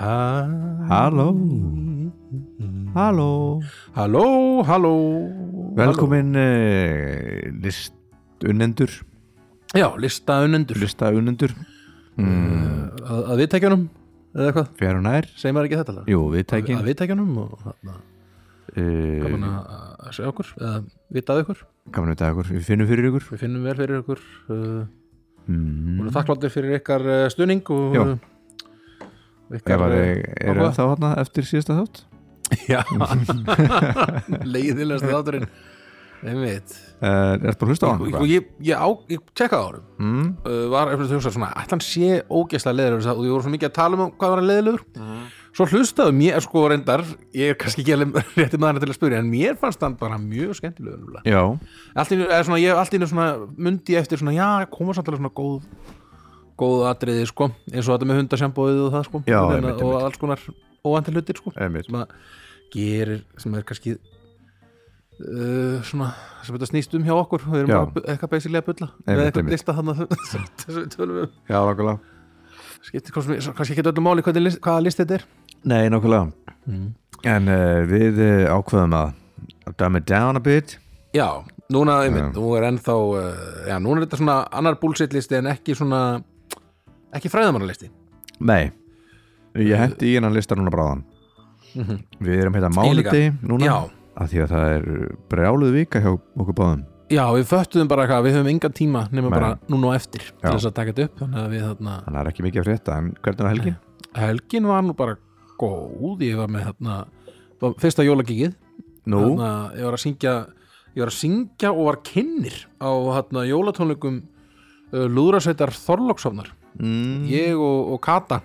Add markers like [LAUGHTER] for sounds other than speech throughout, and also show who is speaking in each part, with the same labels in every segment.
Speaker 1: Halló. Halló
Speaker 2: Halló, halló
Speaker 1: Velkomin uh, listunendur
Speaker 2: Halló. Já, listaunendur
Speaker 1: Listaunendur mm,
Speaker 2: Að, að viðtækjunum eða eitthvað,
Speaker 1: Fjær og nær
Speaker 2: segir maður ekki þetta alveg?
Speaker 1: Jú,
Speaker 2: Að,
Speaker 1: viðtækin
Speaker 2: að viðtækjunum og þarna
Speaker 1: Gaman
Speaker 2: gaman að að segja okkur eða vitað ykkur,
Speaker 1: Eh, að vita ykkur, við finnum fyrir ykkur
Speaker 2: við finnum vel fyrir ykkur uh,
Speaker 1: mm.
Speaker 2: Hún er þakkláttir fyrir ykkar uh, stuðning og
Speaker 1: Já.
Speaker 2: og
Speaker 1: Ef
Speaker 2: ykkar
Speaker 1: að
Speaker 2: uh,
Speaker 1: þið eru
Speaker 2: áhuga.
Speaker 1: þá hana eftir síðasta þátt
Speaker 2: [LAUGHS] Já
Speaker 1: [LAUGHS]
Speaker 2: Leiðilegast þátturinn Einmitt
Speaker 1: uh, Ertu bara að hlusta á hann?
Speaker 2: Ég,
Speaker 1: eitthvað?
Speaker 2: ég, ég, á, ég tekkaði á honum
Speaker 1: Mm.
Speaker 2: uh, Var eftir að hugsa svona Ætlan sé ógeðslega leiðilegur og ég voru svo mikið að tala um hvað var hann leiðilegur Svo hlustaðu mér sko reyndar Ég er kannski ekki alveg [LAUGHS] rétti maður til að spyrja En mér fannst hann bara mjög skemmtilegur nefnilega.
Speaker 1: Já,
Speaker 2: Allt í einu, eða svona, ég allt í einu svona Mundi ég eftir svona, já, koma samt alveg svona góð Góð atriði sko Eins og þetta með hundasjambóið og það sko
Speaker 1: Já,
Speaker 2: Og
Speaker 1: einmitt,
Speaker 2: og
Speaker 1: einmitt.
Speaker 2: alls konar óvænti hlutir sko
Speaker 1: einmitt
Speaker 2: sem að gerir sem er kannski uh, svona sem þetta snýst um hjá okkur við erum
Speaker 1: Já.
Speaker 2: bara bu- eitthvað basically að bulla með
Speaker 1: Einmitt,
Speaker 2: eitthvað
Speaker 1: einmitt.
Speaker 2: lista hann [LAUGHS] þessu tölum við um.
Speaker 1: Já, nákvæmlega
Speaker 2: skiptir hvort sem við- svo kannski ekki öllu máli hvernig list- hvaða list þetta er
Speaker 1: Nei, nákvæmlega
Speaker 2: Mm.
Speaker 1: En uh, við uh, ákveðum að að dumb it down a bit
Speaker 2: já, núna einmitt, nú er ennþá uh, já, núna er þetta svona annar bullshit listi en ekki svona ekki fræðamannalisti
Speaker 1: Nei,
Speaker 2: Eh,
Speaker 1: ég hendi í hennan lista núna bráðan Við erum hérna mánudegi
Speaker 2: Mhm.
Speaker 1: núna
Speaker 2: já,
Speaker 1: að Því að það er brjáluð vika hjá okkur báðum
Speaker 2: já, við föttuðum bara eitthvað við höfum engan tíma nema
Speaker 1: Nei.
Speaker 2: bara núna og eftir til
Speaker 1: Já.
Speaker 2: þess að taka þetta upp þannig að við þarna
Speaker 1: Þannig að það er ekki mikið að frétta En hvernig er helgin?
Speaker 2: Eh, helgin var nú bara góð ég var með þarna var fyrsta jólagíkið
Speaker 1: Nú,
Speaker 2: þarna, ég var að syngja ég var að syngja og var kynnir á þarna, jólatónleikum uh, Lúðrasveitar Þorlóksofnar
Speaker 1: mm,
Speaker 2: ég og, og Kata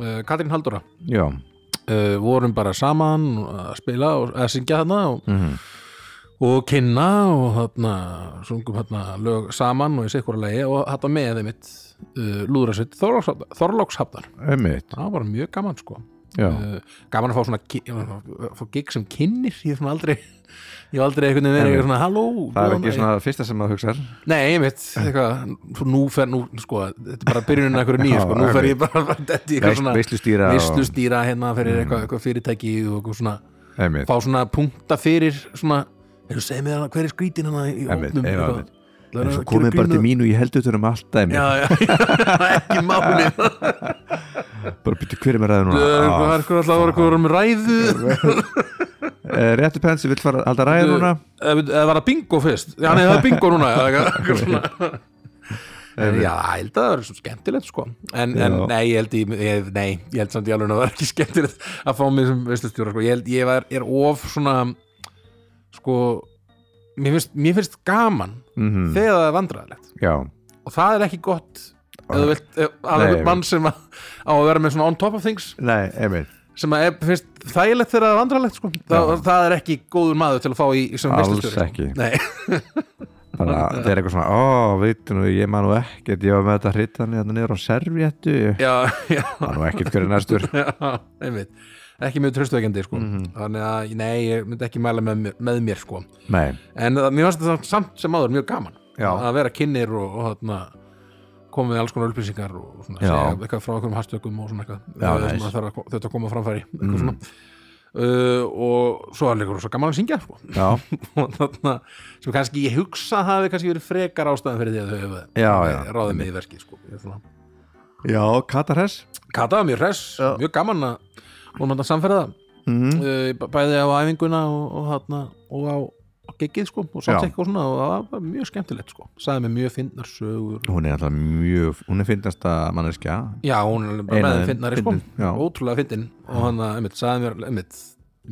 Speaker 2: uh, Katrín Haldóra
Speaker 1: já
Speaker 2: uh, vorum bara saman að spila og að syngja þarna og,
Speaker 1: Mhm.
Speaker 2: og kynna og þarna sungum þarna lög saman og í sikkur að lagi og þarna með þeim mitt uh, Lúðrasveit Þorlókshafnar, Þorlókshafnar
Speaker 1: Einmitt,
Speaker 2: það var bara mjög gaman sko
Speaker 1: já
Speaker 2: uh, gaman að fá svona ki- að fá gig sem kynir ég er svona aldrei ég hef aldrei einhvern veginn verið
Speaker 1: Nei,
Speaker 2: eitthvað svona halló
Speaker 1: Það er
Speaker 2: góðan
Speaker 1: ekki
Speaker 2: daginn."
Speaker 1: svona fyrsta sem maður hugsar
Speaker 2: nei, ég veit, eitthvað, svo nú fer nú, sko, þetta er bara byrjunin að einhverju nýju,
Speaker 1: Já,
Speaker 2: sko, nú fer
Speaker 1: einmitt.
Speaker 2: ég bara [LAUGHS] bara þetta í eitthvað
Speaker 1: Veist- Mm.
Speaker 2: svona
Speaker 1: Veislustýra og-
Speaker 2: vistustýra hérna fyrir eitthvað, eitthvað fyrirtæki og eitthvað svona,
Speaker 1: Einmitt,
Speaker 2: fá svona punkta fyrir svona, hefur segið mér hana hver er skrítin hana í
Speaker 1: Einmitt,
Speaker 2: opnum
Speaker 1: já, einmitt. en svo komið bara til mín og ég held utan um allt dæmi
Speaker 2: já, [LAUGHS] já, ekki máli
Speaker 1: [LAUGHS] Bara byrja hver er með Ah. ræðu núna
Speaker 2: það Eh, er eitthvað alltaf að voru eitthvað um ræðu
Speaker 1: Ah, eh, Réttu pensi, vill fara alltaf ræðu núna
Speaker 2: eða eða var Eh, það bingo fyrst já, nei, það er bingo núna eða eitthvað- eitthvað svona.
Speaker 1: [LAUGHS]
Speaker 2: En já, ég held að það er svo skemmtilegt sko. en, en
Speaker 1: Já.
Speaker 2: nei, ég held, ég, ég, nei, ég held samt í alveg að það var ekki [LAUGHS] skemmtilegt að fá mig sem veistustjóra sko. ég, held, ég var, er of svona sko mér finnst, mér finnst gaman
Speaker 1: Mhm,
Speaker 2: þegar það er vandræðilegt
Speaker 1: Já,
Speaker 2: og það er ekki gott ef þú vilt, ef- að
Speaker 1: Nei,
Speaker 2: einhvern
Speaker 1: ég-
Speaker 2: mann sem að, á að vera með svona on top of things
Speaker 1: nei, einmitt
Speaker 2: sem að er, finnst þægilegt þegar það er vandræðilegt sko. það, það er ekki góður maður til að fá í, sem
Speaker 1: Alls
Speaker 2: veistlustjóri, sko.
Speaker 1: ekki.
Speaker 2: nei [LAUGHS]
Speaker 1: bara það er eitthvað svona, ó, veitu nú ég man nú ekkert, ég var með þetta hrittan hérna niður á servjettu, ég
Speaker 2: já, já,
Speaker 1: man nú ekkert hverju næstur
Speaker 2: já, einmitt ekki mjög tröstuveikandi sko.
Speaker 1: Mhm.
Speaker 2: þannig að, nei, ég myndi ekki mæla með, með mér sko.
Speaker 1: nei,
Speaker 2: en það, mér fannst þetta samt sem áður mjög gaman
Speaker 1: Já.
Speaker 2: að vera kynir og, og þarna, koma með alls konar upplýsingar og svona,
Speaker 1: Já.
Speaker 2: segja eitthvað frá einhverjum hastökum og svona eitthvað
Speaker 1: Já,
Speaker 2: eh,
Speaker 1: nice.
Speaker 2: sem að þarf að þetta koma á framfæri mm. svona Uh, og svo er leikur svo gaman að syngja sko. [LAUGHS]
Speaker 1: já,
Speaker 2: Og þarna, sem kannski ég hugsa hafi kannski verið frekar ástæðan fyrir því að þau hefur
Speaker 1: Já, já.
Speaker 2: ráðið mig í verki sko. Ég er svona,
Speaker 1: já, Katarhess
Speaker 2: Kata var mjög hress,
Speaker 1: Já.
Speaker 2: mjög gaman að hún átt að samferða
Speaker 1: mm.
Speaker 2: uh, b- bæði á æfinguna og, og, hana, og á, á geggið sko og
Speaker 1: Já.
Speaker 2: samtekk og svona og það var mjög skemmtilegt sko sagði mér mjög fyndnar sögur
Speaker 1: hún er alltaf mjög, hún er fyndasta manneskja
Speaker 2: já, hún er
Speaker 1: Ein
Speaker 2: bara
Speaker 1: af
Speaker 2: með
Speaker 1: þeim
Speaker 2: fyndnari sko
Speaker 1: fyndin, já.
Speaker 2: ótrúlega fyndin og hann að, einmitt, sagði mér einmitt,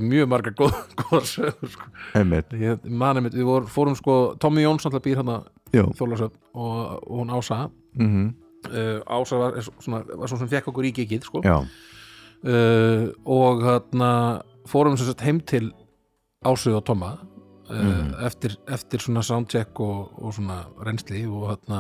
Speaker 2: mjög marga góð, [LAUGHS] góða sögur sko.
Speaker 1: einmitt,
Speaker 2: ég man einmitt, við vor, fórum sko Tommy Jóns alltaf býr hann að
Speaker 1: já
Speaker 2: þjólasöf og, og hún Ása
Speaker 1: mhm,
Speaker 2: uh, Ása var, er svona, var svona sem fekk okkur í geggið sko
Speaker 1: já,
Speaker 2: uh, og hérna fórum sem sagt heim til Ásöð og Tomma uh,
Speaker 1: Mhm.
Speaker 2: eftir, eftir svona soundcheck og, og svona reynsli og hérna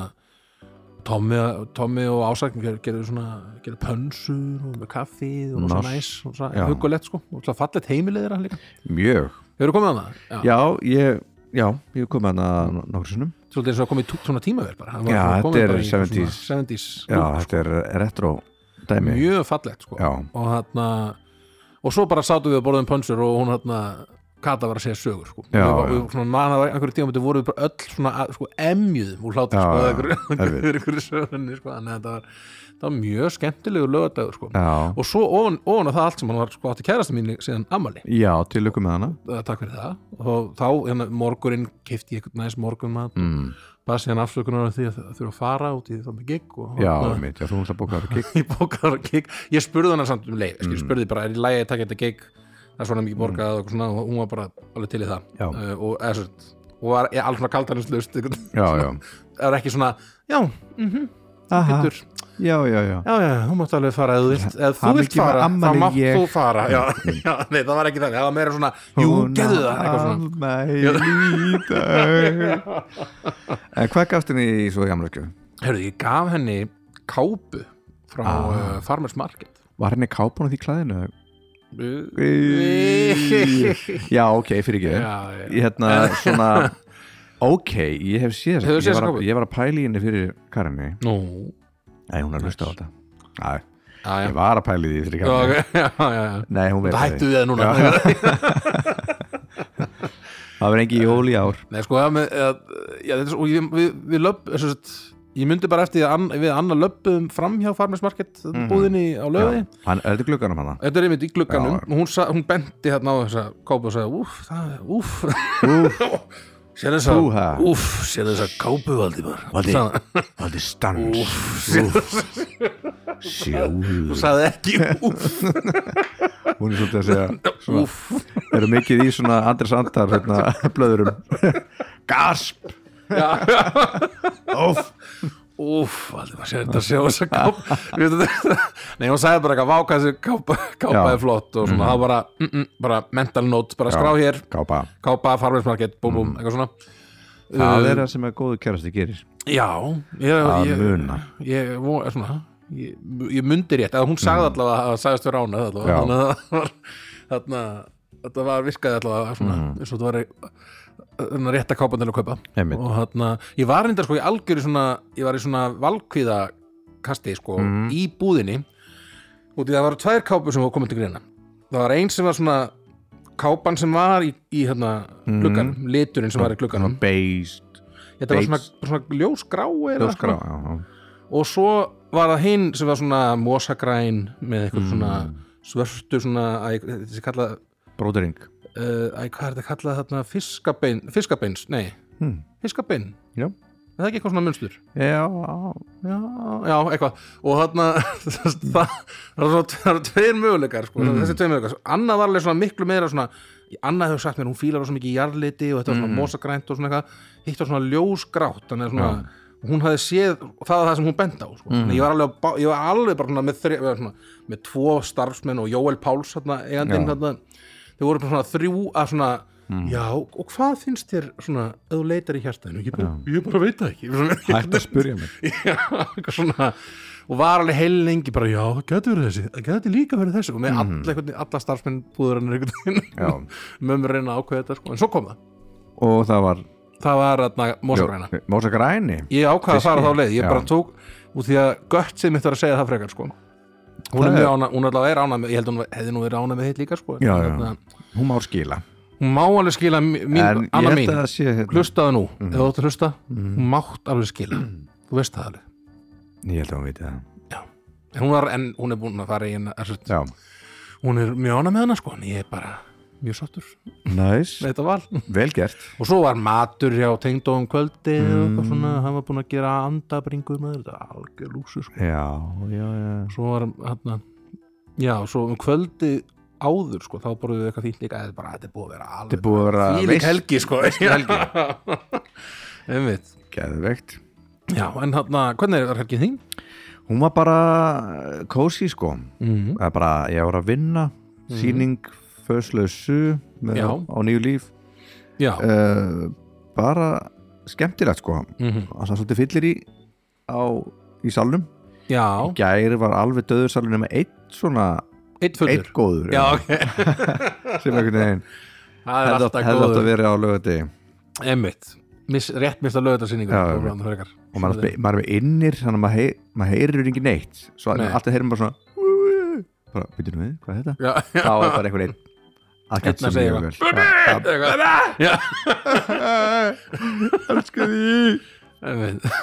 Speaker 2: Tommi, Tommi og Ásakn gerðu svona gerðu pönsur og með kaffið og
Speaker 1: Nos.
Speaker 2: svona næs og
Speaker 1: Já.
Speaker 2: svona hugulegt sko og svona fallet heimilegðir hann líka
Speaker 1: mjög
Speaker 2: Hefur komið að það?
Speaker 1: já, ég já, ég kom að hana nokkur sinnum
Speaker 2: svolítið eins og að komið túk svona tímavel bara Hann var
Speaker 1: Já,
Speaker 2: svona
Speaker 1: þetta
Speaker 2: komið
Speaker 1: er
Speaker 2: bara í eitthvað
Speaker 1: 70s.
Speaker 2: svona 70s
Speaker 1: já,
Speaker 2: lúk,
Speaker 1: þetta er retro dæmi
Speaker 2: mjög fallegt sko.
Speaker 1: já,
Speaker 2: og þarna og svo bara sátum við að borðum pönsur og hún þarna Kata var að segja sögur sko. við,
Speaker 1: Já,
Speaker 2: var,
Speaker 1: já.
Speaker 2: við, svona, man, að einhverju tíma voru við bara öll svona að- sko, emjuðum úr hlátur
Speaker 1: Já,
Speaker 2: sko,
Speaker 1: já,
Speaker 2: að einhverju-
Speaker 1: erfitt.
Speaker 2: yfir einhverju sögunni sko. þannig að þetta var, þetta var mjög skemmtilegu lögadagur sko.
Speaker 1: já,
Speaker 2: og svo ofan, ofan að það allt sem hann var sko, átti kærasta mín síðan ammali
Speaker 1: já til ykkur með hana
Speaker 2: Eh, takk fyrir það og þá hérna, morgurinn kefti ég eitthvað næst morgunmat
Speaker 1: mm,
Speaker 2: bara síðan afsökunar af því að það þurfa að fara út í það með gig og
Speaker 1: já,
Speaker 2: þarna-
Speaker 1: mitt, já, þú múst að bóka það kikk
Speaker 2: ég bókaði á gig ég spurði hana samt um leið mm. ég spurði bara, er í lagi að taka þetta gig það er svona mikið borgað og eitthvað svona og hún var bara alveg til í það
Speaker 1: Já.
Speaker 2: uh, og eða svo og var ég, alls svona kaldaninslaust það
Speaker 1: já, já,
Speaker 2: er ekki svona, já,
Speaker 1: Aha,
Speaker 2: hittur
Speaker 1: já, já, já
Speaker 2: já, já, þú mátt alveg fara eða þú vilt eða þú
Speaker 1: Hamingju
Speaker 2: vilt fara,
Speaker 1: með
Speaker 2: þá
Speaker 1: afmæli
Speaker 2: mátt
Speaker 1: ég.
Speaker 2: þú fara [LAUGHS] já, já, nei, það var ekki þannig, það var meira svona jú, gerðu það, eitthvað svona
Speaker 1: svona En hvað gafst henni í svo jamlöku?
Speaker 2: Hörðu, ég gaf henni kápu frá
Speaker 1: Ah.
Speaker 2: uh, Farmers Market
Speaker 1: Var henni kápan á því klæðinu?
Speaker 2: Uh,
Speaker 1: Já, ok, fyrir ekki
Speaker 2: já, já.
Speaker 1: Ég hérna svona Ok, ég hef séð
Speaker 2: Hefur séð
Speaker 1: þess ég,
Speaker 2: þessa
Speaker 1: var að-
Speaker 2: kápu?
Speaker 1: ég var að pæla í henni fyrir Karinni
Speaker 2: nú,
Speaker 1: Nei, hún er að hlusta á þetta Nei,
Speaker 2: já, já
Speaker 1: ég var að pæla í því fyrir
Speaker 2: Já,
Speaker 1: Karinni
Speaker 2: ok, [LAUGHS] já, já, já
Speaker 1: Nei, hún veit
Speaker 2: Þetta
Speaker 1: það
Speaker 2: hættu við það núna
Speaker 1: Það var engi jól í ár
Speaker 2: Nei, sko, eða, með- eða, já, þetta er svo, og ég, við, við löp, eða, sagt, ég myndi bara eftir að an, við annað löpum fram hjá Farmers Market mm búðinni á löði
Speaker 1: Mhm. Já, Hann er þetta glugganum hana
Speaker 2: Þetta er einmitt í glugganum
Speaker 1: Já.
Speaker 2: og hún, sa, hún benti hérna á þessa kápu og sagði, úf, það er, úf
Speaker 1: Úf,
Speaker 2: [LAUGHS] Sér þess að,
Speaker 1: Úha.
Speaker 2: úf, sér þess að kápu Valdimar
Speaker 1: Valdi.
Speaker 2: Sagði-
Speaker 1: það er stans
Speaker 2: Úff, sér-
Speaker 1: Sjóðu
Speaker 2: Sagði ekki,
Speaker 1: [LAUGHS]
Speaker 2: úf,
Speaker 1: Hún er svolítið að segja svona,
Speaker 2: úf
Speaker 1: eru mikið í svona Andres Andar hérna, blöðurum [LAUGHS] Gasp
Speaker 2: Já,
Speaker 1: Óf
Speaker 2: Úf, aldrei maður sér þetta að sjá þessa kápa Við veitum þetta- [LAUGHS] Nei, hún sagði bara eitthvað váka þessi kápa, kápa
Speaker 1: Já. Mhm.
Speaker 2: er flott og svona, það var bara, mm -mm, bara mental note, bara skrá hér
Speaker 1: Kápa
Speaker 2: kápa, farmeinsmarkett, búm búm, eitthvað svona
Speaker 1: Það er það sem að góðu kærasti gerir
Speaker 2: Já, ég,
Speaker 1: Að
Speaker 2: ég,
Speaker 1: muna.
Speaker 2: ég, vo- er svona, ég, ég mundi rétt, eða hún sagði allavega að sagðist vera ána allavega,
Speaker 1: Mm. Já.
Speaker 2: þannig að það var þarna, þetta var virkaði allavega svona, eins og þetta var þarna rétta kápan til að kaupa
Speaker 1: Mm. Einmitt.
Speaker 2: og þarna, ég var reyndar sko, ég algjör svona, ég var í svona valkvíðakasti sko,
Speaker 1: Mm.
Speaker 2: í búðinni og því það var tvær kápur sem var komið til greina það var ein sem var svona kápan sem var í, í hérna,
Speaker 1: Mm.
Speaker 2: glugganum, liturinn sem var í glugganum
Speaker 1: Based
Speaker 2: Þetta var
Speaker 1: Bates.
Speaker 2: svona, svona ljósgrá, eða
Speaker 1: Ljóskrá
Speaker 2: svona.
Speaker 1: já, já.
Speaker 2: Og svo var það hinn sem var svona mosagræn með eitthvað
Speaker 1: Mm.
Speaker 2: svona svörtu svona, æ, þetta er kallað
Speaker 1: Bróðring
Speaker 2: uh, æ, hvað er þetta kallað þarna, fiskabein fiskabeins, nei,
Speaker 1: Hmm.
Speaker 2: fiskabein
Speaker 1: Já.
Speaker 2: Er það ekki eitthvað svona munstur?
Speaker 1: Já
Speaker 2: Já, já, eitthvað og þarna, [LAUGHS] það, það, það eru svona- það eru tveir möguleikar sko, þessi tveir möguleikar, annað var alveg svona miklu meira svona, annað hefur sagt mér, hún fílar svo mikið í jarliti og þetta var svona mosagrænt og svona eitthvað hitt var svona ljósgrátt þannig að svona, hún hafði séð og það var það sem hún benda á, sko, mm. ég var alveg, á bá- ég var alveg bara svona með, þri, eða svona, með tvo starfsmenn og Jóel Páls þarna, eigandinn
Speaker 1: Já.
Speaker 2: þarna, þau voru bara svona þrjú að svona Já, og hvað finnst þér svona, ef þú leitar í hjartaðinu? Ég bara, ég bara veit það ekki. [LAUGHS]
Speaker 1: Hætt að spyrja mig
Speaker 2: Já, eitthvað svona og var alveg heil lengi bara já, það getur verið þessi, það getur líka verið þessi og með mm. alla, einhvern, veginn- alla starfsmenn búðurinnar einhvern
Speaker 1: Mhm. Já.
Speaker 2: veginn [LAUGHS] mömmu reyna að ákveða þetta sko, en svo kom það
Speaker 1: Og það var
Speaker 2: það var atna, mosagræna
Speaker 1: Mósa græni
Speaker 2: ég ákvaði að fara
Speaker 1: Fiski.
Speaker 2: þá leið, ég
Speaker 1: Já.
Speaker 2: bara tók út því að gött sem mitt var að segja það frekar sko hún
Speaker 1: Það
Speaker 2: er
Speaker 1: er-
Speaker 2: mjög ánað, hún allavega er ánað með, ég held hún hefði nú verið ánað með hitt líka sko en
Speaker 1: Já, já.
Speaker 2: þarna-
Speaker 1: Hún má skila
Speaker 2: hún má alveg skila mi-
Speaker 1: En
Speaker 2: mín,
Speaker 1: ég
Speaker 2: annað
Speaker 1: held
Speaker 2: mín
Speaker 1: að Mhm. það sé hérna,
Speaker 2: hlustaðu nú, mm. ef þú átt að hlusta hún mátt alveg skila, þú veist það alveg
Speaker 1: Ég held að hún viti það
Speaker 2: en hún, var, en hún er búin að fara í en, er,
Speaker 1: Já
Speaker 2: hún er mjög ána með hana sko en ég er bara mjög sáttur með
Speaker 1: Næs
Speaker 2: þetta val [LAUGHS] og
Speaker 1: Vel gert
Speaker 2: svo var matur hjá tengdóðum kvöldi
Speaker 1: Mm.
Speaker 2: og eitthvað svona, hann var búin að gera andabringur með þetta, var algjör lúksu sko.
Speaker 1: Já, já, já
Speaker 2: svo var hann já, svo um kvöldi áður sko, þá borðum við eitthvað fínt líka eða bara, þetta er búið að vera
Speaker 1: Þetta er
Speaker 2: alveg
Speaker 1: búið að vera
Speaker 2: fílík helgi sko [LAUGHS] helgi einmitt
Speaker 1: Geðveikt
Speaker 2: já, en hann, hvernig er helgið þín?
Speaker 1: Hún var bara eh, kósí sko
Speaker 2: Mm.
Speaker 1: Það er bara, ég var að vinna sýning föðslausu
Speaker 2: Mhm. Já.
Speaker 1: á nýju líf
Speaker 2: já,
Speaker 1: uh, bara skemmtilegt sko
Speaker 2: mhm.
Speaker 1: það er svolítið fyllir í á, í salnum
Speaker 2: já,
Speaker 1: gæri var alveg döður salnum nema eitt svona,
Speaker 2: eitt fullur
Speaker 1: eitt góður
Speaker 2: já, ok,
Speaker 1: sem einhvern veginn
Speaker 2: [LAUGHS] það er
Speaker 1: hefði
Speaker 2: alltaf
Speaker 1: átt- hefði átt
Speaker 2: góður
Speaker 1: að vera á lögati
Speaker 2: Emmitt, Miss, rétt mista lögutarsýningu
Speaker 1: Já,
Speaker 2: og
Speaker 1: einmitt.
Speaker 2: hann frekar
Speaker 1: og maður, er- maður er með innir þannig að maður, heyr, maður heyrir ekki neitt svo
Speaker 2: Nei.
Speaker 1: Nei. alltaf heyrir maður svona bara, byrjum við, hvað er þetta?
Speaker 2: Já, já, Hérna
Speaker 1: þá er bara einhvern veginn að
Speaker 2: Einn að
Speaker 1: geta
Speaker 2: segja
Speaker 1: mjög vel
Speaker 2: eitthvað Já,
Speaker 1: [LAUGHS] elsku því
Speaker 2: einmitt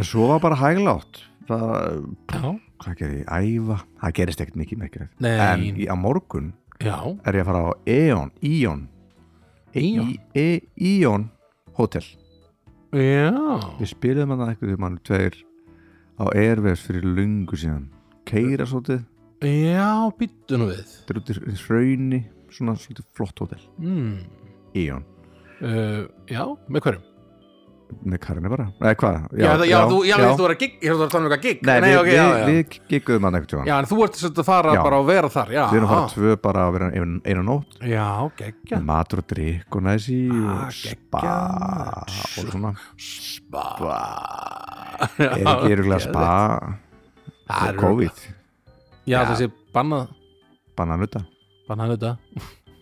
Speaker 1: en svo var bara hæglátt það,
Speaker 2: Já,
Speaker 1: hvað gerði ég, æfa það gerist ekkert mikið merkilegt
Speaker 2: Nei.
Speaker 1: en í, á morgun
Speaker 2: já,
Speaker 1: er ég að fara á Eon Íon
Speaker 2: Íon?
Speaker 1: Íon Hotel
Speaker 2: já
Speaker 1: við spilum hann eitthvað þegar mann tveir á Airwaves fyrir lungu síðan keira svolítið,
Speaker 2: Já, býttu nú við
Speaker 1: þetta er út í hraunni svona svolítið flott hótel
Speaker 2: mm.
Speaker 1: Íon,
Speaker 2: uh, Já, með hverjum?
Speaker 1: með karinni bara eða hvað,
Speaker 2: Já, já, já, þú, já, já. þú er að gig, ég er að tala um eitthvað gig
Speaker 1: Nei, við,
Speaker 2: ok,
Speaker 1: við,
Speaker 2: já, já.
Speaker 1: við gigguðum hann eitthvað
Speaker 2: já, en þú ert svolítið að fara
Speaker 1: Já.
Speaker 2: bara að vera þar Já, Ah.
Speaker 1: við erum að fara Mm. tvö bara að vera einu, einu nótt
Speaker 2: já geggja
Speaker 1: með matur og drikk og næsi
Speaker 2: Ah,
Speaker 1: og spa
Speaker 2: geggjað.
Speaker 1: og svona
Speaker 2: Spa
Speaker 1: er ekki eruglega spa
Speaker 2: Það er
Speaker 1: fyrir COVID,
Speaker 2: Já,
Speaker 1: Já.
Speaker 2: þessi bannað
Speaker 1: bananuta
Speaker 2: Bannaða nuta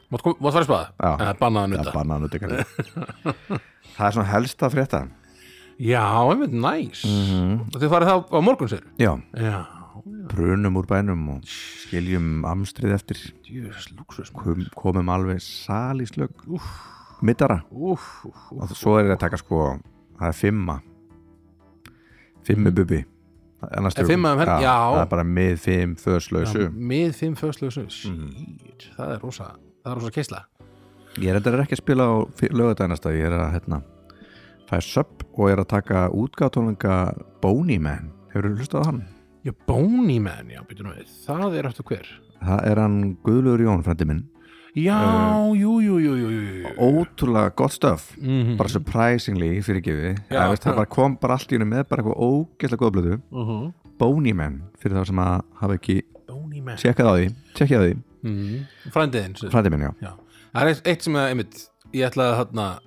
Speaker 2: Mátt kom- mátt fara í Eh, spaða?
Speaker 1: Já.
Speaker 2: Bannaða
Speaker 1: eða
Speaker 2: nuta
Speaker 1: bananuta kannski það er svona helst að frétta
Speaker 2: Já, einmitt, næs Og þið farið þá á morgun sér
Speaker 1: já,
Speaker 2: Mhm. Já,
Speaker 1: brunum úr bænum og skiljum amstrið eftir
Speaker 2: djúris lúksus
Speaker 1: Kom, komum alveg sal í slög middara
Speaker 2: Úf, úf, úf.
Speaker 1: og svo er það að taka sko það er fimma fimmu bubi annars
Speaker 2: Mm. Er fimma um helg-
Speaker 1: Já,
Speaker 2: já.
Speaker 1: það er bara mið fimm, föðslausu
Speaker 2: Já, Mið fimm föstlegu sum Shit, það er rosa Það er rosa keisla
Speaker 1: ég er þetta ekki að spila á lögadæðinasta ég er að hérna fæ sub og er að taka útgáðtónleika Boney Man, hefur þú hlustað á hann?
Speaker 2: Já, bóni menn, já, byrju nú við Það er eftir hver
Speaker 1: það er hann Guðlugur Jón, frendi minn
Speaker 2: Já, jú, jú, jú, jú, jú, jú.
Speaker 1: ótrúlega gott stöf
Speaker 2: Mhm.
Speaker 1: bara surprisingly fyrir gefi
Speaker 2: Já.
Speaker 1: veist, það bara kom bara allt í hennu með bara eitthvað ógeðslega góða blödu
Speaker 2: Mhm.
Speaker 1: Boney Man, fyrir þá sem að hafa ekki
Speaker 2: Bóni menn
Speaker 1: tjekkað á því, tjekkið á því
Speaker 2: Mhm. Frændiðinn sem-
Speaker 1: frændi minn, já
Speaker 2: Já, það er eitt- eitt sem að einmitt, ég ætlaði að þarna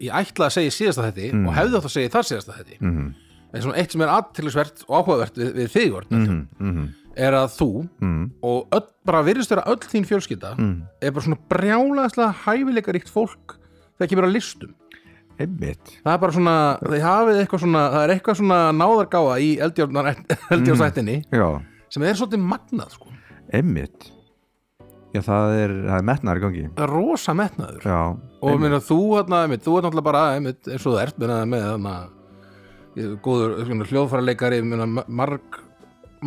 Speaker 2: ég ætlaði að segja í síðasta þetta og hefði átt að segja í þar síðasta þetta
Speaker 1: mm -hmm.
Speaker 2: en svona eitt sem er aðtilisvert og áhugavert við, við þig orðin
Speaker 1: Mm -hmm.
Speaker 2: er að þú
Speaker 1: Mm
Speaker 2: og öll, bara virðist vera öll þín fjölskylda
Speaker 1: -hmm.
Speaker 2: er bara svona brjálaðslega hæfileikaríkt fólk þegar kemur að listum
Speaker 1: einmitt
Speaker 2: það er bara svona, þið hafið eitthvað svona það er eitthvað svona náðargáfa í eldjórnættinni
Speaker 1: já,
Speaker 2: sem er svolítið magnað sko
Speaker 1: einmitt já, það er, það er metnar í gangi
Speaker 2: Það er rosa metnaður
Speaker 1: já,
Speaker 2: og
Speaker 1: einmitt.
Speaker 2: meina, þú, hana, einmitt, þú er náttúrulega bara einmitt, eins og þú ert meina, með hana, góður svona, hljóðfæraleikari meina, marg,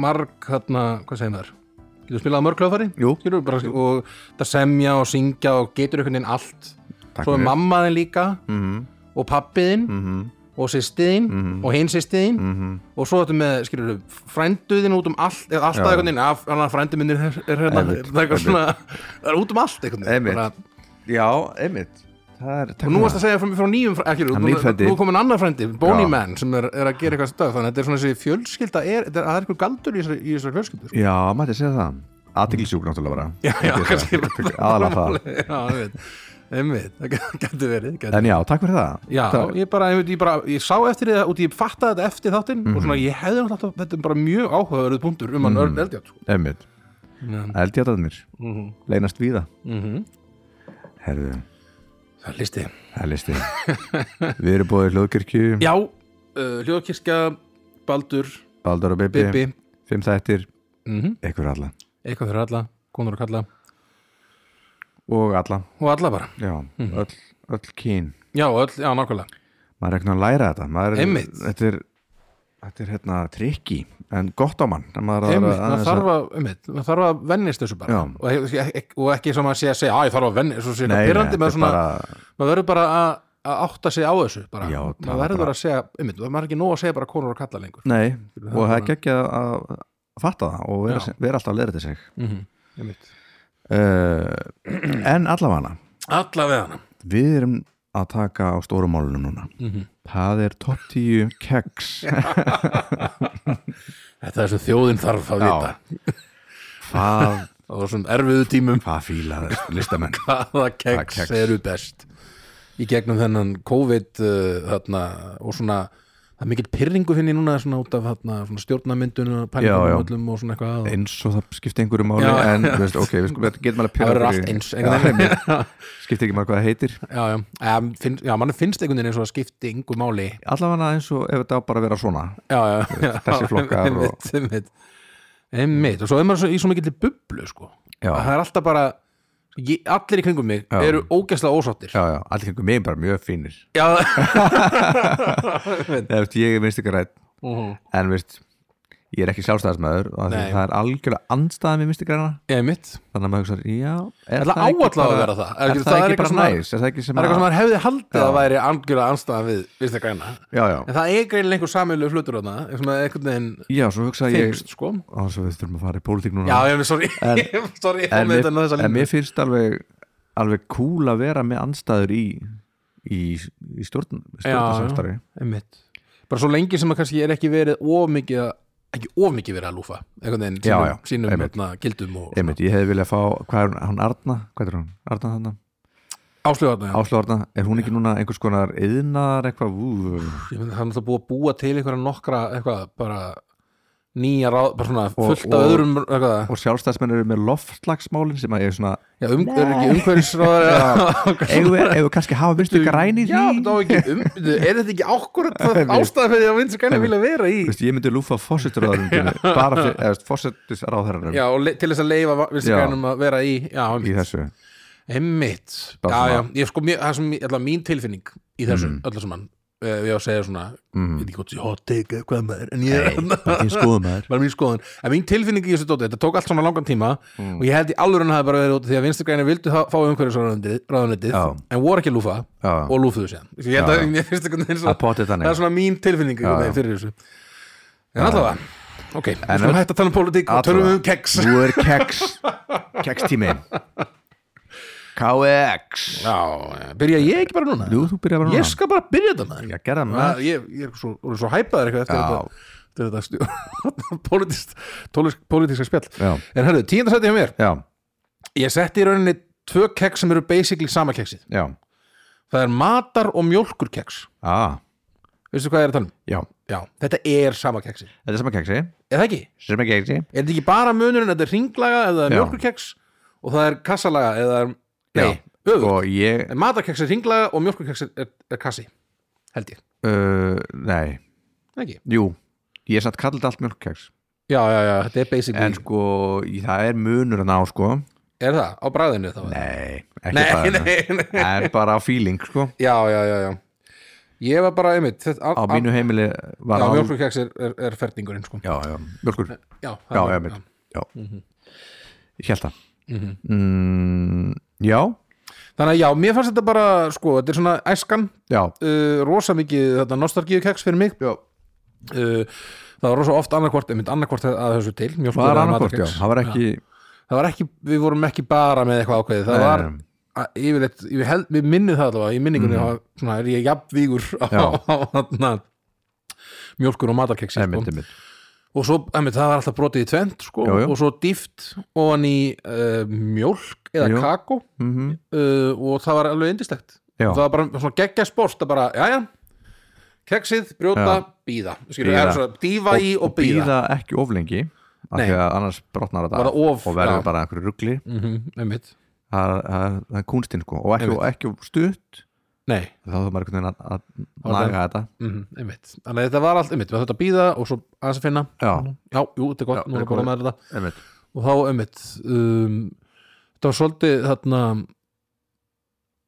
Speaker 2: marg hana, hvað segir maður getur spilað á mörg hljóðfæri
Speaker 1: Jú.
Speaker 2: Skilur, bara, og það semja og syngja og getur einhvern veginn allt
Speaker 1: Takk
Speaker 2: svo er
Speaker 1: fyrir.
Speaker 2: mamma þinn líka
Speaker 1: Mhm,
Speaker 2: og pappiðin
Speaker 1: mhm,
Speaker 2: og sýstiðin
Speaker 1: Mm.
Speaker 2: og hinn sýstiðin
Speaker 1: mhm.
Speaker 2: og svo þetta með skilur, frænduðin út um allt eða alltaf einhvern veginn af hann að frændu minnir er, er, hérna,
Speaker 1: Einmitt,
Speaker 2: það er, eitthvað
Speaker 1: einmitt.
Speaker 2: svona, það er út um allt einhvern
Speaker 1: Einmitt.
Speaker 2: veginn Bara-
Speaker 1: já, einmitt það er, takk
Speaker 2: og nú
Speaker 1: fyrir
Speaker 2: varst að segja frá, frá nýjum fræ- ekki,
Speaker 1: Hann
Speaker 2: nú,
Speaker 1: nýr frændi.
Speaker 2: nú er komin annar frændi, Boney
Speaker 1: Já.
Speaker 2: Man sem er, er að gera eitthvað stöð þannig að þetta er svona þessi fjölskylda er, þetta er, það er eitthvað galdur í þessari, í þessari fjölskyldu sko.
Speaker 1: já, maður segja það aðtiklisjúk náttúrulega bara
Speaker 2: já, já,
Speaker 1: Ég
Speaker 2: [LAUGHS] kannski
Speaker 1: geti það. aðalega það
Speaker 2: [LAUGHS] já, einmitt, einmitt, það getur verið gæti.
Speaker 1: en já, takk fyrir það
Speaker 2: já,
Speaker 1: það,
Speaker 2: ég bara, einmitt, ég bara ég sá eftir það og ég fattaði þetta eftir þáttinn og
Speaker 1: Mhm.
Speaker 2: svona ég hefði alltaf, þetta er bara mjög áhugaverðu punktur um hann mm. Örn Eldjátt sko.
Speaker 1: einmitt
Speaker 2: mm
Speaker 1: eldjátaðnir,
Speaker 2: -hmm.
Speaker 1: leynast víða
Speaker 2: Mhm.
Speaker 1: herðu,
Speaker 2: það er listi
Speaker 1: það er listi [LAUGHS] við erum búið í hljóðkirkju
Speaker 2: já, uh, Hljóðkirkja, Baldur,
Speaker 1: Baldur og Bibi,
Speaker 2: Bibi
Speaker 1: fimm þættir,
Speaker 2: mm
Speaker 1: ykkur alla
Speaker 2: eitthvað fyrir alla, konur og kalla
Speaker 1: og alla,
Speaker 2: og alla bara
Speaker 1: já,
Speaker 2: Mhm.
Speaker 1: öll, öll kín
Speaker 2: Já, öll, já, nákvæmlega
Speaker 1: maður er ekki að læra þetta maður er,
Speaker 2: Einmitt.
Speaker 1: þetta er, þetta er hérna trikki en gott á mann en maður er að-
Speaker 2: einmitt,
Speaker 1: aðeins
Speaker 2: maður þarf að, einmitt, maður þarf að vennist þessu bara
Speaker 1: Já.
Speaker 2: og, ekki- ekki- og ekki sem að segja, segja, að ég þarf að vennist svo sé
Speaker 1: Nei,
Speaker 2: þetta pyrrandi,
Speaker 1: nei,
Speaker 2: maður,
Speaker 1: þetta
Speaker 2: svona,
Speaker 1: er bara,
Speaker 2: maður verður bara að, að átta sig á þessu bara,
Speaker 1: Já, tala
Speaker 2: maður verður
Speaker 1: bara-
Speaker 2: að segja, einmitt, maður er ekki nóg að segja bara konur og kalla lengur
Speaker 1: nei,
Speaker 2: það
Speaker 1: og það
Speaker 2: bara-
Speaker 1: er ekki að, að fatta það og vera,
Speaker 2: Já.
Speaker 1: vera alltaf að leira til sig
Speaker 2: Mhm. einmitt.
Speaker 1: uh, en allavega
Speaker 2: alla við hana
Speaker 1: við erum að taka á stórum málunum núna
Speaker 2: Mhm.
Speaker 1: það er top 10 keks
Speaker 2: þetta er sem þjóðin þarf að
Speaker 1: Já.
Speaker 2: vita
Speaker 1: hvað,
Speaker 2: á þessum erfiðu tímum
Speaker 1: hvað fíla listamenn
Speaker 2: hvaða keks,
Speaker 1: keks.
Speaker 2: eru best í gegnum þennan COVID uh, þarna, og svona það er mikill pyrringu finn ég núna svona út af þarna, svona stjórnamyndun og
Speaker 1: Já, já.
Speaker 2: pælingunum öllum og svona eitthvað að-
Speaker 1: [LAUGHS] eins og það skipti einhverju máli
Speaker 2: Já.
Speaker 1: en þú veist, ok, við skulum, við getum alveg að
Speaker 2: það
Speaker 1: pyrra
Speaker 2: verður
Speaker 1: okkur
Speaker 2: allt
Speaker 1: í-
Speaker 2: eins
Speaker 1: Já,
Speaker 2: einhvern veginn.
Speaker 1: skipti ekki maður hvað það heitir
Speaker 2: já, já, Em, finn, já mann finnst einhvern veginn eins og það skipti yngu máli
Speaker 1: allavega eins og ef þetta á bara að vera svona
Speaker 2: já, já, já,
Speaker 1: þessi flokkar og-
Speaker 2: einmitt, einmitt, einmitt. og svo er maður svo, í svo mikill bublu sko.
Speaker 1: Já.
Speaker 2: það er alltaf bara ég, allir í kringum mig
Speaker 1: Já.
Speaker 2: eru ógæslega ósáttir
Speaker 1: já, já, allir kringum mig bara mjög fínir
Speaker 2: já.
Speaker 1: eða veist, ég er minnst ekki rætt
Speaker 2: Mhm.
Speaker 1: en veist, ég er ekki sjálfstæðismæður og af því
Speaker 2: Nei.
Speaker 1: það er algjörlega andstæðan við minnst ekki ræna
Speaker 2: einmitt
Speaker 1: þannig að maður hugsa, já, er
Speaker 2: Ætla áallega að vera það. Er
Speaker 1: er
Speaker 2: ekki-
Speaker 1: það,
Speaker 2: það er
Speaker 1: ekki
Speaker 2: eitthvað
Speaker 1: bara
Speaker 2: svona-
Speaker 1: næs, er það ekki
Speaker 2: það
Speaker 1: sem
Speaker 2: er eitthvað sem maður hefði haldið
Speaker 1: Já.
Speaker 2: að væri algjörlega anstæðan við vinstri græna
Speaker 1: já, já,
Speaker 2: en það er greinilega einhver samilegu hlutur þarna sem að einhvern veginn
Speaker 1: já, svo hugsa ég
Speaker 2: finnst sko
Speaker 1: á þess að við þurfum að fara í pólitík núna
Speaker 2: já, ég er sorry, sorry [LAUGHS] ég fór
Speaker 1: en,
Speaker 2: með þetta inn á
Speaker 1: mér,
Speaker 2: þessa
Speaker 1: en
Speaker 2: línu.
Speaker 1: mér finnst alveg alveg cool að vera með andstæður í í, í stjórn stjórnasamstarfi
Speaker 2: Einmitt. bara svo lengi sem að kannski er ekki verið of mikið að- ekki of mikið verið að lúfa einhvern veginn
Speaker 1: Já,
Speaker 2: sínum,
Speaker 1: já,
Speaker 2: sínum
Speaker 1: einmitt.
Speaker 2: hérna, gildum og
Speaker 1: Einmitt, ég hefði viljað fá, hvað er hún, hún Arna hvað er hún, Arna þarna,
Speaker 2: áslögarna
Speaker 1: Áslu Arna er hún ekki núna einhvers konar yðnar eitthvað, ú,
Speaker 2: það er alltaf búið að búa til einhverja nokkra eitthvað bara nýja ráð bara svona
Speaker 1: Og-
Speaker 2: fullt af
Speaker 1: og-
Speaker 2: öðrum eitthvað,
Speaker 1: og sjálfstæðsmenn eru með loftslagsmálin sem að ég svona
Speaker 2: já, um, er ekki umhverfisráðar
Speaker 1: eigum við, eigum við kannski að hafa vinstu græn í því
Speaker 2: já, það var ekki um er þetta ekki
Speaker 1: [LAUGHS]
Speaker 2: ákvörð ástæða fyrir því að vinst kannar vilja vera í
Speaker 1: Þú veist, ég myndi lúfa
Speaker 2: [LAUGHS]
Speaker 1: fórseturraðarum bara fyrir, eða fórsetisráðherrarum
Speaker 2: já, og le- til þess að leifa vinst
Speaker 1: Já.
Speaker 2: kannum að vera í já,
Speaker 1: í þessu,
Speaker 2: Einmitt, já,
Speaker 1: Bara svona-
Speaker 2: já, ég sko, mér, það sem ég- allavega mín tilfinning í þessu, mm. öllu saman ef ég á að segja svona,
Speaker 1: Mhm.
Speaker 2: ég veit ekki hvort ég hot take eða hvað maður, en ég
Speaker 1: það er skoðum maður
Speaker 2: bara mín skoðun, en mín tilfinning í þessu dóti þetta tók allt saman langan tíma
Speaker 1: Mm.
Speaker 2: og ég held í alveg hann hafi bara verið út af því að vinstirgrænir vildu það- fá umhverfisráðunitið,
Speaker 1: Já.
Speaker 2: en voru ekki að lúfa
Speaker 1: Já.
Speaker 2: og lúfuðu sér, ég held
Speaker 1: Já,
Speaker 2: að mér finnst einhvern veginn
Speaker 1: að
Speaker 2: svona,
Speaker 1: potið
Speaker 2: það er
Speaker 1: þannig
Speaker 2: svona mín tilfinning einhvern
Speaker 1: Já.
Speaker 2: veginn fyrir þessu en allavega, ok, við skulum
Speaker 1: öll-
Speaker 2: hætta að tala um pólitík og
Speaker 1: Allavega.
Speaker 2: tölum um keks
Speaker 1: nú er keks kekstími KX
Speaker 2: Já, byrja ég ekki bara núna?
Speaker 1: Jú, þú byrjar bara núna.
Speaker 2: Ég skal bara byrja þetta maður
Speaker 1: Já, gerða
Speaker 2: Ma,
Speaker 1: maður
Speaker 2: ég, ég er svo, orðinn svo hæpaður eitthvað eftir
Speaker 1: Já.
Speaker 2: þetta, eftir þetta stjó, [LAUGHS] politist, tólist, politíska spjall
Speaker 1: Já.
Speaker 2: en herðu, tíundasætti hjá mér
Speaker 1: já,
Speaker 2: ég setti í rauninni tvö keks sem eru basically sama keksið
Speaker 1: já,
Speaker 2: það er matar og mjólkur keks
Speaker 1: ah,
Speaker 2: veistu hvað ég er að tala um?
Speaker 1: já
Speaker 2: Já, þetta er sama keksið,
Speaker 1: þetta er sama keksi,
Speaker 2: eða ekki?
Speaker 1: sem er keksi
Speaker 2: er þetta ekki bara munurinn, þetta er ringlaga eða
Speaker 1: Já.
Speaker 2: mjólkur keks og það er kassalaga eða, nei, öfugt
Speaker 1: og ég,
Speaker 2: en matarkeks er ringlaga og mjólkur keks er, er, er kassi held ég,
Speaker 1: uh, nei
Speaker 2: eða ekki?
Speaker 1: jú, ég er satt kallit allt mjölkkeks
Speaker 2: Já, já, já, þetta er basically
Speaker 1: en sko, í- það er munur að ná sko
Speaker 2: Er það? Á bræðinu þá?
Speaker 1: nei, ekki
Speaker 2: nei,
Speaker 1: bara
Speaker 2: nei, nei.
Speaker 1: það er bara á feeling sko
Speaker 2: Já, já, já, já Ég var bara einmitt þetta,
Speaker 1: á mínu heimili var
Speaker 2: Já,
Speaker 1: áður-
Speaker 2: mjölkurkeks er, er, er ferningurinn sko.
Speaker 1: já, já, mjölkur
Speaker 2: Já, Mhm. það
Speaker 1: já,
Speaker 2: er-
Speaker 1: einmitt já, ég held það mm, já,
Speaker 2: Þannig að já, mér fannst þetta bara sko, þetta er svona æskan
Speaker 1: já,
Speaker 2: uh, rosa mikið þetta nostalgíukeks fyrir mig
Speaker 1: já
Speaker 2: uh, Það var rosa oft annarkvort einmitt annarkvort að þessu til mjólkur
Speaker 1: var
Speaker 2: eða
Speaker 1: annarkort, já,
Speaker 2: matarkex.
Speaker 1: það var ekki
Speaker 2: Það var ekki, við vorum ekki bara með eitthvað ákveðið Það
Speaker 1: Nei,
Speaker 2: var
Speaker 1: nei.
Speaker 2: að- yfirleitt, ég held, við minnið það allavega í minningunni, mm. svona er ég jafnvígur á,
Speaker 1: Já.
Speaker 2: á, á mjólkur og sko. matarkeksi
Speaker 1: einmitt, einmitt.
Speaker 2: og svo, emi, það var alltaf brotið í tvent sko,
Speaker 1: Jú, jú.
Speaker 2: og svo dýft ofan í uh, mjólk eða
Speaker 1: Jú.
Speaker 2: kakó
Speaker 1: Mm
Speaker 2: uh, og það var alveg indislegt
Speaker 1: Já.
Speaker 2: það var bara svona geggja sport að bara, jæja, keksið, brjóta,
Speaker 1: Já.
Speaker 2: býða
Speaker 1: Bíða.
Speaker 2: dýfa í og býða
Speaker 1: býða ekki of lengi af
Speaker 2: Nei.
Speaker 1: því að annars brotnar þetta
Speaker 2: Bara
Speaker 1: af
Speaker 2: of,
Speaker 1: og verður
Speaker 2: já.
Speaker 1: bara einhverju rugli
Speaker 2: einmitt,
Speaker 1: það er- það er- það er kunstinn sko og ekki,
Speaker 2: Einmitt.
Speaker 1: og ekki of stutt
Speaker 2: nei
Speaker 1: þá þarf maður einhvern veginn að- að
Speaker 2: Orðan.
Speaker 1: naga þetta
Speaker 2: mhm, einmitt, þannig að þetta var allt einmitt, við þetta býða og svo aðeins að finna
Speaker 1: já,
Speaker 2: já, jú, þetta er gott,
Speaker 1: Já,
Speaker 2: nú
Speaker 1: þetta
Speaker 2: er
Speaker 1: er
Speaker 2: bara
Speaker 1: komið.
Speaker 2: með þetta
Speaker 1: einmitt
Speaker 2: og þá einmitt um, þetta var svolítið þarna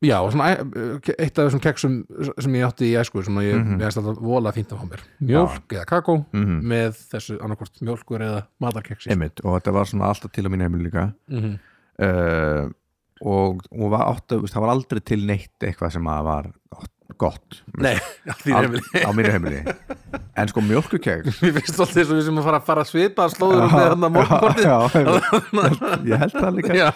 Speaker 2: já, svona, æ- eitt af þessum keksum sem ég átti í æsku sem að ég
Speaker 1: Mhm.
Speaker 2: mm veist alltaf vola fínt að fá mér mjólk eða kakó
Speaker 1: mm
Speaker 2: með þessu annarkvort mjólkur eða matarkeksi
Speaker 1: einmitt, og þetta var svona alltaf til á mínu heimili líka
Speaker 2: Mhm.
Speaker 1: uh, og, og var áttu, veist, það var aldrei til neitt eitthvað sem að var gott
Speaker 2: nei, [LAUGHS] allir
Speaker 1: Al-
Speaker 2: heimil
Speaker 1: á mínu heimili en sko mjölkukeg
Speaker 2: Mér finnst alltaf þess að við sem að fara að fara að svipa slóður um með hann að morgunkortið
Speaker 1: já,
Speaker 2: [LAUGHS]
Speaker 1: einmitt. ég held það líka Eh,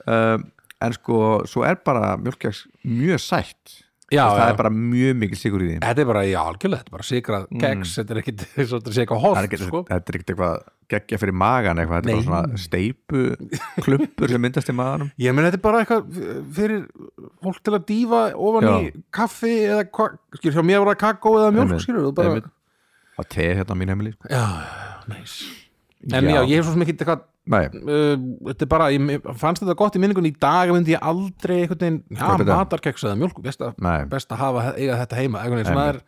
Speaker 2: Já,
Speaker 1: um, en sko, svo er bara mjölkjags mjög sætt
Speaker 2: já,
Speaker 1: það
Speaker 2: já.
Speaker 1: er bara mjög mikil sigur í því
Speaker 2: þetta er bara, já, algjörlega, þetta er bara sikrað
Speaker 1: Mm.
Speaker 2: keks, þetta er ekkit, [LAUGHS] eins og þetta sé eitthvað
Speaker 1: Það er
Speaker 2: hoft,
Speaker 1: ekkert-
Speaker 2: sko
Speaker 1: þetta er ekkert eitthvað geggja fyrir magan eitthvað, þetta er
Speaker 2: Nei.
Speaker 1: bara svona steipu klumpur sem myndast í maganum
Speaker 2: ég meni, þetta er bara eitthvað fyrir fólk til að dýfa ofan
Speaker 1: Já.
Speaker 2: í kaffi eða, hva- skilur, hjá mér var það kakó eða mjólk,
Speaker 1: Einmitt,
Speaker 2: skilur, þú bara
Speaker 1: einmitt. á te hérna á mín heimili sko.
Speaker 2: já, já, næs en já, ég hef svo sem ekki eitthvað
Speaker 1: Nei,
Speaker 2: uh, þetta er bara, ég mér fannst þetta gott í minningunni í dag myndi ég aldrei einhvern veginn já,
Speaker 1: Kaupa þetta.
Speaker 2: matarkeks eða mjólk, best að,
Speaker 1: nei,
Speaker 2: best að hafa eiga þetta heima einhvern veginn, svona er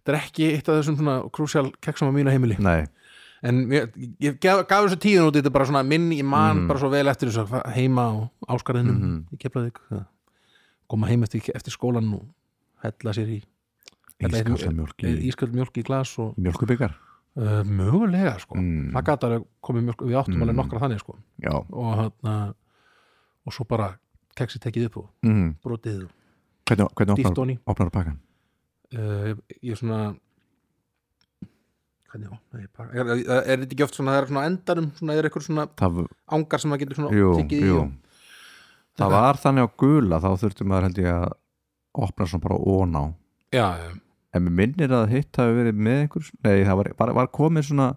Speaker 2: þetta er ekki eitt af þessum svona krúsjál keksum á mínu heimili
Speaker 1: nei
Speaker 2: en ég, ég gaf, gaf þessu tíðin út þetta er bara svona minn, ég man bara svo vel eftir þessu hva- heima á áskarðinum mm. í Keflavík að koma heim eftir, eftir skólan og hella sér í hella í-
Speaker 1: Ískassa mjólk
Speaker 2: í-
Speaker 1: í
Speaker 2: ísköld mjólk í glas og
Speaker 1: mjólkubikar
Speaker 2: uh, mögulega sko
Speaker 1: Mm.
Speaker 2: það gæti alveg komið mjólk, við áttum
Speaker 1: Mm.
Speaker 2: alveg nokkra þannig sko
Speaker 1: Já,
Speaker 2: og hann og svo bara keksi tekið upp og
Speaker 1: mm.
Speaker 2: brotið og
Speaker 1: hvernig, hvernig
Speaker 2: dýft
Speaker 1: opnar,
Speaker 2: honi
Speaker 1: opnar pakkan?
Speaker 2: uh, ég er svona hvernig á nei, ég bara, er, er, er þetta ekki oft svona það er svona á endanum, svona er eitthvað svona
Speaker 1: Það,
Speaker 2: ángar sem maður getur svona
Speaker 1: jú,
Speaker 2: tekið í
Speaker 1: jú.
Speaker 2: og-
Speaker 1: það var þannig á gula þá þurfti maður held ég að opna svona bara ón á
Speaker 2: já, já,
Speaker 1: en mér minnir að hitt hafi verið með einhver nei, það var, var, var komið svona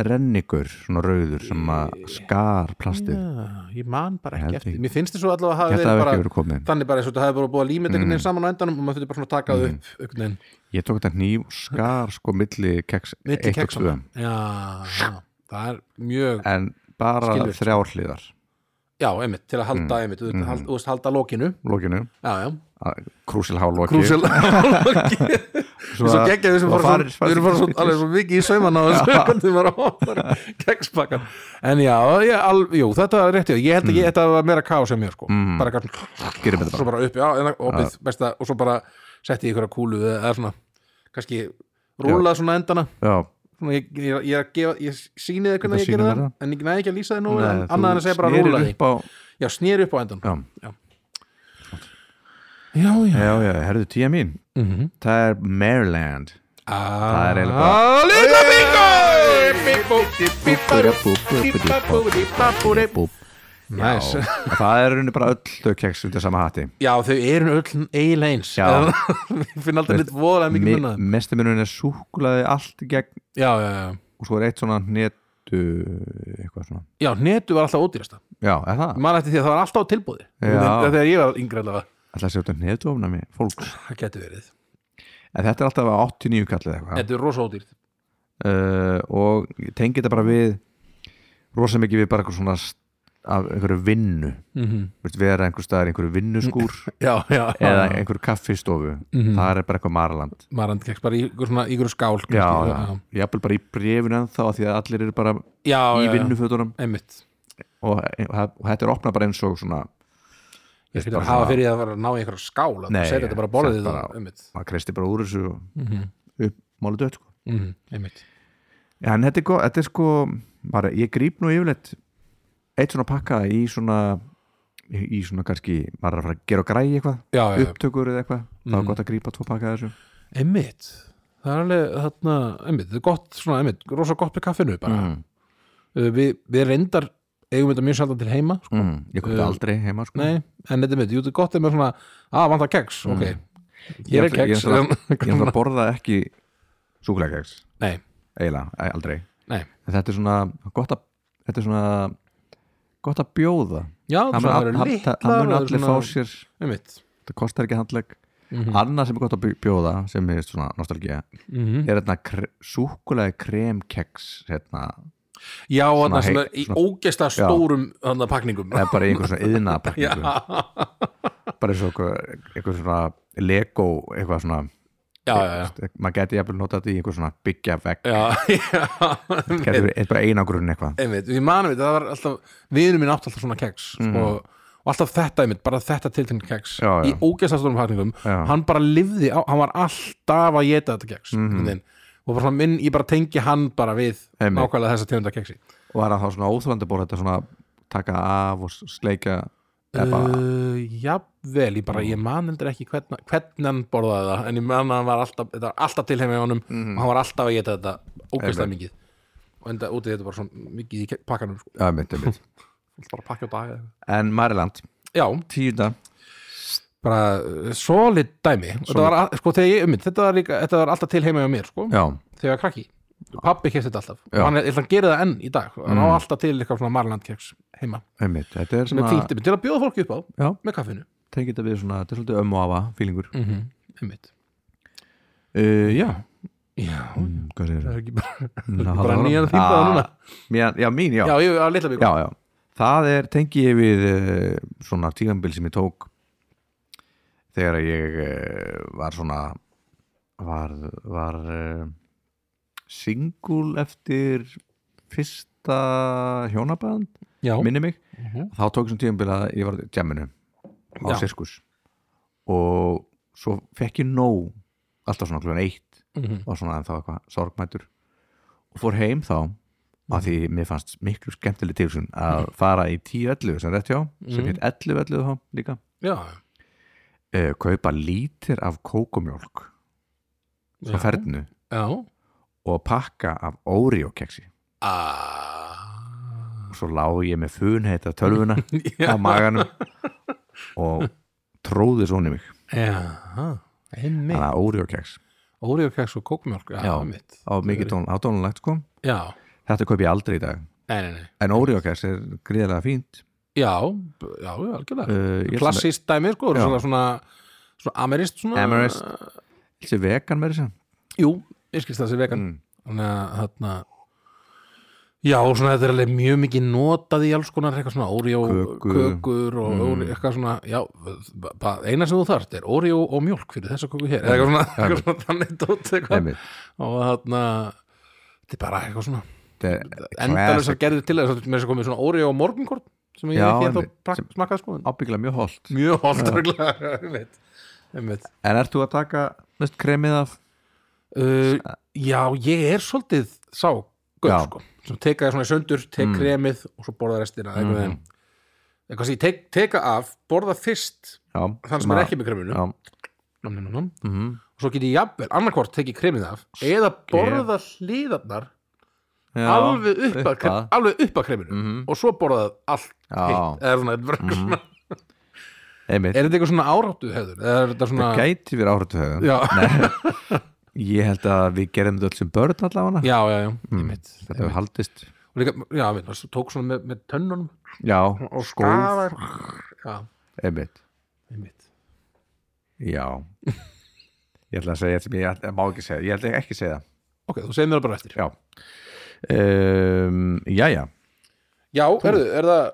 Speaker 1: rennigur, svona rauður sem að skar plastið
Speaker 2: já, ég man bara
Speaker 1: Held
Speaker 2: ekki
Speaker 1: ég.
Speaker 2: eftir mér finnst þess að allavega að hafa
Speaker 1: Þetta
Speaker 2: verið
Speaker 1: hefði
Speaker 2: bara
Speaker 1: ekki verið komið
Speaker 2: þannig bara eins og þetta hefði bara búið að límit einhvern
Speaker 1: Mm.
Speaker 2: veginn saman á endanum og maður þurfti bara svona að taka það
Speaker 1: Mm.
Speaker 2: upp einhvern veginn,
Speaker 1: Ég tók þetta hníf og skar sko milli keks
Speaker 2: mitt í
Speaker 1: 1 og 2
Speaker 2: keksana já, já, það er mjög
Speaker 1: en bara
Speaker 2: Skilvirkt.
Speaker 1: þrjár hliðar
Speaker 2: já, einmitt, til að halda mm. einmitt, þú veist,
Speaker 1: Mm.
Speaker 2: hal- þú veist, halda lokinu
Speaker 1: lókinu,
Speaker 2: já, já,
Speaker 1: krúsilhálóki
Speaker 2: krúsil
Speaker 1: [LAUGHS]
Speaker 2: Svo geggjum við sem
Speaker 1: og
Speaker 2: fara
Speaker 1: farir-
Speaker 2: svo- við erum bara svo, alveg svo mikið í sauman á þessu
Speaker 1: [LAUGHS]
Speaker 2: hvernig við varum ofar kegspakkan en já, ég, al, jú, þetta er rétt já. ég held að ég, þetta var meira kaos sem mér sko
Speaker 1: Mm.
Speaker 2: bara gæm,
Speaker 1: gerum þetta
Speaker 2: svo bara upp já, en, opið, besta, og svo bara setti ég einhverja kúlu eða eða svona, kannski rúla svona endana
Speaker 1: bara Já,
Speaker 2: svona, ég, ég, ég, er að gefa, ég sýni þið
Speaker 1: Þetta
Speaker 2: hvernig ég
Speaker 1: sýnir
Speaker 2: gerði það
Speaker 1: mér
Speaker 2: en ég næði ekki að lýsa þið nú
Speaker 1: Nei,
Speaker 2: en
Speaker 1: þú
Speaker 2: annað en að segja bara
Speaker 1: snerir
Speaker 2: rúla því
Speaker 1: upp á,
Speaker 2: já, snýri upp á endan
Speaker 1: já, Eh.
Speaker 2: já, já Mhm.
Speaker 1: já, já, herðu tíja mín það er Maryland
Speaker 2: það
Speaker 1: er eiginlega Eh,
Speaker 2: bara Lilla Bingo
Speaker 1: Búp.
Speaker 2: Næs
Speaker 1: Já, og það er rauninni bara öll þau keks undir sama hatti
Speaker 2: Já, þau eru öll eiginlega eins
Speaker 1: Já.
Speaker 2: [LAUGHS] Ég finn alltaf litt voðalega mikið munna
Speaker 1: mestu munurinn er súkulaði allt í gegn
Speaker 2: Já, já, já
Speaker 1: og svo er eitt svona hnetu eitthvað svona
Speaker 2: Já, netu var alltaf ódýrasta
Speaker 1: Já, er það?
Speaker 2: Man eftir því að það var alltaf á tilbúði
Speaker 1: Já.
Speaker 2: Þegar ég var yngri allavega
Speaker 1: Ætla að sé út að hnetu ofnami fólks
Speaker 2: Það getur verið
Speaker 1: En þetta er alltaf að 89 kallið eitthvað
Speaker 2: Þetta er rosa ódýrt
Speaker 1: uh, og ég tengi þetta bara við rosa mikið við bara eitthvað svona st- af einhverju vinnu
Speaker 2: Mhm.
Speaker 1: Vist, vera einhver staðar í einhverju vinnuskúr
Speaker 2: Já, [LAUGHS] já Mhm.
Speaker 1: eða einhverju kaffistofu
Speaker 2: Mm.
Speaker 1: það er bara eitthvað maraland
Speaker 2: Marand keks bara í ykkur svona í ykkur skál kannski.
Speaker 1: já, já, ég hafði bara í brefinu ennþá af því að allir eru bara
Speaker 2: já
Speaker 1: í
Speaker 2: já, já.
Speaker 1: vinnufötunum
Speaker 2: Einmitt
Speaker 1: og, og, og þetta er opnað bara eins og svona
Speaker 2: Ég
Speaker 1: veist,
Speaker 2: fyrir
Speaker 1: bara
Speaker 2: að hafa
Speaker 1: svona-
Speaker 2: fyrir því að fara að ná í einhverja skál að
Speaker 1: Nei,
Speaker 2: setja þetta bara á
Speaker 1: já,
Speaker 2: borðið
Speaker 1: sett
Speaker 2: og-
Speaker 1: bara-
Speaker 2: einmitt.
Speaker 1: maður kreisti bara úr þessu og
Speaker 2: Mhm,
Speaker 1: upp málið dött sko.
Speaker 2: mhm, einmitt
Speaker 1: Já, en þetta er, gó- þetta er sko bara, ég gríp nú yfirleitt eitt svona pakka í svona í í svona kannski, maður er að fara að gera og græja eitthvað,
Speaker 2: Já, já, já.
Speaker 1: upptökur eða eitthvað þá er
Speaker 2: Mhm.
Speaker 1: gott að grípa tvo pakka af þessu
Speaker 2: einmitt það er alveg þarna, einmitt, það er gott svona, einmitt, rosa gott með kaffinu bara
Speaker 1: mm.
Speaker 2: uh, við, við reyndar eigum þetta mjög sjaldan til heima sko.
Speaker 1: Mm. ég kom
Speaker 2: Uh,
Speaker 1: þetta aldrei heima sko.
Speaker 2: nei, en þetta mitt, jú, þetta er gott með svona, að vantar keks, ok
Speaker 1: Mm. Ég
Speaker 2: hér er sko.
Speaker 1: ætla- ég
Speaker 2: keks
Speaker 1: ætla- ég er að
Speaker 2: nei,
Speaker 1: borða ekki
Speaker 2: [LAUGHS]
Speaker 1: súkulegkeks, eiginlega, e- aldrei
Speaker 2: nei,
Speaker 1: en þetta er svona gott að, þetta er svona gott að bjóða
Speaker 2: já, það
Speaker 1: mun,
Speaker 2: er
Speaker 1: all- hann-
Speaker 2: litlar
Speaker 1: það- það mun
Speaker 2: og
Speaker 1: allir
Speaker 2: svona-
Speaker 1: fá sér
Speaker 2: einmitt
Speaker 1: það kostar ekki handleg
Speaker 2: Mhm.
Speaker 1: annað sem er gott að bj- bjóða sem er svona nostalgía
Speaker 2: Mhm.
Speaker 1: er hérna kre, súkulega kremkeks hérna,
Speaker 2: já, þarna sem
Speaker 1: hei-
Speaker 2: er í
Speaker 1: svona-
Speaker 2: ógesta stórum þarna pakningum
Speaker 1: eða bara í einhver
Speaker 2: [LAUGHS]
Speaker 1: svona
Speaker 2: já,
Speaker 1: yðnaðapakningu bara eins og einhver, einhver svona lego eitthvað svona
Speaker 2: já, já, já
Speaker 1: maður geti jafnvel notað þetta í einhver svona byggja vekk
Speaker 2: Já, [LAUGHS] já,
Speaker 1: geti verið bara einangrun eitthvað
Speaker 2: einmitt, ég manum þetta, það var alltaf viðinu mín átt alltaf svona keks sko, og alltaf þetta einmitt, bara þetta tiltegn keks
Speaker 1: Mm. Já, já.
Speaker 2: í ógæstastórum pakningum
Speaker 1: Já.
Speaker 2: hann bara lifði, á, hann var alltaf að geta þetta keks
Speaker 1: Mhm.
Speaker 2: mm og bara svona minn, ég bara tengi hann bara við
Speaker 1: Einmitt.
Speaker 2: nákvæmlega þessa tegunda keksi
Speaker 1: og var það þá svona óþrandi bór þetta svona taka af og sleika eða bara
Speaker 2: uh, jafnvel, ég bara, ég man heldur ekki hvern, hvernig hann borðaði það en ég man að hann var alltaf, þetta var alltaf til heim í honum og hann var alltaf að geta þetta ógæslega
Speaker 1: Einmitt.
Speaker 2: mikið og enda útið þetta bara svona mikið í ke- pakkanum, sko,
Speaker 1: ja, mitt, mitt.
Speaker 2: bara pakka á dag eða-
Speaker 1: en Mariland,
Speaker 2: já,
Speaker 1: tíunda
Speaker 2: bara uh, solid dæmi þetta var, að- sko, þegar ég ummynd, þetta var, líka, þetta var alltaf til heima hjá mér sko,
Speaker 1: já,
Speaker 2: þegar ég var krakki pabbi kefti þetta alltaf,
Speaker 1: Já.
Speaker 2: hann, er- ég ætla að gera það enn í dag sko. hann á alltaf til eitthvað svona Marland keks heima
Speaker 1: einmitt, þetta
Speaker 2: sem
Speaker 1: er
Speaker 2: er
Speaker 1: svona
Speaker 2: fínt, einmitt, til að bjóða fólki upp á
Speaker 1: Já.
Speaker 2: með kaffinu
Speaker 1: tengið þetta við svona, þetta er svolítið ömmu afa fílingur
Speaker 2: mm -hmm. einmitt
Speaker 1: uh, já,
Speaker 2: já,
Speaker 1: mm, hvað segir
Speaker 2: það er ekki bara, það er ekki
Speaker 1: Ná,
Speaker 2: bara
Speaker 1: það var-
Speaker 2: nýjan þýnda
Speaker 1: Ah,
Speaker 2: núna
Speaker 1: Mér, já, mín, já.
Speaker 2: já, ég var litla byggur
Speaker 1: já, já. Það er tengi ég við uh, svona tígambil sem ég tók þegar ég uh, var svona var, var uh, singul eftir fyrsta hjónaband
Speaker 2: já,
Speaker 1: minni mig
Speaker 2: Mhm.
Speaker 1: þá tók sem tíðanbil að ég var á jamminu á
Speaker 2: Já.
Speaker 1: sirkus og svo fekk ég nóg alltaf svona klugan eitt
Speaker 2: Mhm.
Speaker 1: og svona en þá eitthvað sorgmætur og fór heim þá af því mér fannst miklu skemmtileg tilsum að fara í 10-11 sem rétt hjá sem
Speaker 2: Mhm.
Speaker 1: hitt 11-11 þá líka
Speaker 2: já,
Speaker 1: uh, kaupa lítir af kókumjólk
Speaker 2: Já.
Speaker 1: svo ferðinu
Speaker 2: já
Speaker 1: og pakka af Oreo keksi
Speaker 2: Ah.
Speaker 1: og svo lá ég með funheita tölvuna
Speaker 2: [LAUGHS] já,
Speaker 1: á maganum og tróði svona í mig
Speaker 2: já, einmitt
Speaker 1: þannig að Oreo keks
Speaker 2: óriðokeks og kókmjólk, já,
Speaker 1: Já.
Speaker 2: einmitt
Speaker 1: á mikið tón, á tónulegt sko
Speaker 2: já,
Speaker 1: þetta kaup ég aldrei í dag
Speaker 2: nei, nei, nei
Speaker 1: en Oreo keks er gríðarlega fínt
Speaker 2: Já, b- já, já, algjörlega
Speaker 1: uh, ég held sem-
Speaker 2: Klassist dæmi, sko,
Speaker 1: Já.
Speaker 2: svona, svona, svona amerist svona,
Speaker 1: Amerist. ég held sem vegan með þessi
Speaker 2: Jú, ég skilst það sem vegan
Speaker 1: Mm.
Speaker 2: Þannig að þarna Já, og svona þetta er alveg mjög mikið notað í alls konar eitthvað svona Oreo,
Speaker 1: Kökur.
Speaker 2: kökur og mm. eitthvað svona, já, b- bara eina sem þú þarft er Oreo og mjólk fyrir þessa köku hér eða eitthvað svona, eitthvað svona þannig dót eitthvað
Speaker 1: Einmitt.
Speaker 2: og þarna þetta er bara eitthvað svona
Speaker 1: þetta er
Speaker 2: endalins
Speaker 1: classic,
Speaker 2: að gerðu til þess að með þess að komið svona Oreo og morgunkort sem ég
Speaker 1: Já,
Speaker 2: hef ekki
Speaker 1: einmitt.
Speaker 2: ennþá
Speaker 1: Sem-
Speaker 2: smakkað sko en-
Speaker 1: ábyggilega mjög holdt
Speaker 2: mjög holdt reglulega [LAUGHS] einmitt, einmitt.
Speaker 1: en ert þú að taka mest kremið af
Speaker 2: Uh, já, ég er svolítið sá
Speaker 1: Já.
Speaker 2: gauð sko sem teka það svona í söndur, tek kremið og svo borða restina einhvern veginn eitthvað sem ég tek, teka af, borða fyrst
Speaker 1: já,
Speaker 2: þann sem er ekki með kreminu
Speaker 1: já,
Speaker 2: nom, nom, nom.
Speaker 1: mm
Speaker 2: og svo get ég jafnvel, annarkvort teki kremið af eða borða hliðarnar
Speaker 1: já
Speaker 2: alveg upp, að, Mhm.
Speaker 1: upp
Speaker 2: kre-
Speaker 1: að.
Speaker 2: alveg upp að kreminu og svo borða það allt
Speaker 1: Já.
Speaker 2: heitt eða svona, mm svona
Speaker 1: einmitt,
Speaker 2: er þetta eitthvað svona áráttu hefur eða er þetta svona
Speaker 1: það gæti verið áhriftu höfðan
Speaker 2: já,
Speaker 1: ég held að við gerðum þetta öll sem börn allavega
Speaker 2: [LAUGHS] já, já, já, einmitt
Speaker 1: þetta hefur haldist
Speaker 2: og líka, já, við, það tók svona með, með tönnunum
Speaker 1: já,
Speaker 2: og
Speaker 1: skóð,
Speaker 2: skafar já,
Speaker 1: einmitt
Speaker 2: einmitt
Speaker 1: Já Ég ætla að segja þetta sem ég, ætla- má ekki segja Ég ætla ekki að segja það
Speaker 2: ok, þú segir mér það bara eftir já,
Speaker 1: Já um, Jæja,
Speaker 2: herðu, er það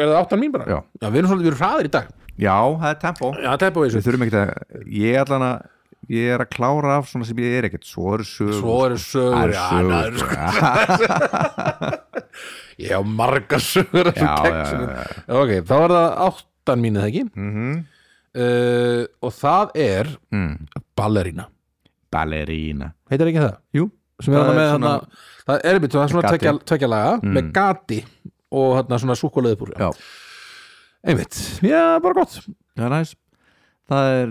Speaker 2: er það áttan mín bara?
Speaker 1: Já.
Speaker 2: við erum svolítið við erum hraðir í dag
Speaker 1: já, það er tempo
Speaker 2: já, það er búið
Speaker 1: Við þurfum ekki að Ég ætla að Ég er að klára af svona sem ég er ekkert Svo eru sögur
Speaker 2: svo eru
Speaker 1: Það
Speaker 2: sögur
Speaker 1: eru
Speaker 2: já,
Speaker 1: sögur,
Speaker 2: það eru sko ég á marga sögur af
Speaker 1: Já,
Speaker 2: þessum textum.
Speaker 1: já,
Speaker 2: ok, þá er það áttan mín eða ekki
Speaker 1: Mhm.
Speaker 2: uh, og það er
Speaker 1: mm.
Speaker 2: ballerína
Speaker 1: Ballerína
Speaker 2: heitir ekki það?
Speaker 1: Jú,
Speaker 2: sem er
Speaker 1: Það
Speaker 2: þarna
Speaker 1: er
Speaker 2: með
Speaker 1: svona-
Speaker 2: svona, það er einmitt, það er svona
Speaker 1: Gati. Mm.
Speaker 2: tvekja, tvekja laga með gati og þarna svona súkuleðupúr
Speaker 1: Já.
Speaker 2: einmitt, já, bara gott
Speaker 1: það er næs Það er,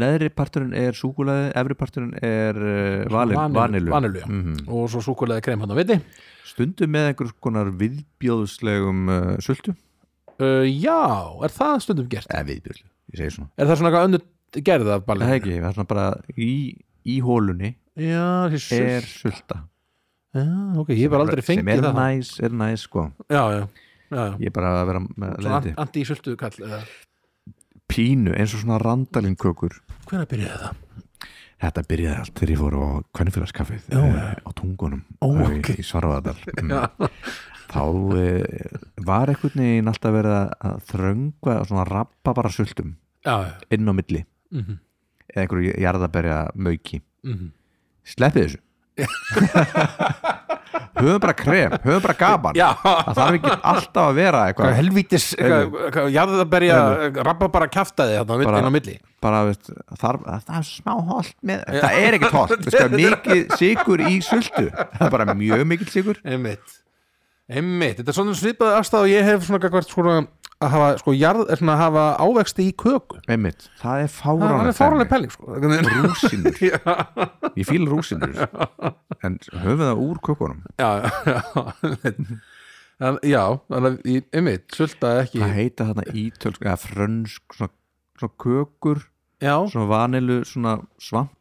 Speaker 1: neðri parturinn er súkulaði, efri parturinn er uh, vanil, Mhm. vanilu,
Speaker 2: vanilu já. og svo súkuleði krem hann á viti
Speaker 1: Stundum með einhvers konar viðbjóðslegum uh, sultu
Speaker 2: uh, já, er það stundum gert
Speaker 1: Eða viðbjóðslegum, ég segi svona
Speaker 2: er það svona eitthvað önnur gerð af
Speaker 1: Það
Speaker 2: ballerína
Speaker 1: er ekki, það er svona bara í, í hólunni
Speaker 2: já, þessi
Speaker 1: er
Speaker 2: er,
Speaker 1: sulta
Speaker 2: já, ok, ég hef bara aldrei
Speaker 1: sem er
Speaker 2: fengið það
Speaker 1: næs, er næs sko
Speaker 2: já, já, já, já.
Speaker 1: ég er bara að vera með leiði
Speaker 2: Svona anti-sultu kall eða-
Speaker 1: pínu eins og svona randalinn kökur
Speaker 2: hvenær byrjaði það?
Speaker 1: þetta byrjaði allt þegar ég fór á kvennfélagskaffið
Speaker 2: Já,
Speaker 1: eh, á tungunum
Speaker 2: Ó,
Speaker 1: eh,
Speaker 2: ok.
Speaker 1: í [LAUGHS] Svarfaðardal mm. þá eh, var einhvern veginn alltaf verið að þröngva og svona rappa bara sultum
Speaker 2: já, já,
Speaker 1: inn á milli
Speaker 2: mm
Speaker 1: eða einhverju jarðaberja mauki
Speaker 2: Mhm. [LAUGHS]
Speaker 1: sleppið þessu höfum bara krem, höfum bara gaman
Speaker 2: já.
Speaker 1: það þarf ekki alltaf að vera
Speaker 2: Hvað
Speaker 1: eitthvað
Speaker 2: helvítis, jarðaberja rappa bara kjaftaði þarna á milli-
Speaker 1: Bara-
Speaker 2: inn á milli
Speaker 1: bara, veist, þarf, það er smá holt með, það er ekkert holt við
Speaker 2: [LAUGHS]
Speaker 1: skal mikið sigur í sultu það er bara mjög mikið sigur
Speaker 2: einmitt einmitt, þetta er svona svipaði afstæð og ég hef svona gagvart svona að hafa sko jarð, er svona að hafa ávexti í köku
Speaker 1: Einmitt, það er
Speaker 2: það það er fáraleg
Speaker 1: fáranlegt
Speaker 2: pæling sko einhvern veginn.
Speaker 1: rúsinur, ég fíl rúsinur en höfum það úr kökunum
Speaker 2: já, já, einmitt. En- já þannig að í- einmitt, sulta ekki
Speaker 1: það heita þarna ítölsk eða frönsk svona svona kökur
Speaker 2: já,
Speaker 1: svona vanilu svona svamp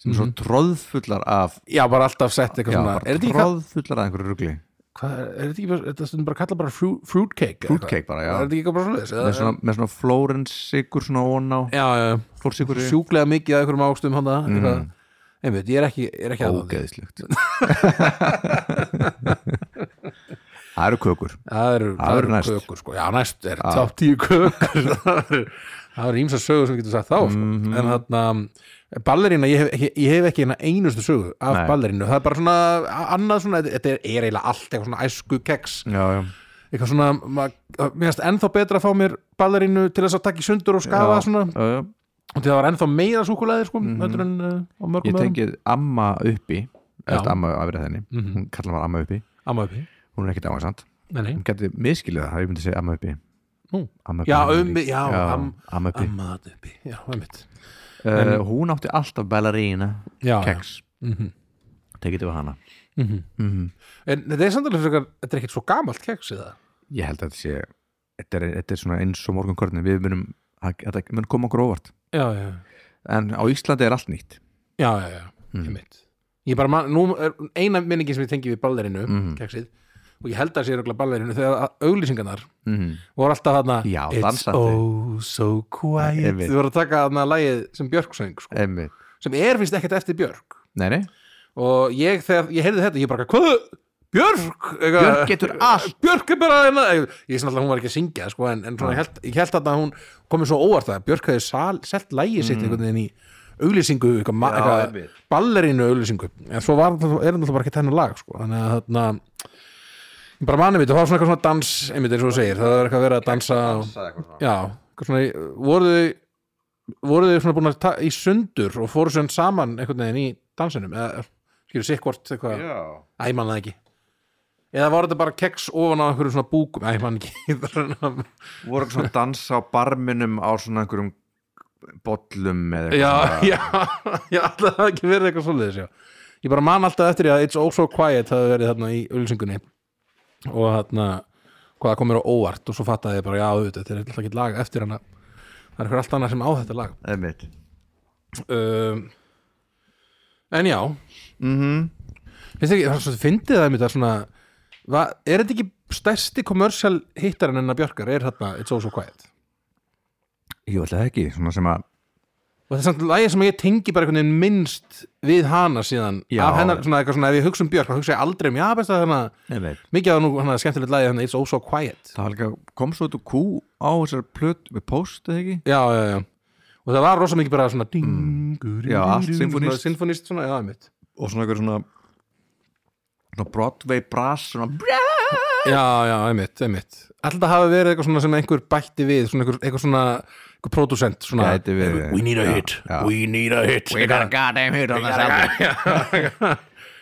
Speaker 1: sem er
Speaker 2: Mhm.
Speaker 1: svona tróðfullar af
Speaker 2: já, bara alltaf sett eitthvað
Speaker 1: já,
Speaker 2: svona
Speaker 1: bara
Speaker 2: er þetta ekki, kall,
Speaker 1: tróðfullar af einhverju rugli
Speaker 2: hvað, er þetta ekki bara, er þetta stundum bara kalla bara frú, fruitcake eða eitthvað?
Speaker 1: fruitcake bara, já
Speaker 2: er þetta ekki eitthvað bara svoleiðis
Speaker 1: með
Speaker 2: eða-
Speaker 1: svona, með svona Florence sigur svona ón á
Speaker 2: já, já, já.
Speaker 1: flórsigur
Speaker 2: sjúklega mikið að einhverjum ástum handa mm. einmitt, ég er ekki, ég er ekki að það
Speaker 1: ógeðislegt [LAUGHS] það eru kökur
Speaker 2: það eru, það eru
Speaker 1: næst.
Speaker 2: kökur sko. já, næst er top 10 kökur [LAUGHS] það eru- það eru ímsa sögur sem getur sagt þá sko.
Speaker 1: Mhm.
Speaker 2: en þarna ballerína, ég hef, ekki- ég hef ekki eina einustu sögu af
Speaker 1: Nei.
Speaker 2: ballerínu, það er bara svona a- annað svona, þetta er, er eiginlega allt eitthvað svona æsku keks,
Speaker 1: já, já,
Speaker 2: eitthvað svona ma- mér finnst ennþá betra að fá mér ballerínu til þess að taka í sundur og skafa
Speaker 1: Já.
Speaker 2: svona,
Speaker 1: já, já.
Speaker 2: og til það var ennþá meira súkulæði sko, heldur en uh, á mörgum
Speaker 1: Mhm. ég
Speaker 2: öðrum.
Speaker 1: tengið amma uppi
Speaker 2: Já.
Speaker 1: eftir amma afrið henni hún kallar maður amma uppi
Speaker 2: Mhm. amma uppi,
Speaker 1: hún er ekkert amasant
Speaker 2: nei nei
Speaker 1: hún geti miskilið það, ég myndi segja amma uppi
Speaker 2: Nú.
Speaker 1: amma uppi
Speaker 2: Já,
Speaker 1: hún er
Speaker 2: um-
Speaker 1: lík.
Speaker 2: já, am-
Speaker 1: amma uppi
Speaker 2: amma þarna uppi, já, einmitt
Speaker 1: uh, hún átti alltaf ballerína
Speaker 2: já, já.
Speaker 1: keks, tekið við hana
Speaker 2: Mhm. En þetta er samtalið fyrir eitthvað, þetta er ekkert svo gamalt keks eða?
Speaker 1: ég held að þetta sé þetta er, þetta er svona eins og morgunkörnin við munum, að- þetta mun koma okkur óvart
Speaker 2: Já, já,
Speaker 1: en á Íslandi er allt nýtt
Speaker 2: já, já, já,
Speaker 1: Mhm.
Speaker 2: einmitt Ég bara, man, nú er eina minningin sem ég tengi við ballerinu,
Speaker 1: Mhm.
Speaker 2: keksið og ég held að það sé röglega ballerinu þegar að auglýsingarnar
Speaker 1: mm.
Speaker 2: voru alltaf þarna
Speaker 1: Já,
Speaker 2: It's
Speaker 1: dansandi.
Speaker 2: oh so quiet
Speaker 1: Einmitt.
Speaker 2: Þau voru að taka þarna lagið sem Björk söng sko,
Speaker 1: einmitt,
Speaker 2: sem er finnst ekkert eftir Björk
Speaker 1: nei nei
Speaker 2: og ég, þegar ég heyrði þetta, ég bara hvað, Björk eitthvað,
Speaker 1: Björk getur allt.
Speaker 2: Björk er bara hérna ég ég sem alltaf hún var ekki að syngja sko, en, en svona, ég, held, ég held að hún komið svo óvart að Björk hefði sal, selt lægi sitt einhvern veginn í auglýsingu eitthvað, ma-
Speaker 1: Mm. Já,
Speaker 2: eitthvað
Speaker 1: einmitt.
Speaker 2: ballerínu auglýsingu en svo var, er hann alltaf bara ekki hennar lag sko, þannig að þarna ég bara manið mitt, það var svona eitthvað svona dans einmitt eins og þú segir, það var eitthvað verið að dansa og, já, eitthvað svona í- voru þau voru þau svona búin að ta í sundur og fóru svona saman einhvern veginn í dansinum eða skilur sig hvort eitthvað Æ, ég man það ekki Eða var þetta bara keks ofan á einhverjum svona búkum Æ, ég man ekki [LAUGHS] Bara svona-
Speaker 1: voru svona dansa á barminum á svona einhverjum bollum eða
Speaker 2: Já, já, já, [LAUGHS] alltaf hafði ekki verið eitthvað svoleiðis já. Ég bara man alltaf eftir því að It's Also Quiet hafði verið þarna í ölsingunni og þarna hvað það komur á óvart og svo fattaði ég bara já, auðvitað, þetta er alltaf ekki lag eftir hana það er eitthvað allt annað sem á þetta lag
Speaker 1: einmitt
Speaker 2: um, En já,
Speaker 1: mm
Speaker 2: finnst þér ekki, það er svo fyndið það mér það svona va, er þetta ekki stærsti kommersial hittarinn enna Björkar er þarna It's Also Quiet
Speaker 1: ég ætla það ekki, svona sem að
Speaker 2: og það er samt lagið sem ég tengi bara einhvern veginn minnst við hana síðan
Speaker 1: Já.
Speaker 2: af hennar svona eitthvað svona ef ég hugsa um Björk þá hugsa ég aldrei um já best að hana
Speaker 1: einmitt.
Speaker 2: mikið að nú hana skemmtilegt lagið hana It's Oh So Quiet
Speaker 1: það var líka, kom svo þetta kú á þessar plöt með post eða ekki
Speaker 2: já já Mm. já og það var rosa mikið bara svona dingur
Speaker 1: Já, allt symfónískt.
Speaker 2: symfónist svona já einmitt
Speaker 1: og svona einhver svona svona Broadway brass svona
Speaker 2: já já einmitt einmitt alltaf hafi verið eitthvað svona sem einhver bætti við svona einhver, einhver svona einhver pródusent svona
Speaker 1: Gæti verið.
Speaker 2: we need a
Speaker 1: Já,
Speaker 2: hit
Speaker 1: já.
Speaker 2: we need a hit
Speaker 1: We got a goddamn hit on this album.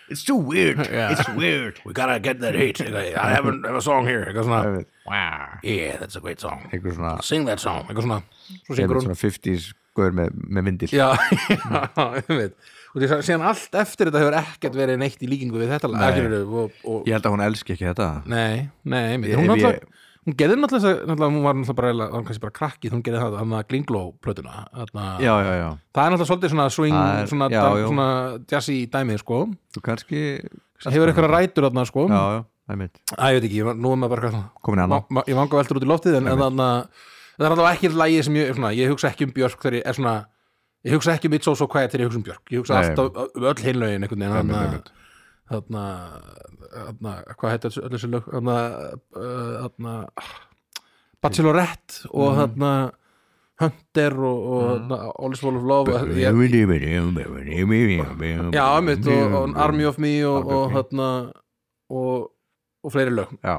Speaker 1: It's too weird.
Speaker 2: Yeah.
Speaker 1: It's weird.
Speaker 2: we gotta get that hit I have a, have a song here eitthvað svona
Speaker 1: Wow.
Speaker 2: yeah that's a great song
Speaker 1: Einhver svona,
Speaker 2: sing that song eitthvað svona svo
Speaker 1: einhver
Speaker 2: syngur hún
Speaker 1: svona 50s guður með, með myndil.
Speaker 2: já, [LAUGHS] já, ég veit og því að síðan allt eftir þetta hefur ekkert verið neitt í líkingu við þetta lag skilurðu, og, og,
Speaker 1: Ég held að hún elski ekki þetta.
Speaker 2: nei, nei, ég veit
Speaker 1: Ég-
Speaker 2: hún,
Speaker 1: ef ég-
Speaker 2: náttúrulega- hún gerði náttúrulega, þessa- náttúrulega hún var náttúrulega bara, eiginlega- hún kannski bara krakkið hún gerði það, hann að Glingló plötuna þarna,
Speaker 1: Já, já, já.
Speaker 2: það er náttúrulega svolítið svona swing,
Speaker 1: Það er-
Speaker 2: svona,
Speaker 1: já,
Speaker 2: dan,
Speaker 1: já.
Speaker 2: svona jazzy dæmið, sko,
Speaker 1: Þú kannski...
Speaker 2: hefur eitthvað rætur þarna, sko,
Speaker 1: Já, já, það er mitt.
Speaker 2: að ég veit ekki, ég var- nú er maður bara hvað
Speaker 1: Komin í annan.
Speaker 2: Ma- ma- ég vanga veldur út í loftið en en þannig að það er allavega ekki lægi sem ég, svona, ég hugsa ekki um Björk þegar ég er svona ég hugsa ekki um It's So So Quiet þegar ég hugsa um Björk ég hugsa
Speaker 1: Nei.
Speaker 2: alltaf um öll heilnögin einhvern veginn
Speaker 1: Einmitt,
Speaker 2: þannig
Speaker 1: einmitt.
Speaker 2: að hvað heitir öll þessi lög þannig að Bachelorette
Speaker 1: Mhm.
Speaker 2: og þannig að Hunter og, og þarna, All is Full of Love og ég, já, einmitt og, og Army of Me og,
Speaker 1: Army of
Speaker 2: og
Speaker 1: Me.
Speaker 2: þarna og, og fleiri lög
Speaker 1: Já,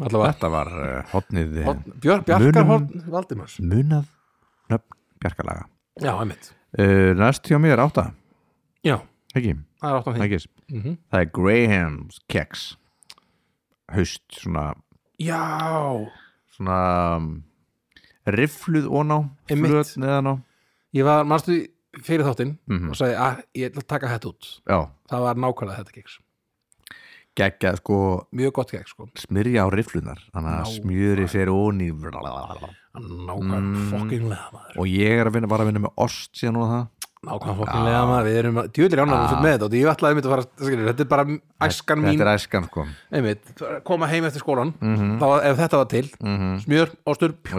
Speaker 2: allavega
Speaker 1: þetta var uh, hotnið eh,
Speaker 2: Horn- Björk, Bjarkar
Speaker 1: Munum-
Speaker 2: Horn Valdimars
Speaker 1: munað nöfn Bjarkalaga.
Speaker 2: já, einmitt
Speaker 1: Uh, næst hjá mér er átta,
Speaker 2: Já,
Speaker 1: ekki?
Speaker 2: það er áttan því
Speaker 1: Ekki?
Speaker 2: mm
Speaker 1: Það er Graham's Keks. Haust, svona
Speaker 2: Já,
Speaker 1: svona um, riffluð ón á
Speaker 2: Einmitt.
Speaker 1: flöt neðan á
Speaker 2: ég var, manstu fyrir þáttinn "Ah,
Speaker 1: Mhm.
Speaker 2: og sagði að ég ætla að taka þetta út
Speaker 1: já,
Speaker 2: það var nákvæmlega þetta keks
Speaker 1: geggjað sko
Speaker 2: mjög gott gegn sko
Speaker 1: smyrja á riflunar þannig að
Speaker 2: Ná,
Speaker 1: smjöri
Speaker 2: maður.
Speaker 1: fer onni
Speaker 2: nákvæm
Speaker 1: Mm.
Speaker 2: fokkinlega maður
Speaker 1: og ég er að vinna, var að vinna með ost síðan og það
Speaker 2: nákvæm fokkinlega maður, við erum að djúðlir ánægum
Speaker 1: Ah.
Speaker 2: ah. með þetta og ég ætlaði einmitt að fara skilur, þetta er bara æskan mín
Speaker 1: þetta er Mhm. æskan sko
Speaker 2: einmitt, koma heim eftir skólan þá, ef þetta var til,
Speaker 1: mm
Speaker 2: smjör, ástur pjú,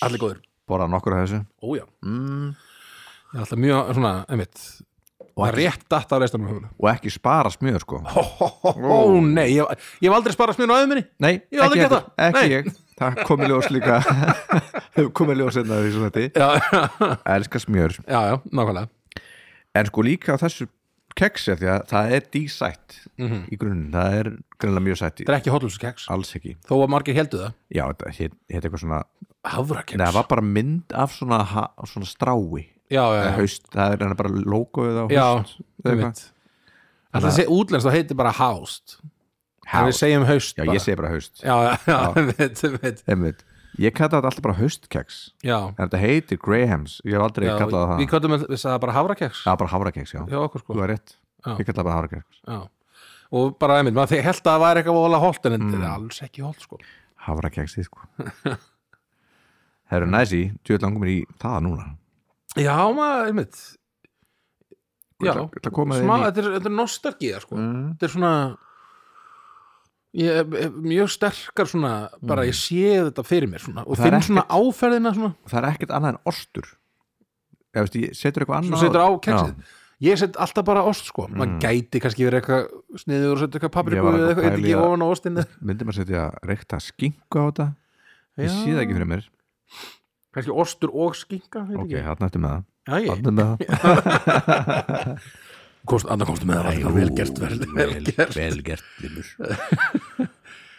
Speaker 2: allir
Speaker 1: -hmm.
Speaker 2: góður,
Speaker 1: borða nokkur af þessu
Speaker 2: ójá
Speaker 1: mm.
Speaker 2: ég ætla mjög, svona, einmitt
Speaker 1: Og
Speaker 2: það er rétt datt af reistanum hugla
Speaker 1: og ekki spara smjör sko
Speaker 2: ó, ó, ó, ó, nei, ég, ég hef aldrei sparað smjör á öðum minni
Speaker 1: nei,
Speaker 2: Ég hef aldrei
Speaker 1: ekki,
Speaker 2: gert
Speaker 1: heldur.
Speaker 2: það.
Speaker 1: ekki
Speaker 2: Nei.
Speaker 1: ég það komið ljós líka
Speaker 2: [LAUGHS]
Speaker 1: [LAUGHS] komið ljós hérna einna því svona þetta
Speaker 2: já, já,
Speaker 1: elska smjör
Speaker 2: [LAUGHS] já, já, nákvæmlega
Speaker 1: en sko líka á þessu keksi af því að það er dísætt í grunninn, það er grunnlega mjög sætt í-
Speaker 2: Mhm. þetta er ekki hotluskeks,
Speaker 1: alls ekki
Speaker 2: þó að margir heldu það
Speaker 1: já, þetta hét, hét eitthvað svona
Speaker 2: hafrakeks
Speaker 1: Nei, það var bara mynd af svona, ha- svona strái
Speaker 2: já, já,
Speaker 1: eða
Speaker 2: já,
Speaker 1: Eh, haust, það er hennar bara logoið á
Speaker 2: já,
Speaker 1: haust eða eitthvað.
Speaker 2: einmitt Alltaf sé útlens, þá heitir bara hást Haust. Við
Speaker 1: Haust.
Speaker 2: segjum haust
Speaker 1: Já,
Speaker 2: bara.
Speaker 1: ég segi bara haust
Speaker 2: Já, já, já, einmitt, einmitt
Speaker 1: Einmitt. Ég kalla þetta alltaf bara haustkeks
Speaker 2: Já,
Speaker 1: en þetta heitir Grahams, ég hef aldrei
Speaker 2: já
Speaker 1: kallað það
Speaker 2: við köttum við sagði bara hafrakeks
Speaker 1: Já, bara havrakeks, já,
Speaker 2: hjá okkur sko
Speaker 1: þú er rétt
Speaker 2: Já.
Speaker 1: Ég kalla það bara havrakeks
Speaker 2: Já. og bara einmitt, maður þegar held að það væri eitthvað vola holt en þetta
Speaker 1: Mm.
Speaker 2: er alls ekki holt sko
Speaker 1: Havrakeksi, sko
Speaker 2: [LAUGHS]
Speaker 1: Það eru næsi, djöð langum mér í það núna
Speaker 2: já maður, einmitt já,
Speaker 1: það koma
Speaker 2: smá,
Speaker 1: þeim í
Speaker 2: þetta er, þetta er nostalgía sko
Speaker 1: Mm.
Speaker 2: þetta er svona ég, er- er mjög sterkar svona bara ég sé þetta fyrir mér svona, og
Speaker 1: Mm. Það er
Speaker 2: finn svona áferðina svona,
Speaker 1: Það er ekkert annað en ostur Ég veist, ég setur eitthvað
Speaker 2: sem
Speaker 1: annað
Speaker 2: setur á
Speaker 1: Já.
Speaker 2: keksið ég set alltaf bara ost sko maður gæti kannski verið eitthvað sniður og setja eitthvað
Speaker 1: Mm. Ég
Speaker 2: papriku
Speaker 1: var
Speaker 2: eða
Speaker 1: að
Speaker 2: eitthvað, eitthvað
Speaker 1: pæla í
Speaker 2: ekki
Speaker 1: að-
Speaker 2: ofan á ostinni
Speaker 1: myndi maður setja reykta skinku á þetta ég sé það ekki fyrir mér
Speaker 2: kannski ostur og skinka
Speaker 1: ok, þarna eftir með það
Speaker 2: okay.
Speaker 1: þarna með það
Speaker 2: Kost, andan komstu með það var vel gert, vel, vel gert.
Speaker 1: vel gert limur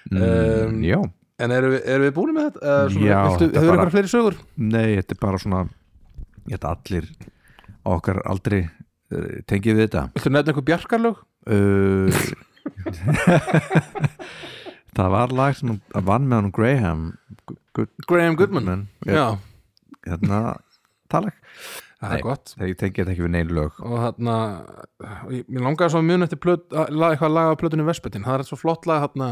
Speaker 2: Um,
Speaker 1: mm, já,
Speaker 2: En erum við, erum við búin með þetta? Eh, Svona,
Speaker 1: Já,
Speaker 2: viltu,
Speaker 1: þetta
Speaker 2: Hefur
Speaker 1: bara-
Speaker 2: eitthvað fleiri sögur?
Speaker 1: nei, þetta er bara svona ég held að allir á okkar aldrei tengið við þetta
Speaker 2: Viltu nefna einhver bjarkarlög?
Speaker 1: uh, [LAUGHS] það var lag sem hún- að vann með hann Graham Goodman
Speaker 2: Graham Goodman
Speaker 1: ég,
Speaker 2: Já,
Speaker 1: hérna talag,
Speaker 2: það
Speaker 1: Nei.
Speaker 2: er gott
Speaker 1: þegar ég tengi þetta ekki við neinu lög
Speaker 2: Og þarna, ég mér langaði svo mjög eftir plöt, að, lag, eitthvað lag af plötunni Vespetin Það er svo flott lag þarna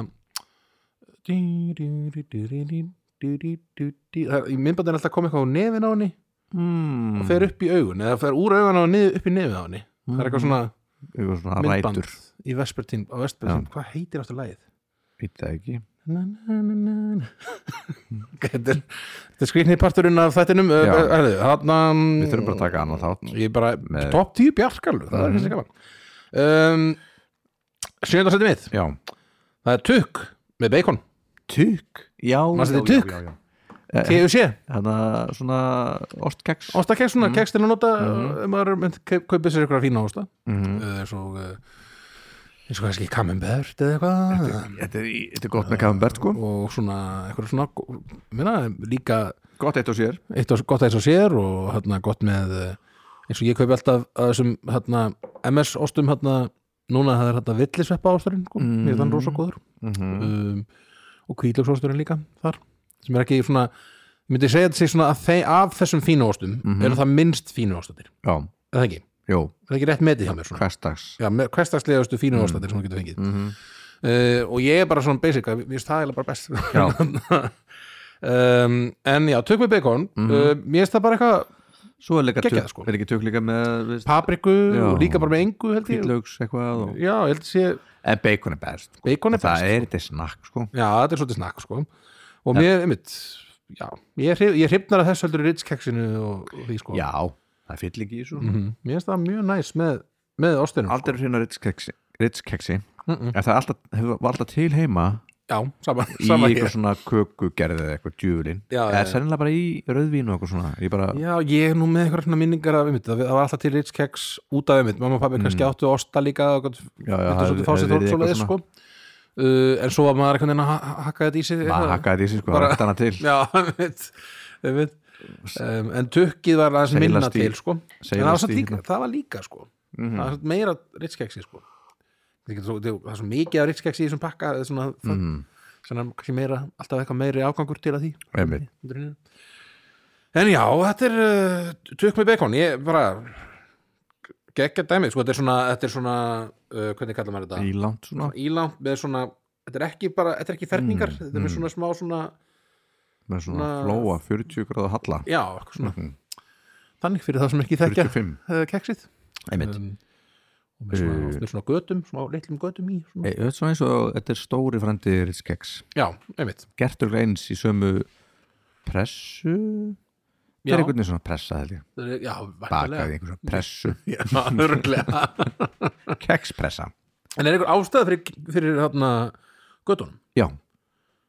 Speaker 2: Það er- Í myndbandin er alltaf kom eitthvað á nefin á henni
Speaker 1: mm.
Speaker 2: og fer upp í augun eða fer úr augun á henni niður upp í nefið á henni Það er eitthvað svona
Speaker 1: Mm. eitthvað svona
Speaker 2: myndband
Speaker 1: rætur
Speaker 2: í Vespertín, á Vespertín, hvað heitir aftur lagið?
Speaker 1: veit það ekki
Speaker 2: Na, na, na, na, na. [LAUGHS] Þetta er, þetta er skrýtni parturinn af þættinum eh,
Speaker 1: Mm. Já.
Speaker 2: Þarna mm,
Speaker 1: Við þurfum bara að taka annan þátt
Speaker 2: Ég er bara,
Speaker 1: Með-
Speaker 2: topp tíu bjarkarlu Það er
Speaker 1: Mhm.
Speaker 2: kannski gaman um, Sjönda seti mið,
Speaker 1: Já,
Speaker 2: það er tukk með bacon
Speaker 1: tukk Já,
Speaker 2: Manstu
Speaker 1: já,
Speaker 2: þetta
Speaker 1: já,
Speaker 2: tukk?
Speaker 1: já, já.
Speaker 2: TUC,
Speaker 1: Þannig að Hérna, svona ostkeks
Speaker 2: ostakeks svona, keks til að nota ef maður mynd- kaup- kaupir sér ykkur að fína osta
Speaker 1: Mhm.
Speaker 2: eða svo eh, eins og kannski kamembert eða eitthvað
Speaker 1: þetta, er í- þetta er gott með kafambert sko
Speaker 2: og svona, eitthvað svona gó- minna, líka
Speaker 1: Gott eitt á sér
Speaker 2: eitt og gott eins og sér og hérna gott með eh, eins og ég kaupi alltaf að þessum hérna MS ostum hérna núna það er hérna villisveppa osturinn sko,
Speaker 1: Mm.
Speaker 2: mm. þann rosa góður um, og kvítlöksosturinn líka þar sem er ekki svona ég myndi segja þetta sig svona að þeir af þessum fínu ostum
Speaker 1: Mhm.
Speaker 2: eru það minnst fínu ostatir
Speaker 1: Já,
Speaker 2: er það ekki,
Speaker 1: jú,
Speaker 2: er það ekki rétt metið hjá mér svona
Speaker 1: hverstags
Speaker 2: Já, með hverstagslegastu fínu ostatir sem þú getur fengið
Speaker 1: mm
Speaker 2: uh, og ég er bara svona basic að mér finnst það eiginlega bara best
Speaker 1: Já.
Speaker 2: [LAUGHS]
Speaker 1: Mhm.
Speaker 2: um, en já, tök með bacon mm uh, mér finnst það bara eitthvað
Speaker 1: Svo er líka
Speaker 2: Geggjað,
Speaker 1: tukk,
Speaker 2: sko.
Speaker 1: er ekki tukk líka með veist,
Speaker 2: papriku
Speaker 1: Já.
Speaker 2: og líka bara með engu held ég
Speaker 1: hvítlaugs eitthvað og...
Speaker 2: já, ég held að sé,
Speaker 1: En bacon er best sko.
Speaker 2: bacon er
Speaker 1: Það
Speaker 2: best
Speaker 1: er þetta snakk sko
Speaker 2: já, þetta er svolítið snakk sko og mér, einmitt, já ég, er hrif, ég hrifnar að þessu heldur rittskeksinu og, og því sko
Speaker 1: Já, Mm. það fyll ekki í svo
Speaker 2: Mhm. mér finnst það mjög næs með, með ostinum
Speaker 1: Aldrei er hérna rittskeksi Rittskeksi
Speaker 2: mm -mm.
Speaker 1: En það er alltaf, hefur- var alltaf til heima
Speaker 2: já, sama, [LAUGHS]
Speaker 1: Í
Speaker 2: sama
Speaker 1: eitthvað
Speaker 2: hér
Speaker 1: svona kökugerðið eða eitthvað djúvulin
Speaker 2: já,
Speaker 1: Það
Speaker 2: já,
Speaker 1: er sennilega bara í rauðvínu og eitthvað svona Ég bara,
Speaker 2: já, ég er nú með eitthvað svona minningar af einmitt, það það var alltaf til rittskeks út af einmitt mamma og pabbi kannski áttu osta líka og gott-
Speaker 1: Mm. já, já,
Speaker 2: þetta er svolítið fásið þótt svolítið sko uh, en svo var maður einhvern veginn að ha- ha- hakka þetta í sig
Speaker 1: maður
Speaker 2: eitthvað.
Speaker 1: hakkaði þessi sko,
Speaker 2: Bara-
Speaker 1: bara, hana til
Speaker 2: Já, [LAUGHS] einmitt, einmitt. Um, en tukkið var aðeins
Speaker 1: Seilast
Speaker 2: minna
Speaker 1: í-
Speaker 2: til sko. en það var,
Speaker 1: seilast
Speaker 2: samt
Speaker 1: í
Speaker 2: líka,
Speaker 1: hérna.
Speaker 2: það var líka sko.
Speaker 1: Mhm.
Speaker 2: það var samt meira rittskeksi sko. Ég get svo- það er svo mikið af rittskeksi í þessum pakka eða svona, mm.
Speaker 1: Mm,
Speaker 2: svona kannski meira, alltaf eitthvað meiri afgangur til að því
Speaker 1: einmitt.
Speaker 2: eh, en já, þetta er uh, tukk með bacon ég bara geggja dæmi, sko, þetta er svona, þetta er svona uh, hvernig kallar maður þetta?
Speaker 1: Ílangt svona
Speaker 2: Ílangt með svona, þetta er ekki bara, þetta er ekki ferningar,
Speaker 1: Mm,
Speaker 2: þetta er með
Speaker 1: mm.
Speaker 2: svona smá svona,
Speaker 1: með svona
Speaker 2: Svona-
Speaker 1: flóa 40 gráða halla
Speaker 2: já, eitthvað svona,
Speaker 1: Mhm.
Speaker 2: þannig fyrir það sem ekki þekkja
Speaker 1: 45
Speaker 2: uh, keksið.
Speaker 1: einmitt
Speaker 2: Um, og með svona,
Speaker 1: Uh.
Speaker 2: oft með svona götum, svona litlum götum í, svona.
Speaker 1: Ei, þetta er svona eins og þetta er stóri frændið Ritskeks
Speaker 2: Já, einmitt.
Speaker 1: gertur eins í sömu pressu það
Speaker 2: Já,
Speaker 1: er einhvern veginn svona pressa held ég
Speaker 2: já,
Speaker 1: bakaði
Speaker 2: væntanlega.
Speaker 1: einhvern svona pressu
Speaker 2: [LAUGHS] Já, örglega.
Speaker 1: kekspressa
Speaker 2: En er einhver ástæða fyrir, fyrir hérna götunum?
Speaker 1: já,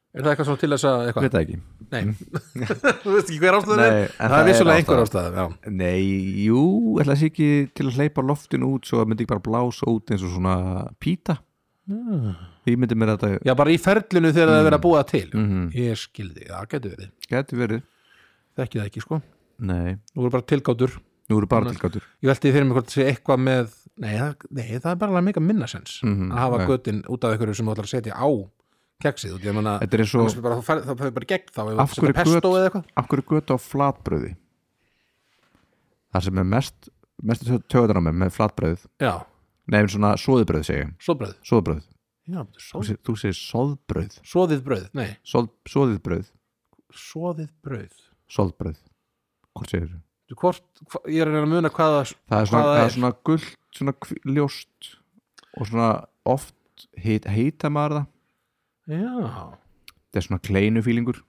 Speaker 2: Er það eitthvað svona til þess að eitthvað?
Speaker 1: veit það ekki
Speaker 2: Nei, [LAUGHS] þú veist ekki hver ástæðan
Speaker 1: Mm. Nei,
Speaker 2: er
Speaker 1: en
Speaker 2: Það er
Speaker 1: það er
Speaker 2: vissulega einhver
Speaker 1: ástæða.
Speaker 2: ástæðan,
Speaker 1: Nei, jú, ætla þessi ekki til að hleypa loftinu út svo að myndi ekki bara blása út eins og svona pýta Ég myndi mér að þetta
Speaker 2: já Já, bara í ferlinu þegar það er verið að búa það til
Speaker 1: Mhm.
Speaker 2: Ég skildi, það getur verið
Speaker 1: geti verið
Speaker 2: Þekki það ekki, sko
Speaker 1: Nei,
Speaker 2: Nú eru bara tilgátur
Speaker 1: nú eru bara tilgátur
Speaker 2: Ég velti fyrir mig hvort það sé eitthvað með Nei, það, nei, það er bara alveg mikið minnasens
Speaker 1: Mhm,
Speaker 2: að hafa
Speaker 1: nei.
Speaker 2: götin út af ykkur sem þú ætlar að setja á keksið út, ég meina
Speaker 1: Þetta er eins
Speaker 2: annars
Speaker 1: og,
Speaker 2: er bara, þá fer- þá fer bara gegn þá ef þú
Speaker 1: af
Speaker 2: setja
Speaker 1: hverju
Speaker 2: pesto eða
Speaker 1: gött
Speaker 2: eitthvað
Speaker 1: af hverju gött á flatbröði Það sem er mest mestu töðar á mig með flatbröð
Speaker 2: Já,
Speaker 1: Nei, svona soðbröð segi ég,
Speaker 2: soðbröð
Speaker 1: soðbröð
Speaker 2: Já,
Speaker 1: Þú
Speaker 2: soð,
Speaker 1: segir, þú segir soðbröð,
Speaker 2: soðið bröð, nei,
Speaker 1: soð, soðiðbröð
Speaker 2: soðið bröð
Speaker 1: soðbröð, hvort segir þú?
Speaker 2: Þú Hvort, hva, ég er að reyna að muna hvaða
Speaker 1: það er svona,
Speaker 2: Hvað það
Speaker 1: það
Speaker 2: er?
Speaker 1: er svona gullt svona hví- ljóst og svona oft heit, heita maður það
Speaker 2: Já,
Speaker 1: það er svona kleinu fílingur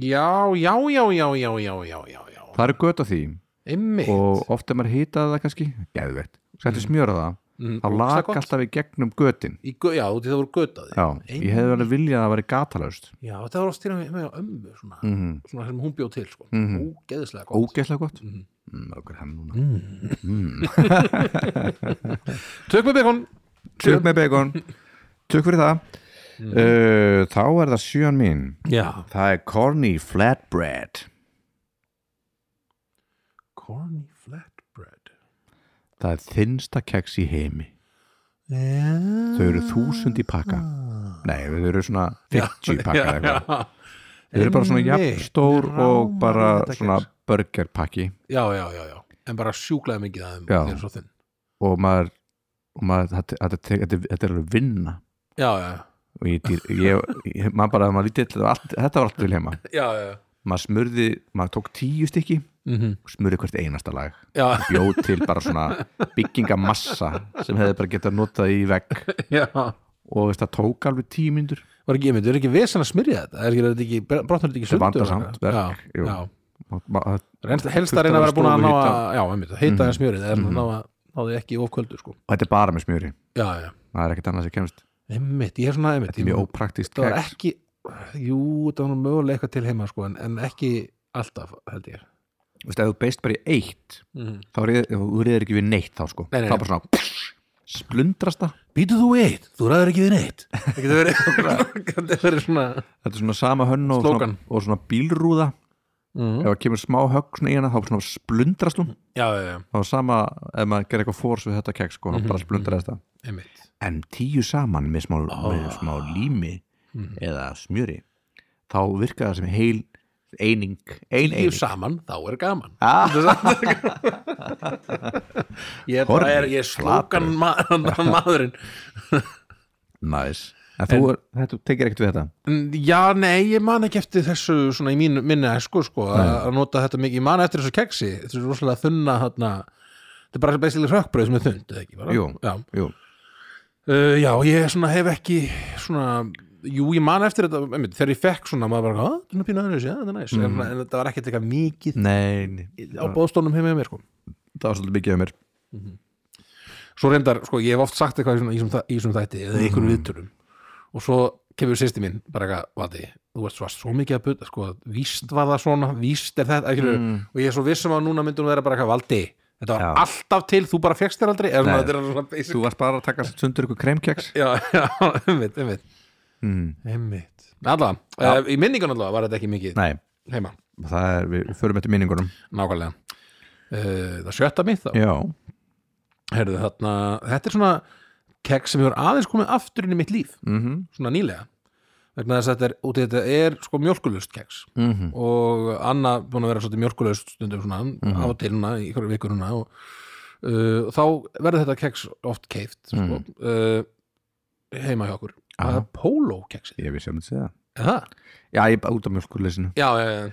Speaker 2: Já, já, já, já, já, já, já, já, já.
Speaker 1: það eru göt á því
Speaker 2: Einmitt.
Speaker 1: og oft er maður hitað það kannski geðveitt, sætti mm. smjöra það
Speaker 2: Mm,
Speaker 1: það
Speaker 2: ógeðslega
Speaker 1: lag
Speaker 2: gott.
Speaker 1: alltaf í gegnum götin
Speaker 2: Í, gö- já, út í það voru götaði.
Speaker 1: já, ég hefði alveg viljað að það væri gatalaust
Speaker 2: Já, þetta var að stýra með, með ömmu, svona,
Speaker 1: mm -hmm.
Speaker 2: svona sem hún bjóð til, sko.
Speaker 1: Mhm.
Speaker 2: Ógeðislega gott.
Speaker 1: ógeðslega gott
Speaker 2: Mhm.
Speaker 1: mm, okkur hemm núna
Speaker 2: Mm. Tök með byggun.
Speaker 1: tök með
Speaker 2: [LAUGHS]
Speaker 1: bacon, tök fyrir það
Speaker 2: Mhm.
Speaker 1: uh, þá er það sjön mín
Speaker 2: Já.
Speaker 1: það er corny flatbread
Speaker 2: Corny flatbread.
Speaker 1: það er þinnsta keks í heimi
Speaker 2: Já.
Speaker 1: þau
Speaker 2: Ah.
Speaker 1: eru þúsund í pakka Nei, þau eru svona
Speaker 2: [LAUGHS]
Speaker 1: 50 pakka eða eitthvað
Speaker 2: Já,
Speaker 1: Þau eru bara svona
Speaker 2: Einmitt.
Speaker 1: jafnstór
Speaker 2: Mig
Speaker 1: og
Speaker 2: rámar
Speaker 1: bara
Speaker 2: þetta kex.
Speaker 1: svona burgerpakki
Speaker 2: já, já, já, já. En bara sjúklaði mikið að þeim.
Speaker 1: Já.
Speaker 2: þeir eru svo þinn.
Speaker 1: og maður, og maður þetta, þetta, þetta, þetta er alveg vinna
Speaker 2: Já, já, já.
Speaker 1: og ég, dýr- ég, ég maður bara, maður lítið þetta var allt, þetta var allt til heima
Speaker 2: Já, já, já.
Speaker 1: maður smurði, maður tók tíu stykki
Speaker 2: Mm
Speaker 1: og smurði hvert einasta lag
Speaker 2: Já, [LAUGHS]
Speaker 1: bjóð til bara svona byggingamassa sem hefði bara getað notað í vegg
Speaker 2: já.
Speaker 1: og veist, það tók alveg tíu myndur
Speaker 2: var ekki, ég myndi, er ekki vesen að smyrja þetta er ekki, er þetta ekki, brotnar þetta ekki
Speaker 1: Þetta
Speaker 2: sundur
Speaker 1: vandar samt verk,
Speaker 2: já,
Speaker 1: jú.
Speaker 2: já.
Speaker 1: maður,
Speaker 2: Reynst, helst
Speaker 1: Þurfti
Speaker 2: að reyna að
Speaker 1: að
Speaker 2: vera búin að ná
Speaker 1: vera
Speaker 2: að
Speaker 1: stofuhita.
Speaker 2: já, einmitt,
Speaker 1: Mhm.
Speaker 2: heita mm. en smjörið er mm. ná, að- ná því ekki ofkvöldu sko.
Speaker 1: þetta er bara með smjöri
Speaker 2: já, já,
Speaker 1: það er ekkert annað sem kemst
Speaker 2: einmitt, ég er svona einmitt ég-
Speaker 1: mjög ópraktist
Speaker 2: það var
Speaker 1: keks
Speaker 2: ekki, jú, það var nú mögulega eitthvað til heima sko, en, en ekki alltaf, held ég
Speaker 1: Þú veist, ef þú beist bara í eitt
Speaker 2: mm.
Speaker 1: þá reið, þú reyðir ekki við neitt þá sko
Speaker 2: Nei, nei,
Speaker 1: þá
Speaker 2: nei.
Speaker 1: bara svona splundrast það
Speaker 2: býtu þú eitt, þú ræður ekki við neitt það getur [LAUGHS] verið það getur verið svona
Speaker 1: þetta er svona sama hönn og, svona,
Speaker 2: Slókan.
Speaker 1: og svona bílrúða
Speaker 2: mm.
Speaker 1: ef það kemur smá högg svona í hana þá bara svona splundrast hún
Speaker 2: já, já, já,
Speaker 1: þá er sama ef maður gerir eitthvað fórs við þetta keks sko þá bara splundrast það
Speaker 2: einmitt
Speaker 1: en tíu saman með smá, með smá lími eða smjöri þá virkar það sem heil eining ein
Speaker 2: Tíu
Speaker 1: eining
Speaker 2: saman, þá er gaman
Speaker 1: Ah.
Speaker 2: Ég er bara,
Speaker 1: Horfið,
Speaker 2: er, ég er slókan ma [LAUGHS] maðurinn
Speaker 1: nice. en þú er, þetta, þú tekir ekkert við þetta
Speaker 2: Mm, Já, nei, ég man ekki eftir þessu svona í mínu, minni esku sko að að nota þetta mikið, ég man eftir þessu keksi þetta er rosalega þunna þarna þetta er bara basically rökkbröð sem er þund eða ekki bara
Speaker 1: Jú.
Speaker 2: já.
Speaker 1: jú
Speaker 2: Uh, já, ég svona hef ekki svona, jú, ég man eftir þetta einmitt, þegar ég fekk svona, maður bara, hvað, þetta er pínu aðeins já, þetta er næs, en, en þetta var ekkert eitthvað mikið
Speaker 1: nei, Mhm. nei.
Speaker 2: á bóðstónum heim með mér sko
Speaker 1: það var svolítið mikið af mér
Speaker 2: svo reyndar, sko, ég hef oft sagt eitthvað í svona- í svona þa- í svona þætti eða í
Speaker 1: Mhm.
Speaker 2: einhverjum viðtölum og svo kemur sýsti mín bara eitthvað, vati, þú ert svo, svo mikið að buta sko, víst var það svona, víst er þetta ekki, og ég er svo vissum að núna myndi hún vera bara eitthvað, valdi, þetta var
Speaker 1: Mhm. Já.
Speaker 2: alltaf til þú bara fegst þér aldrei, eða svona,
Speaker 1: Nei.
Speaker 2: þetta er svona basic,
Speaker 1: þú varst bara að taka sundur ykkur kremkeks
Speaker 2: já, já, [LAUGHS] einmitt, einmitt
Speaker 1: mm.
Speaker 2: einmitt, allavega, ja. í minningun allavega var þetta ekki mikið
Speaker 1: nei
Speaker 2: heima,
Speaker 1: það er, við förum eftir minningunum
Speaker 2: nákvæmlega uh, það sjötta mitt þá
Speaker 1: já,
Speaker 2: Herðu, þarna, þetta er svona kegg sem hefur aðeins komið aftur inn í mitt líf
Speaker 1: mm -hmm.
Speaker 2: svona nýlega vegna þess að þetta er, út í þetta er sko mjölkulust keks
Speaker 1: Mm
Speaker 2: Mhm.
Speaker 1: -hmm.
Speaker 2: og Anna búin að vera svolítið mjölkulust stundum svona á og til núna í hverju vikur núna og uh, þá verður þetta keks oft keift sko,
Speaker 1: Mm.
Speaker 2: uh, heima hjá okkur það
Speaker 1: Aha.
Speaker 2: er pólókeksi
Speaker 1: ég vissi að myndi segja það.
Speaker 2: já,
Speaker 1: já, ég út af mjölkurleysinu
Speaker 2: já, já,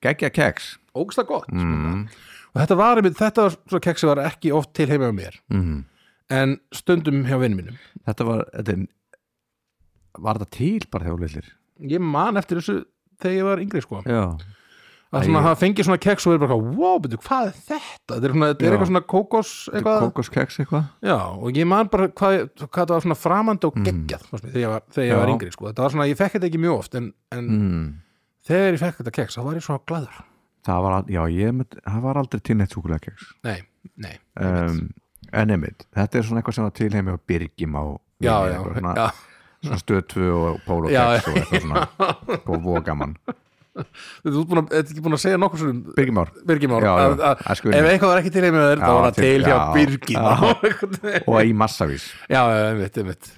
Speaker 1: geggja keks
Speaker 2: ógsta gott sko.
Speaker 1: mm.
Speaker 2: Mhm. og þetta var, einmitt- þetta var, svo keksi var ekki oft til heima hjá mér
Speaker 1: Mm.
Speaker 2: en stundum hjá vinnum mínum
Speaker 1: þetta var þetta er, var þetta til bara þegar litlir
Speaker 2: ég man eftir þessu þegar ég var yngri sko
Speaker 1: já,
Speaker 2: að svona
Speaker 1: Æi.
Speaker 2: hafa fengið svona keks og verið bara eitthvað, wow, betur, hvað er þetta þetta er, svona, þetta
Speaker 1: Já.
Speaker 2: er eitthvað svona kókos eitthvað
Speaker 1: kokoskeks eitthvað
Speaker 2: já, og ég man bara hvað, hvað þetta var svona framandi og geggjað mm. þegar, ég var, þegar ég var
Speaker 1: Já.
Speaker 2: yngri sko þetta var svona, ég fekk þetta ekki mjög oft en, en
Speaker 1: mm.
Speaker 2: þegar ég fekk þetta keks, þá var ég svona gladur
Speaker 1: það var, al- já, ég, mynd- það var aldrei til neitt súkulega keks
Speaker 2: nei, nei,
Speaker 1: um, en einmitt, þetta er svona eitthvað sem var til heimi á Birgim á
Speaker 2: já,
Speaker 1: Vinni,
Speaker 2: já,
Speaker 1: eitthvað svona,
Speaker 2: já
Speaker 1: svona stöðtvu og pólokeks
Speaker 2: Já,
Speaker 1: og eitthvað svona sko, og vogamann,
Speaker 2: þú ert búin að, þetta er ekki búin að segja nokkur svona
Speaker 1: Birgimár
Speaker 2: Birgimár,
Speaker 1: Já, já,
Speaker 2: að, að,
Speaker 1: að
Speaker 2: ef
Speaker 1: skulum.
Speaker 2: eitthvað var ekki til heima þér,
Speaker 1: Já,
Speaker 2: þá var það
Speaker 1: til-
Speaker 2: til hjá
Speaker 1: já,
Speaker 2: [LAUGHS] Birgimár
Speaker 1: og í massavís
Speaker 2: Já, já, einmitt, einmitt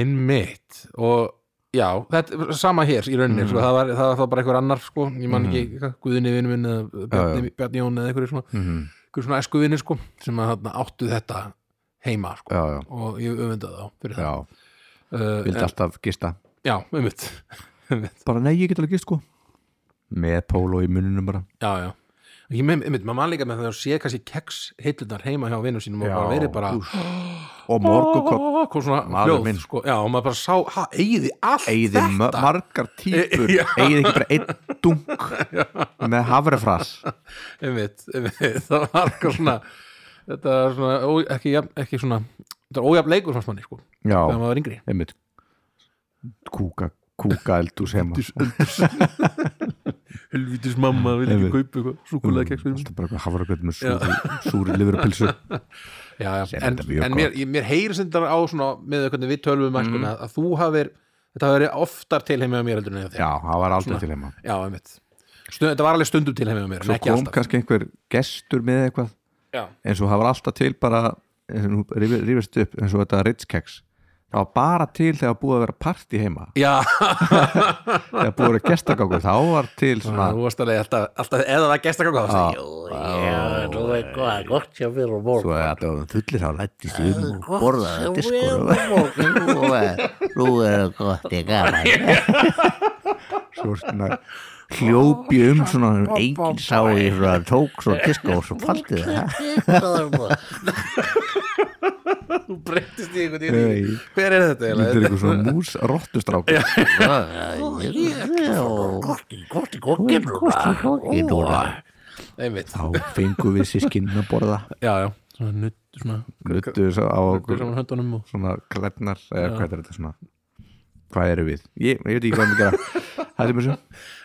Speaker 2: Einmitt Og já, þetta, sama hér í
Speaker 1: Mm.
Speaker 2: rauninni sko, það, var, það var þá bara einhver annar sko Ég man ekki, mm. Guðni vinur minn eða
Speaker 1: Já,
Speaker 2: Bjarni, Bjarni Jón eða einhverjir svona,
Speaker 1: mm
Speaker 2: einhver svona æsku vinir sko sem að þarna áttu þetta heima sko
Speaker 1: já, já,
Speaker 2: og ég öfunda þá fyrir
Speaker 1: já,
Speaker 2: það uh,
Speaker 1: vildi
Speaker 2: en,
Speaker 1: alltaf gista
Speaker 2: Já, einmitt Einmitt,
Speaker 1: bara nei, ég get alveg gist sko með póló í mununum bara
Speaker 2: Já, já Ég með, einmitt, maður man líka með þegar sé kannski keks heitlunar heima hjá vinum sínum og bara verið bara [GASPS]
Speaker 1: úff. og morgukopp
Speaker 2: "Ah", kom svona
Speaker 1: Maður
Speaker 2: hljóð
Speaker 1: minn.
Speaker 2: sko, já, og maður bara sá, ha, eigið allt
Speaker 1: eigði
Speaker 2: þetta
Speaker 1: margar típur
Speaker 2: [LAUGHS] Já.
Speaker 1: eigði ekki bara einn dunk með havrefras
Speaker 2: einmitt, einmitt, [LAUGHS] það var eitthvað svona þetta er svona ó, ekki, jafn- ekki svona, þetta er ójafn leikur fannst manni sko,
Speaker 1: já,
Speaker 2: þegar maður var yngri
Speaker 1: einmitt kúka, kúka eldús heima
Speaker 2: helvitis mamma vil
Speaker 1: Einmitt.
Speaker 2: kaupa eitthvað súkulega keks fyrir mig.
Speaker 1: Mm, alltaf bara eitthvað hafragröð með súri, súri lifurpilsu
Speaker 2: já, já,
Speaker 1: Sem
Speaker 2: en,
Speaker 1: þetta er mjög
Speaker 2: en mér, ég- mér heyri sem þetta á svona með eitthvað við tölvum mm. sko, að þú hafir, þetta hafir oftar til heimja mér heldur en hjá þér,
Speaker 1: já, það var aldrei til heima
Speaker 2: já, einmitt Stund, þetta var alveg stundum til heimja mér, en
Speaker 1: svo
Speaker 2: ekki
Speaker 1: kom
Speaker 2: alltaf
Speaker 1: kannski einhver gestur með eitthvað
Speaker 2: já,
Speaker 1: eins og það var alltaf til bara eins og nú rífi- rífist upp eins og þetta Ritzkeks það var bara til þegar búið að vera partí heima
Speaker 2: já
Speaker 1: þegar búið að vera gestagangur þá var til svona
Speaker 2: þú varst alveg alltaf, alltaf eða það gesta ganga þá varstu, jú,
Speaker 3: Já, nú er góða gott hjá mér og morgun.
Speaker 1: svo að þetta var fullir þá lættist um og borðaði
Speaker 3: Gott hjá mér [LAUGHS]
Speaker 1: diskur
Speaker 3: og morgun. Nú er- Nú er gott í gaman. [LAUGHS]
Speaker 1: svo svona hljópi um svona enginn sá í svona tók svona diskur og svo faldið það
Speaker 2: þú breytist í einhvern
Speaker 1: Nei.
Speaker 2: veginn. hver er þetta
Speaker 1: þetta er
Speaker 2: eiginlega?
Speaker 1: eitthvað svona mús rottustrákur
Speaker 3: Gott í gott í gokkinn núna.
Speaker 2: einmitt
Speaker 1: þá fengum við sískinn að borða
Speaker 2: já, já, svona nutt svona,
Speaker 1: nuttu svo á okkur
Speaker 2: saman höndunum og...
Speaker 1: svona klætnar eða hvað er þetta svona hvað eru við, ég, ég veit ekki hvað við gera hættum þessu,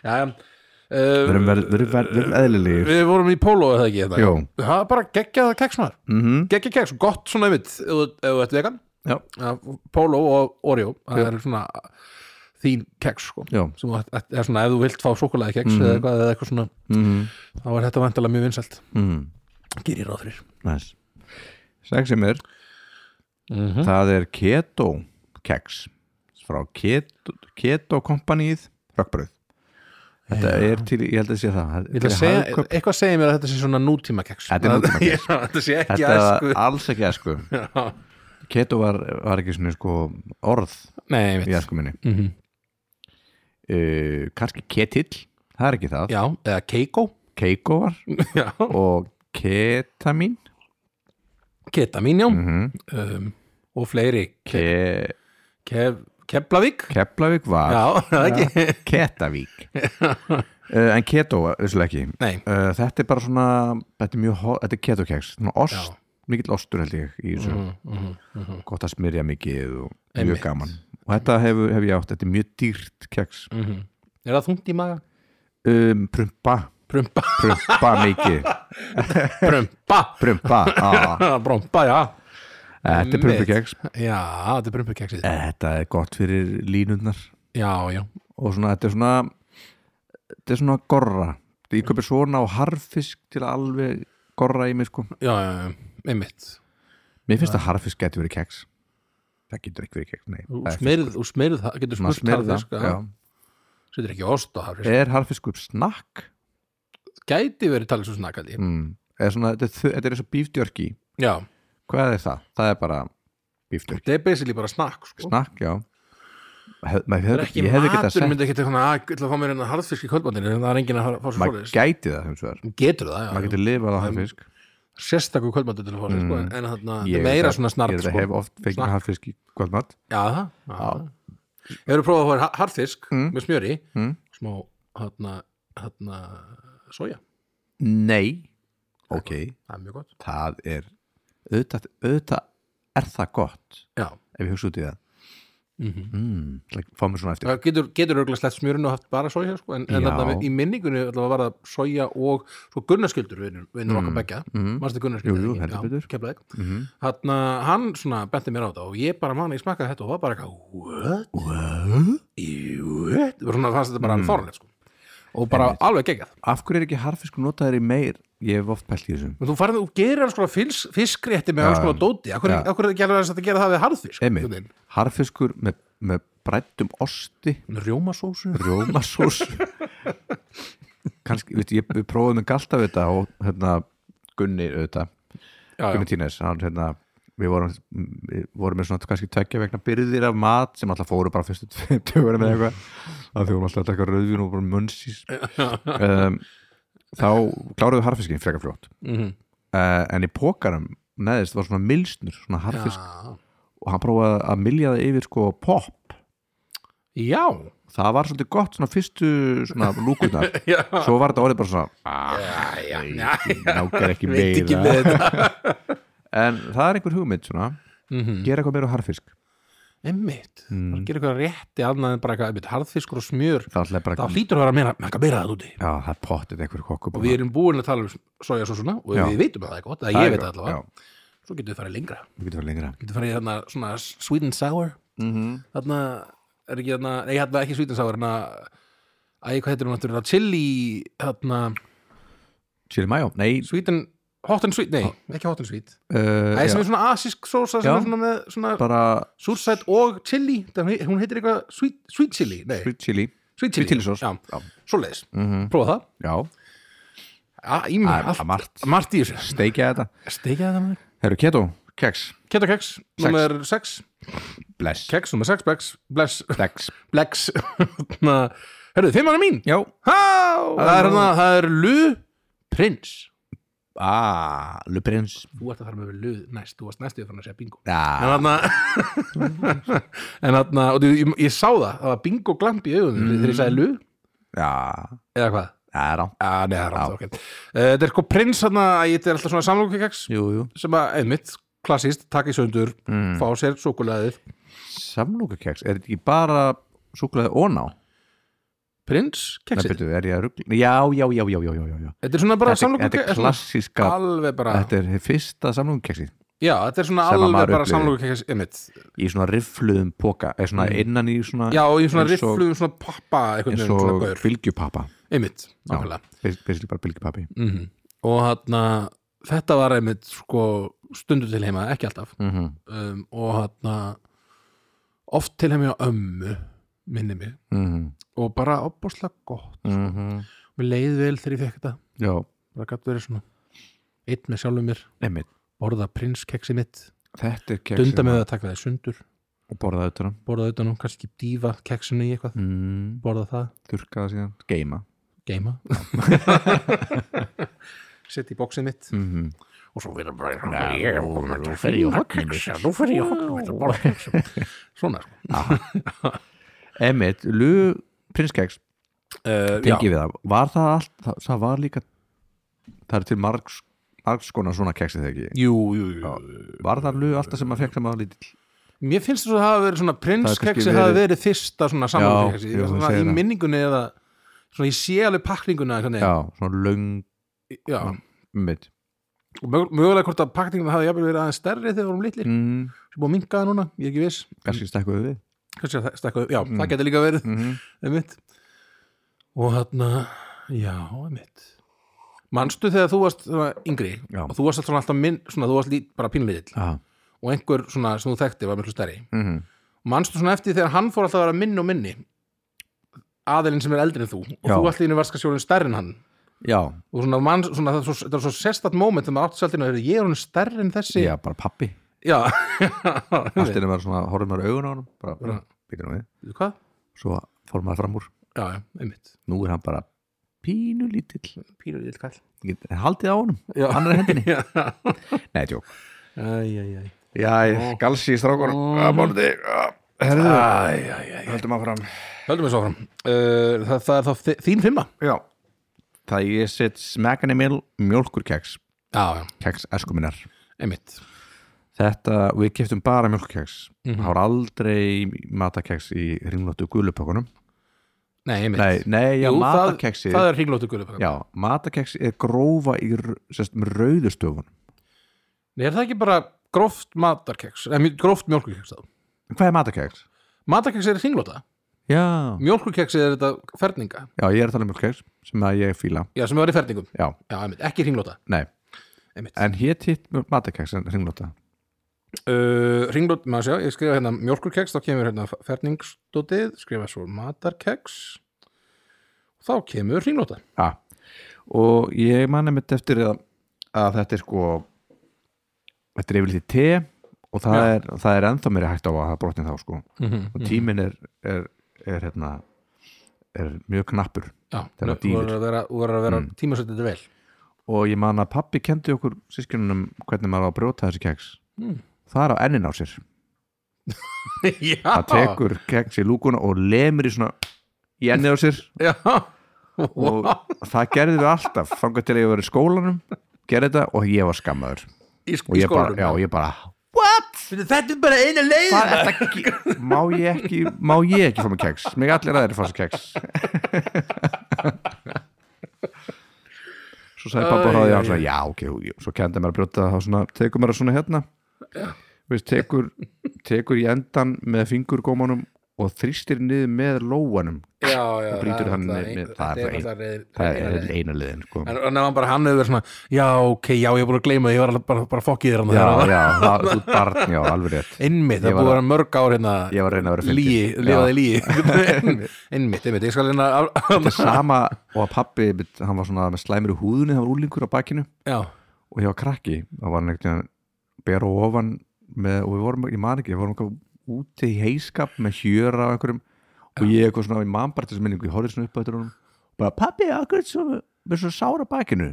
Speaker 2: já, já uh,
Speaker 1: verum, verum, verum, verum, verum eðlilegir
Speaker 2: við vorum í póló eða ekki hérna? þetta
Speaker 1: Jó.
Speaker 2: það er bara geggjað keks maður
Speaker 1: mm
Speaker 2: geggjað keks, gott svona einmitt ef þú ef þú ert vegan
Speaker 1: já,
Speaker 2: Ja, póló og Oreo það er svona þín keks sko
Speaker 1: já Mhm.
Speaker 2: sem þú ætt- ætt- er svona ef þú vilt fá súkulega keks eða, eitthvað, eða eitthvað svona
Speaker 1: mm
Speaker 2: þá er þetta vantilega mjög vinsælt
Speaker 1: -hmm.
Speaker 2: gerir ég ráð fyrir
Speaker 1: næs sæk sem er,
Speaker 2: Mhm.
Speaker 1: það er keto keks frá keto, keto kompanið rökkbröð þetta er til, ég held að sé
Speaker 2: Ég
Speaker 1: það
Speaker 2: ætla að
Speaker 1: Fyrir
Speaker 2: segja,
Speaker 1: Hagkaup.
Speaker 2: eitthvað segir mér að þetta sé svona nútíma keks
Speaker 1: Þetta er
Speaker 2: [LAUGHS]
Speaker 1: nútímakeks.
Speaker 2: Þetta sé ekki
Speaker 1: þetta
Speaker 2: æsku
Speaker 1: var alls ekki
Speaker 2: [LAUGHS]
Speaker 1: æsku keto var, var ekki svona sko orð
Speaker 2: Nei, ég
Speaker 1: í
Speaker 2: veit
Speaker 1: æsku minni
Speaker 2: Mhm.
Speaker 1: uh, kannski ketill, það er ekki það
Speaker 2: Já, eða keiko
Speaker 1: keiko var
Speaker 2: [LAUGHS] Já.
Speaker 1: og ketamin
Speaker 2: Ketamín, já
Speaker 1: mm -hmm.
Speaker 2: um, Og fleiri Ke
Speaker 1: Ke
Speaker 2: Ke Keflavík
Speaker 1: Keplavík var
Speaker 2: Já, það ekki
Speaker 1: [LAUGHS] Ketavík uh, en keto, vissulega ekki
Speaker 2: Nei,
Speaker 1: uh, þetta er bara svona, þetta er mjög ho- þetta er ketokeks, svona ost,
Speaker 2: Já.
Speaker 1: mikill ostur held ég í þessu,
Speaker 2: mm, mm, mm,
Speaker 1: gott að smyrja mikið og
Speaker 2: Einmitt.
Speaker 1: mjög gaman og þetta hef, hef ég átt, þetta er mjög dýrt keks
Speaker 2: mm. Er það þungt í maga?
Speaker 1: um, prumpa,
Speaker 2: Prumpa
Speaker 1: prumpa mikið
Speaker 2: [LAUGHS]
Speaker 1: [LAUGHS]
Speaker 2: Prumpa
Speaker 1: prumpa,
Speaker 2: [LAUGHS]
Speaker 1: á,
Speaker 2: Brompa, já
Speaker 1: þetta er prumpukeks
Speaker 2: Já, þetta er prumpukeksið
Speaker 1: Eh, þetta er gott fyrir línundnar
Speaker 2: Já, já
Speaker 1: og svona, þetta er svona þetta er svona gorra ég
Speaker 2: Mm.
Speaker 1: köpir svona á harfisk til að alveg gorra í mig sko
Speaker 2: Já, já, já Einmitt
Speaker 1: mér finnst að harfisk getur verið keks það getur ekki verið keks, nei
Speaker 2: Þú
Speaker 1: það er
Speaker 2: smerð, þú smerð það Getur
Speaker 1: Maður
Speaker 2: smurt
Speaker 1: smyrð
Speaker 2: það
Speaker 1: það, já. Eh.
Speaker 2: Setur ekki ost á það
Speaker 1: er harfisk upp snakk
Speaker 2: Gæti verið talið svo snakandi
Speaker 1: mm. eða svona, þetta, er þu- þetta er eins og bífdjörki
Speaker 2: já,
Speaker 1: hvað er það? það er bara bífdjörki,
Speaker 2: þetta er basically bara snakk sko.
Speaker 1: snakk, já Hef,
Speaker 2: það er
Speaker 1: maður, hefði,
Speaker 2: ekki
Speaker 1: ég hefði getað
Speaker 2: matur
Speaker 1: sett
Speaker 2: myndi ekki eitthvað að ætla að fá mér hérna harðfisk í kvöldbandinu en það er enginn að fara- fá sér
Speaker 1: maður
Speaker 2: fólis
Speaker 1: gæti það hins vegar
Speaker 2: getur það, já, já.
Speaker 1: maður getur lifað á haffisk
Speaker 2: sérstakur kvöldmöndu til að fá sér sko, en- en þarna, þetta
Speaker 1: Ég
Speaker 2: er meira
Speaker 1: það-
Speaker 2: svona snart
Speaker 1: ég
Speaker 2: sko.
Speaker 1: sko. hef oft fengið
Speaker 2: Snark.
Speaker 1: haffisk í kvöldmatt
Speaker 2: já, það já. hefur prófað að fá þér harðfisk með smjöri,
Speaker 1: Mm.
Speaker 2: smá hérna, hérna soja,
Speaker 1: nei, ok
Speaker 2: það er mjög gott
Speaker 1: það er auðvitað, auðvitað er það gott
Speaker 2: já,
Speaker 1: ef ég hugsa út í það
Speaker 2: Mhm.
Speaker 1: mm, like, fá mér svona eftir
Speaker 2: það getur, getur örgulega slett smjörinu og haft bara soja sko, en, en
Speaker 1: Já.
Speaker 2: þarna, í minningunni allavega var það soja og sko, svo Gunnarskjöldur vinnur mm. okkar begja,
Speaker 1: mm.
Speaker 2: mannstu Gunnarskjöldur
Speaker 1: Jú, jú, heldur betur.
Speaker 2: kemlaðið
Speaker 1: Mm.
Speaker 2: Þarna, hann svona benti mér á þetta og ég bara manni, ég smakkaði þetta og var bara eitthvað What? What? Og svona fannst þetta bara mm. fórlega sko. og bara alveg geggjað
Speaker 1: af hverju er ekki harfiskur notaður í meir ég hef oft pælt í þessum
Speaker 2: Men þú farið og gerir alls konar fils- fiskrétti með alls konar dóti, af hverju
Speaker 1: Já.
Speaker 2: af hverju er þetta að gera það við harðfisk?
Speaker 1: Einmitt.
Speaker 2: Einhvern veginn?
Speaker 1: harfiskur með, með brættum osti
Speaker 2: Með Rjómasósu?
Speaker 1: rjómasús
Speaker 2: [LAUGHS]
Speaker 1: kannski, veit, ég, við prófum með galta við þetta og hérna Gunni auðvitað,
Speaker 2: Já, já.
Speaker 1: Gunni Tínes hann hérna Við vorum, við vorum með svona kannski tvekja vegna byrðir af mat sem alltaf fóru bara fyrstu tveimtugur með eitthvað að því vorum alltaf að taka rauðvín og bara munnsís um, þá kláruðu harfiskinn frekar fljótt
Speaker 2: Mhm.
Speaker 1: uh, en í pókarum neðist var svona milsnur, svona harfisk
Speaker 2: Já.
Speaker 1: og hann prófaði að milja það yfir sko pop
Speaker 2: Já.
Speaker 1: það var svolítið gott svona fyrstu svona lúkunar
Speaker 2: [LAUGHS] Já.
Speaker 1: svo var þetta orðið bara svona "Ah,
Speaker 2: Já, já.
Speaker 1: nákar ekki
Speaker 2: Veit ekki
Speaker 1: meira
Speaker 2: með
Speaker 1: [LAUGHS]
Speaker 2: þetta
Speaker 1: en það er einhver hugmynd svona
Speaker 2: Mhm.
Speaker 1: gera eitthvað meira á harfisk
Speaker 2: Einmitt, bara
Speaker 1: Mm.
Speaker 2: gera eitthvað rétti annað en bara eitthvað, einmitt, harðfiskur og smjör
Speaker 1: það er alltaf bara
Speaker 2: Það hlýtur að vera meira, meira, meira það úti
Speaker 1: já, það er pottið einhver kokku
Speaker 2: og við erum búin að tala um sojasósuna og
Speaker 1: Já.
Speaker 2: við vitum að það er gott, að ég veit það allavega svo getum við farið lengra,
Speaker 1: við getum farið lengra
Speaker 2: getum við farið í þarna svona sweet and sour
Speaker 1: Mhm.
Speaker 2: þarna er ekki þarna, nei hérna ekki sweet and sour hérna, að hvað heitir hún náttúrulega chili, þarna
Speaker 1: chili mayo, nei
Speaker 2: sweet and, hot and sweet, nei ekki hot and sweet,
Speaker 1: uh,
Speaker 2: það
Speaker 1: já,
Speaker 2: sem er svona asísk sósa sem
Speaker 1: Já.
Speaker 2: er svona með svona
Speaker 1: bara
Speaker 2: súrsætt og chili, það, hún heitir eitthvað sweet, sweet chili, nei,
Speaker 1: sweet chili
Speaker 2: sweet
Speaker 1: sweet chili sauce.
Speaker 2: já,
Speaker 1: Já.
Speaker 2: svoleiðis,
Speaker 1: Mhm.
Speaker 2: prófa það
Speaker 1: já,
Speaker 2: Já, ég meina
Speaker 1: Það er
Speaker 2: allt-
Speaker 1: margt.
Speaker 2: margt í þessu
Speaker 1: steikja þetta
Speaker 2: Steikja það maður
Speaker 1: herru keto, keks,
Speaker 2: Keto keks, nummer 6
Speaker 1: bless
Speaker 2: Keks, nummer 6, bleks Bleks,
Speaker 1: keks,
Speaker 2: bleks Hérna, Herðu, fimm hana mín
Speaker 1: já
Speaker 2: Há, það er hana, það er Lu Prins
Speaker 1: ah, le prince
Speaker 2: Þú ert að fara með Lu næst, þú varst næstu að fara að segja bingo En
Speaker 1: já,
Speaker 2: þarna
Speaker 1: [LAUGHS]
Speaker 2: En þarna, og þú, ég, ég sá það Það var bingo glamp í augunum þegar ég
Speaker 1: Mm.
Speaker 2: sagði Lu
Speaker 1: já,
Speaker 2: Eða hvað?
Speaker 1: það er á
Speaker 2: Já, nei, það er rátt, ok Eh, Þetta er eitthvað prins, þarna, að ég þetta er alltaf svona samlokakeks
Speaker 1: jú, jú
Speaker 2: sem að, einmitt, klassist, taka í söndur
Speaker 1: Mm.
Speaker 2: fá sér súkulegaðið
Speaker 1: samlokakeks, er þetta ekki bara súkulega óná?
Speaker 2: Prins,
Speaker 1: Nei,
Speaker 2: keksið
Speaker 1: betur, er ég að ruggla? Já, já, já, já, já, já, já, já.
Speaker 2: Þetta er svona bara
Speaker 1: Þetta,
Speaker 2: samlokur
Speaker 1: þetta er klassíska,
Speaker 2: Alveg bara
Speaker 1: þetta er hið fyrsta samlokakeksi
Speaker 2: Já, þetta er svona
Speaker 1: Sem að
Speaker 2: alveg
Speaker 1: maður
Speaker 2: bara
Speaker 1: upplifir.
Speaker 2: samlokur einmitt
Speaker 1: í svona riffluðum póka, eða svona innan í svona
Speaker 2: Mm. Já, og í svona
Speaker 1: Ah, eins og-
Speaker 2: rifflu, svona pappa einhvern
Speaker 1: eins
Speaker 2: veginn, svona
Speaker 1: og
Speaker 2: gaur
Speaker 1: bylgjupappa
Speaker 2: Einmitt,
Speaker 1: Já,
Speaker 2: nákvæmlega
Speaker 1: bas- basically bara bylgjupappi
Speaker 2: Mhm. Og þarna, þetta var einmitt sko stundu til heima, ekki alltaf
Speaker 1: mm -hmm.
Speaker 2: um, og þarna oft til heima hjá ömmu minni mig
Speaker 1: Mm -hmm.
Speaker 2: og bara opbúrslega gott Mér leið vel þegar ég fekk þetta
Speaker 1: Já,
Speaker 2: bara gætt verið svona einn með sjálfum mér,
Speaker 1: einmitt
Speaker 2: borða prinskeksi mitt
Speaker 1: Þetta er keks
Speaker 2: dunda með að taka það í sundur
Speaker 1: og borða auðvitað
Speaker 2: borða utan um kannski dífa keksinu í eitthvað
Speaker 1: mm,
Speaker 2: borða það,
Speaker 1: Þurka það síðan, geima
Speaker 2: geima setja í bóksið mitt
Speaker 1: mm -hmm.
Speaker 3: Og svo verður bara, ég er búin að fyrir ég hotnum mitt. Nú fyrir ég hotnum mitt og [LAUGHS] borða keksa.
Speaker 2: svona sko.
Speaker 1: Einmitt, lu prinskeks
Speaker 2: uh,
Speaker 1: tengi við það, var það allt það, það var líka það er til margs, margs konar svona keksi þegar ekki
Speaker 2: jú, jú, jú.
Speaker 1: var það alveg alltaf sem maður fekk það maður lítill
Speaker 2: mér finnst þess að það hafa verið svona
Speaker 1: Það er kannski
Speaker 2: prinskeksi
Speaker 1: verið-
Speaker 2: hafa verið fyrsta svona samankeksi
Speaker 1: jú, þú
Speaker 2: svona
Speaker 1: segir
Speaker 2: í
Speaker 1: það.
Speaker 2: minningunni eða svona ég sé alveg pakninguna
Speaker 1: já, svona löng
Speaker 2: Já.
Speaker 1: mitt
Speaker 2: og mög- mögulega hvort að pakninguna hafi jafnvel verið aðeins stærri þegar við vorum litlir,
Speaker 1: mm,
Speaker 2: sem búið að minka það núna ég er ekki viss,
Speaker 1: kannski stekkuðu við
Speaker 2: kannski að það stakka já, það getur líka verið
Speaker 1: mm -hmm.
Speaker 2: einmitt og þarna, já, einmitt manstu þegar þú varst svona, yngri
Speaker 1: Já.
Speaker 2: og þú varst alltaf, svona alltaf minn, svona, þú varst lít, bara pínlítill
Speaker 1: ah,
Speaker 2: og einhver svona, sem þú þekkti var miklu stærri
Speaker 1: mm -hmm.
Speaker 2: manstu svona eftir þegar hann fór alltaf að vera minn og minni aðilinn sem er eldri en þú og
Speaker 1: Já.
Speaker 2: þú allir inni varst kannski orðinn stærri en hann
Speaker 1: já,
Speaker 2: og svona, mann, svona það er svo, það er svo sérstætt moment þegar maður átti sæltinu að ég er hún stærri en þessi
Speaker 1: já, bara pappi
Speaker 2: já.
Speaker 1: allt er maður svona, horfum maður augun á hann bara
Speaker 2: Já.
Speaker 1: býtum við,
Speaker 2: hvað?
Speaker 1: svo fór maður fram úr
Speaker 2: já, já, einmitt
Speaker 1: nú er hann bara pínu lítill
Speaker 2: pílur lill kall
Speaker 1: haldið á honum,
Speaker 2: Já.
Speaker 1: hann er hendinni
Speaker 2: [LAUGHS] já,
Speaker 1: nei, tjók
Speaker 2: æj, æj, æj
Speaker 1: já, galsi í strákunum að bóndi herðu, höldum að fram
Speaker 2: höldum við svo fram uh, það, það er þá þi- þín fimma
Speaker 1: já, það ég set smekkan í mjöl mjölkurkeks,
Speaker 2: já, já,
Speaker 1: keks eskuminar
Speaker 2: einmitt
Speaker 1: þetta, við keftum bara mjölkurkeks
Speaker 2: Mhm.
Speaker 1: það var aldrei matakeks í hringlóttu gulupökunum
Speaker 2: nei, einmitt
Speaker 1: nei, nei, já,
Speaker 2: Jú, það,
Speaker 1: matakeksið
Speaker 2: það er hringlóttu gulupökk
Speaker 1: Já, matakeks er grófa í r- sérst, með rauðustöfun
Speaker 2: Nei, er það ekki bara gróft matarkeks eða mj- gróft mjölkurkeks þá
Speaker 1: Hvað er matakeks?
Speaker 2: matarkeks er hringlóta,
Speaker 1: Já.
Speaker 2: mjölkurkeks er þetta ferninga,
Speaker 1: Já, ég er að tala um mjölkeks sem að ég fíla
Speaker 2: já sem var í ferningum
Speaker 1: Já,
Speaker 2: já, einmitt, ekki hringlóta,
Speaker 1: nei,
Speaker 2: einmitt
Speaker 1: en hétt hitt matakeks en hringlóta
Speaker 2: uh, Ringlót, maður sjá, ég skrifa hérna mjölkurkeks, þá kemur hérna ferningsdótið skrifa svo matarkeks þá kemur ringlóta
Speaker 1: Já, og ég manna mitt eftir að, að þetta er sko þetta er yfirleitt í te og það,
Speaker 2: Já.
Speaker 1: er, það er ennþá meiri hægt á að það brotni þá sko
Speaker 2: mm
Speaker 1: og tíminn er, er, er hérna er mjög knappur
Speaker 2: já,
Speaker 1: Það var
Speaker 2: þú
Speaker 1: dýr.
Speaker 2: verður að vera, þú verður að vera mm. tímasettir vel
Speaker 1: og ég man að pappi kendi okkur sískinunum hvernig maður á að brjóta þessi keks
Speaker 2: Mm.
Speaker 1: það er á ennin á sér
Speaker 2: já,
Speaker 1: það tekur keks í lúkuna og lemur í svona í ennið á sér
Speaker 2: já,
Speaker 1: og það gerði við alltaf þangar til að ég var í skólanum gerði þetta og ég var skammaður
Speaker 2: í, sk
Speaker 1: og
Speaker 2: í
Speaker 1: ég bara,
Speaker 2: skólanum
Speaker 1: já, ég bara
Speaker 2: Fyrir þetta er bara eina leið
Speaker 1: hvað er þetta, ge- má ég ekki má ég ekki fá mig keks, mig allir aðeir fá sér keks svo sagði pappa
Speaker 2: Æ,
Speaker 1: hraði
Speaker 2: æ,
Speaker 1: hann svona, já, ok, jú, jú." svo kendi maður að brjóta þá svona, tekur maður svona hérna veist, tekur, tekur í endan með fingurgómanum og þrýstir niður með lóanum
Speaker 2: já, já,
Speaker 1: og brýtur
Speaker 2: það er
Speaker 1: hann
Speaker 2: alltaf
Speaker 1: með-
Speaker 2: ein-
Speaker 1: með- það er bara ein-
Speaker 2: alltaf reið-
Speaker 1: það
Speaker 2: reið-
Speaker 1: er
Speaker 2: reið-
Speaker 1: eina liðin sko.
Speaker 2: En en ef hann bara hann hefur verið svona Já, ok, já, ég er búin að gleyma því, ég var alveg bara, bara fokkið þér hann
Speaker 1: já, já, það, þú ert barn, já, alveg rétt
Speaker 2: Einmitt, það
Speaker 1: Ég
Speaker 2: er búið
Speaker 1: var
Speaker 2: að
Speaker 1: að-
Speaker 2: vera mörg ár hérna
Speaker 1: ég var að reyna að vera fyndin.
Speaker 2: Líi,
Speaker 1: Já.
Speaker 2: lifaði líi
Speaker 1: [LAUGHS]
Speaker 2: Einmitt, einmitt, ég skal hérna
Speaker 1: þetta er sama og að pappi hann var svona með slæmur í húðunni, hann var úlingur á bakinu
Speaker 2: Já,
Speaker 1: og ég var krakki það var neitt bera og ofan með, og við vorum, ég man ekki, við vorum eitthvað úti í heiskap með hjöra og einhverjum og ég eitthvað svona, ég man bara til þessu minningu ég horfði svona upp á þetta honum bara pappi, akkur er svo, með svona sára bakinu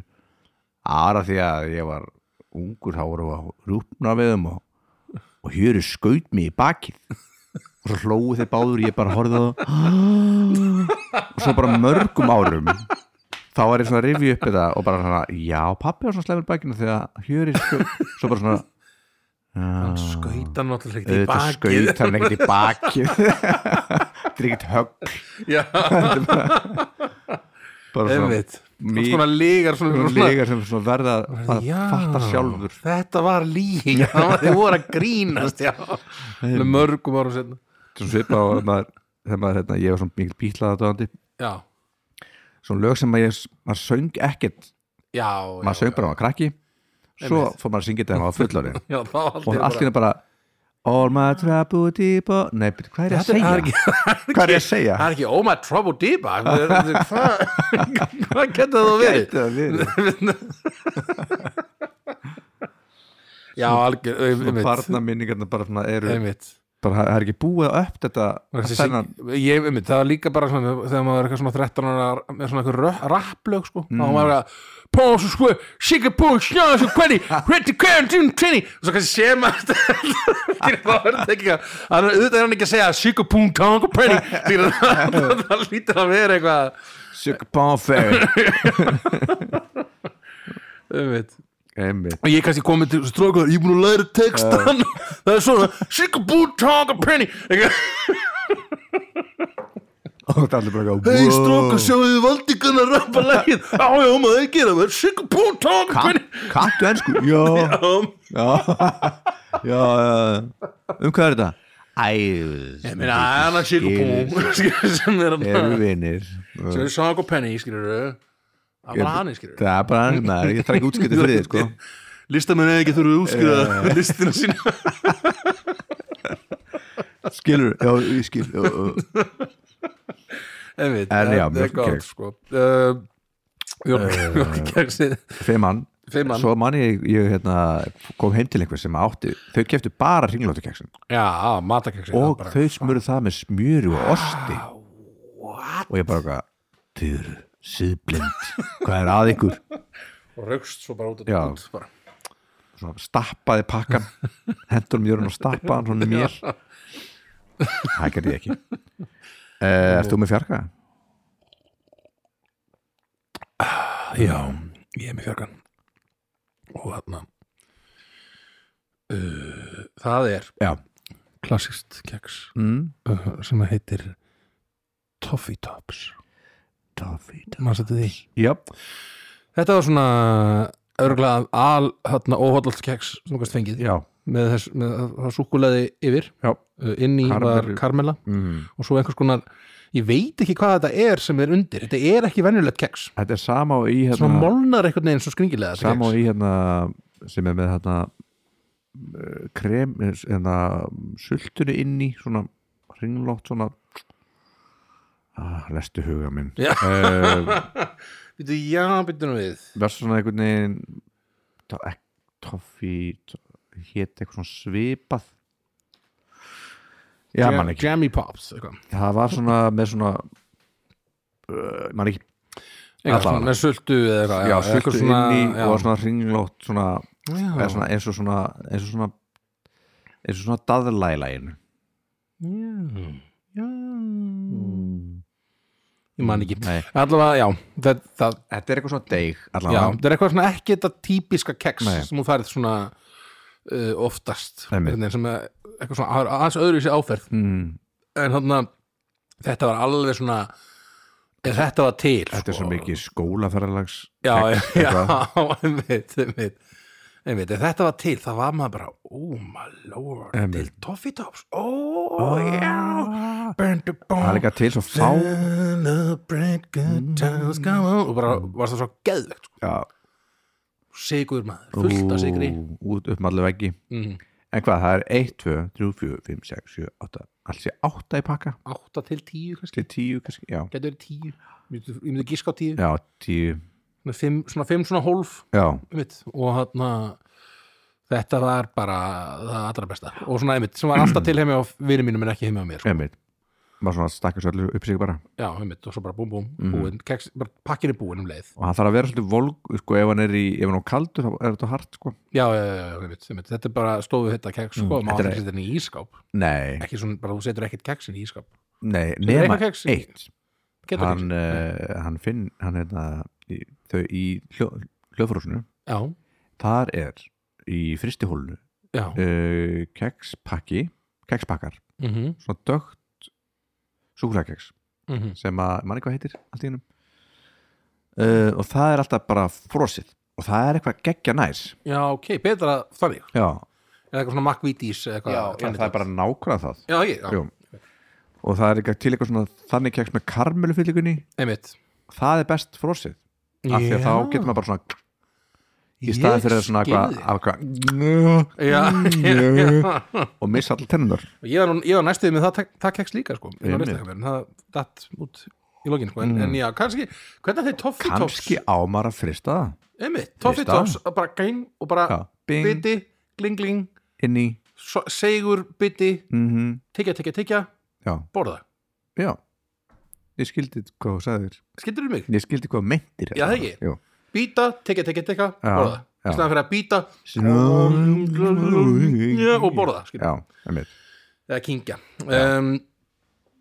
Speaker 1: aðra því að ég var ungur, þá vorum við að rúpna við þeim og, og hjöru skaut mig í bakið og svo hlóðu þeir báður, ég bara horfði á það [GASPS] og svo bara mörgum árum þá var ég svona að rifja upp þetta og bara svona, já, pappi var svona slemur bækina því að hjöri sko, svo bara svona
Speaker 2: hann skauta náttúrulega ekkert [LAUGHS] í bakið
Speaker 1: Ah. auðvitað skaut hann ekkert í baki [LAUGHS] þetta er ekkert högg
Speaker 2: [LAUGHS] Já,
Speaker 1: bara svona
Speaker 2: einmitt Svona
Speaker 1: mikið-
Speaker 2: svona lígar svona,
Speaker 1: svona
Speaker 2: svona
Speaker 1: líka sem svona verða að
Speaker 2: Já,
Speaker 1: fatta sjálfur
Speaker 2: Þetta var [LAUGHS] líi, þið voru að grínast Já, með mörgum árum setna
Speaker 1: svona svipa og maður, þegar maður hérna, ég var svona mikil bílaða döðandi
Speaker 2: Já,
Speaker 1: svona lög sem maður, maður söng ekkert
Speaker 2: já, já,
Speaker 1: maður söng bara á krakki svo fór maður að syngja þetta þegar maður var
Speaker 2: [LAUGHS]
Speaker 1: fullorðin
Speaker 2: já þá allt
Speaker 1: og
Speaker 2: er
Speaker 1: allt hérna bara All my trouble deep o- Nei, betur, hvað er ég að
Speaker 2: Þetta er-
Speaker 1: segja?
Speaker 2: það er ekki- [LAUGHS]
Speaker 1: Hvað er ég að segja?
Speaker 2: Það er ekki, oh my trouble deep Hvað hvað getur þú verið?
Speaker 1: Gæti það verið.
Speaker 2: [LAUGHS] Já, algjör, um,
Speaker 1: Svona
Speaker 2: einmitt,
Speaker 1: barna minningarna Sko, bara svona eru
Speaker 2: einmitt.
Speaker 1: bara, það er ekki búið að upp þetta
Speaker 2: Og þessi
Speaker 1: þennan,
Speaker 2: syng- Ég, einmitt, það var líka bara svona, þegar maður er eitthvað svona 13 ára með svona eitthvað rapplög sko,
Speaker 1: Mm.
Speaker 2: þá var maður að Pónsu sko, shake a boo, snáðu svo hvernig, hvernig, hvernig, hvernig, og svo kannski sé maður þetta, þá er þetta ekki að, hann er- auðvitað er hann ekki að segja shake a boo, tongue, hvernig, því það lítur að [LAUGHS] vera eitthvað,
Speaker 1: Sugar
Speaker 2: [LAUGHS]
Speaker 1: Bonfire
Speaker 2: einmitt.
Speaker 1: Einmitt
Speaker 2: og ég er kannski komið til strókar, ég er búin að læra textan [LAUGHS] það er svona shikabú tonga penny
Speaker 1: Og það er allir bara eitthvað
Speaker 2: hei
Speaker 1: wow.
Speaker 2: strókar, sjáu þið valdi gana rappa
Speaker 1: [LAUGHS]
Speaker 2: lægin á já, maður það gera það shikabú tonga penny
Speaker 1: Ka- Kanntu
Speaker 2: [LAUGHS]
Speaker 1: ennsku? Já Já Já, já Um hvað er þetta? Æ
Speaker 2: ég meina, hann er [LAUGHS] shikabú sem er hann
Speaker 1: Eru vinir
Speaker 2: sem er tonga penny, skilur það var hann, skilur
Speaker 1: Það er bara hans maður Ég þarf ekki útskipti fyrir þið sko
Speaker 2: [LAUGHS] listamenn eða ekki þurfið að útskýra [LAUGHS] listina sína
Speaker 1: Skilur Já, ég skil já, já.
Speaker 2: en við,
Speaker 1: [LAUGHS] En já,
Speaker 2: þetta er
Speaker 1: mjólkurkeks.
Speaker 2: gott sko. uh,
Speaker 1: Eh.
Speaker 2: Jólkeksið
Speaker 1: fimm mann
Speaker 2: Fimman
Speaker 1: svo mann ég, ég hérna, kom heim til einhver sem átti þau keftu bara ringlótukeksin
Speaker 2: [LAUGHS] Já, matakeksið
Speaker 1: og þau smurðu það með smjöru og osti og ég bara eitthvað þau eru síðblind hvað er að ykkur
Speaker 2: Og raukst svo bara út
Speaker 1: Já.
Speaker 2: út bara.
Speaker 1: svona, stappaði pakkan hendur um jörun og stappaði hann svona mér það gerði [LAUGHS] ég ekki uh, Erst þú með fjarka?
Speaker 2: Já, ég er með fjarkan Og þarna uh, Það er
Speaker 1: Já.
Speaker 2: Klassist keks
Speaker 1: Mm.
Speaker 2: uh, sem að heitir Toffee Tops Manstu eftir því?
Speaker 1: Já,
Speaker 2: Þetta var svona örgulega al hérna, óhóllalt keks sem þú gæst fengið
Speaker 1: já
Speaker 2: með, þess, með það súkulaði yfir
Speaker 1: Já.
Speaker 2: Uh, inn í var
Speaker 1: Karamellu.
Speaker 2: karmela
Speaker 1: mm.
Speaker 2: og svo einhvers konar ég veit ekki hvað þetta er sem er undir þetta er ekki venjulegt keks
Speaker 1: Þetta er sama og í
Speaker 2: svona
Speaker 1: hérna,
Speaker 2: molnar einhvern veginn svo skringilega þetta
Speaker 1: sama og
Speaker 2: keks.
Speaker 1: í hérna sem er með hérna eh, krem, eh, hérna sultunni inn í svona ringlótt svona ah, lestu huga minn
Speaker 2: Já.
Speaker 1: uh,
Speaker 2: [LAUGHS] Bíddu, já, byrju nú við
Speaker 1: verður svona einhvern veginn to- ek- toffi hétt eitthvað svona svipað já,
Speaker 2: Jam-
Speaker 1: mann ekki
Speaker 2: Jammy Pops eitthvað
Speaker 1: það var svona með svona uh, mann ekki,
Speaker 2: Eitthvað
Speaker 1: Allavega.
Speaker 2: svona með sultu eða eitthvað
Speaker 1: já,
Speaker 2: eitthvað
Speaker 1: sultu
Speaker 2: svona-
Speaker 1: inn í
Speaker 2: já.
Speaker 1: og svona ringlótt svona, eða
Speaker 2: já.
Speaker 1: svona eins og svona eins og svona eins og svona daðla í læginu
Speaker 2: Já. Já. ég man ekki
Speaker 1: Mm. Nei.
Speaker 2: allavega, já, það, það
Speaker 1: þetta er eitthvað svona deig
Speaker 2: já,
Speaker 1: allavega
Speaker 2: það er eitthvað svona ekki þetta típiska keks
Speaker 1: Nei.
Speaker 2: sem hún færið svona uh, oftast
Speaker 1: Einmitt.
Speaker 2: Einhvern veginn sem er eitthvað svona að- aðeins öðru í sér áferð
Speaker 1: mm,
Speaker 2: en hann þetta var alveg svona ef þetta var til
Speaker 1: þetta
Speaker 2: sko.
Speaker 1: er svo mikið skólaferðalags
Speaker 2: já,
Speaker 1: keks,
Speaker 2: já, [LAUGHS]
Speaker 1: eitthvað.
Speaker 2: einmitt, einmitt einmitt, ef þetta var til það var maður bara, oh my lord
Speaker 1: Einmitt. Ah.
Speaker 2: til Toffee Tops, oh já burn the
Speaker 1: það er
Speaker 2: bomb
Speaker 1: líka til svo fá Mm.
Speaker 2: Celebrate good times, come on og bara var það svo geðvegt sko.
Speaker 1: já,
Speaker 2: sigur maður, fullt af sigri
Speaker 1: Ú, út upp með allir veggi
Speaker 2: Mhm.
Speaker 1: en hvað, það er 1, 2, 3, 4, 5, 6, 7, 8 alls ég 8 í pakka
Speaker 2: 8 til 10 kannski,
Speaker 1: til 10 kannski, já,
Speaker 2: getur verið 10 Ég myndi- ég myndi gíska á 10
Speaker 1: já 10
Speaker 2: Svona fimm- svona 5 svona hólf
Speaker 1: já,
Speaker 2: einmitt, og hann þetta var bara það allra besta og svona einmitt sem var alltaf til heimi á vinið mínum en ekki heimi á mér sko.
Speaker 1: einmitt maður svona stakkar svo allir upp sig bara
Speaker 2: já einmitt og svo bara búm búm
Speaker 1: Mhm.
Speaker 2: búin, keks, bara pakkin er búin um leið
Speaker 1: og hann þarf að vera svolítið volg sko, ef hann er í, ef hann er á kaldur þá er þetta hart sko.
Speaker 2: já, já, já, já einmitt, einmitt. þetta er bara stofu þetta keks sko,
Speaker 1: Mm,
Speaker 2: maður
Speaker 1: þetta er-
Speaker 2: þetta setur henni í ískáp
Speaker 1: nei,
Speaker 2: ekki svona bara þú setur ekkert keksin í ískáp
Speaker 1: nei,
Speaker 2: er
Speaker 1: nema
Speaker 2: eitthvað kex í-
Speaker 1: eitt
Speaker 2: getur
Speaker 1: hann,
Speaker 2: ekki
Speaker 1: uh, hann finn hann hérna, í, þau í hljó, hljófrúsinu,
Speaker 2: já,
Speaker 1: þar er í fristihólunu
Speaker 2: já,
Speaker 1: uh, kekspakki kekspakkar
Speaker 2: mhm mm
Speaker 1: svona dögt súkulækeks
Speaker 2: mhm
Speaker 1: sem að manni hvað heitir allt í hennum uh, og það er alltaf bara frosið og það er eitthvað geggja næs
Speaker 2: já, ok, betra þannig
Speaker 1: já,
Speaker 2: eða eitthvað svona makvítís já,
Speaker 1: það er bara nákvæmlega það
Speaker 2: já, ég, já,
Speaker 1: Jú. og það er eitthvað til eitthvað svona þannig keks með karmelufyllingunni
Speaker 2: einmitt
Speaker 1: það er best frosið af því að þá getur maður bara svona í staði fyrir svona eitthvað, Mm, eitthvað
Speaker 2: Já, [LAUGHS]
Speaker 1: og missa allir tennunar
Speaker 2: Og ég var, nú- ég var næstuðið með það, tek- það keks líka sko, ég var
Speaker 1: Einmitt. Mm.
Speaker 2: næstuðið með það datt út í lokin sko, en, en já, kannski hvernig þeir Toffee
Speaker 1: kannski
Speaker 2: Tops
Speaker 1: ámar að frista það
Speaker 2: einmitt, Toffee
Speaker 1: Fyrsta.
Speaker 2: Tops, bara gæn og bara
Speaker 1: Já, bing.
Speaker 2: biti, gling gling
Speaker 1: inn í
Speaker 2: so, segur, biti,
Speaker 1: mm
Speaker 2: tekja, tekja, tekja
Speaker 1: já,
Speaker 2: borða,
Speaker 1: já ég skildi hvað þú sagðir
Speaker 2: skildur þú mig
Speaker 1: ég skildi hvað þú meintir hérna.
Speaker 2: Já, það ekki.
Speaker 1: Jú.
Speaker 2: býta, tekja, tekja, tekja,
Speaker 1: Já,
Speaker 2: borða
Speaker 1: já.
Speaker 2: í staðan fyrir að býta
Speaker 1: Já,
Speaker 2: og borða, skildur
Speaker 1: Já, einmitt
Speaker 2: eða kingja um,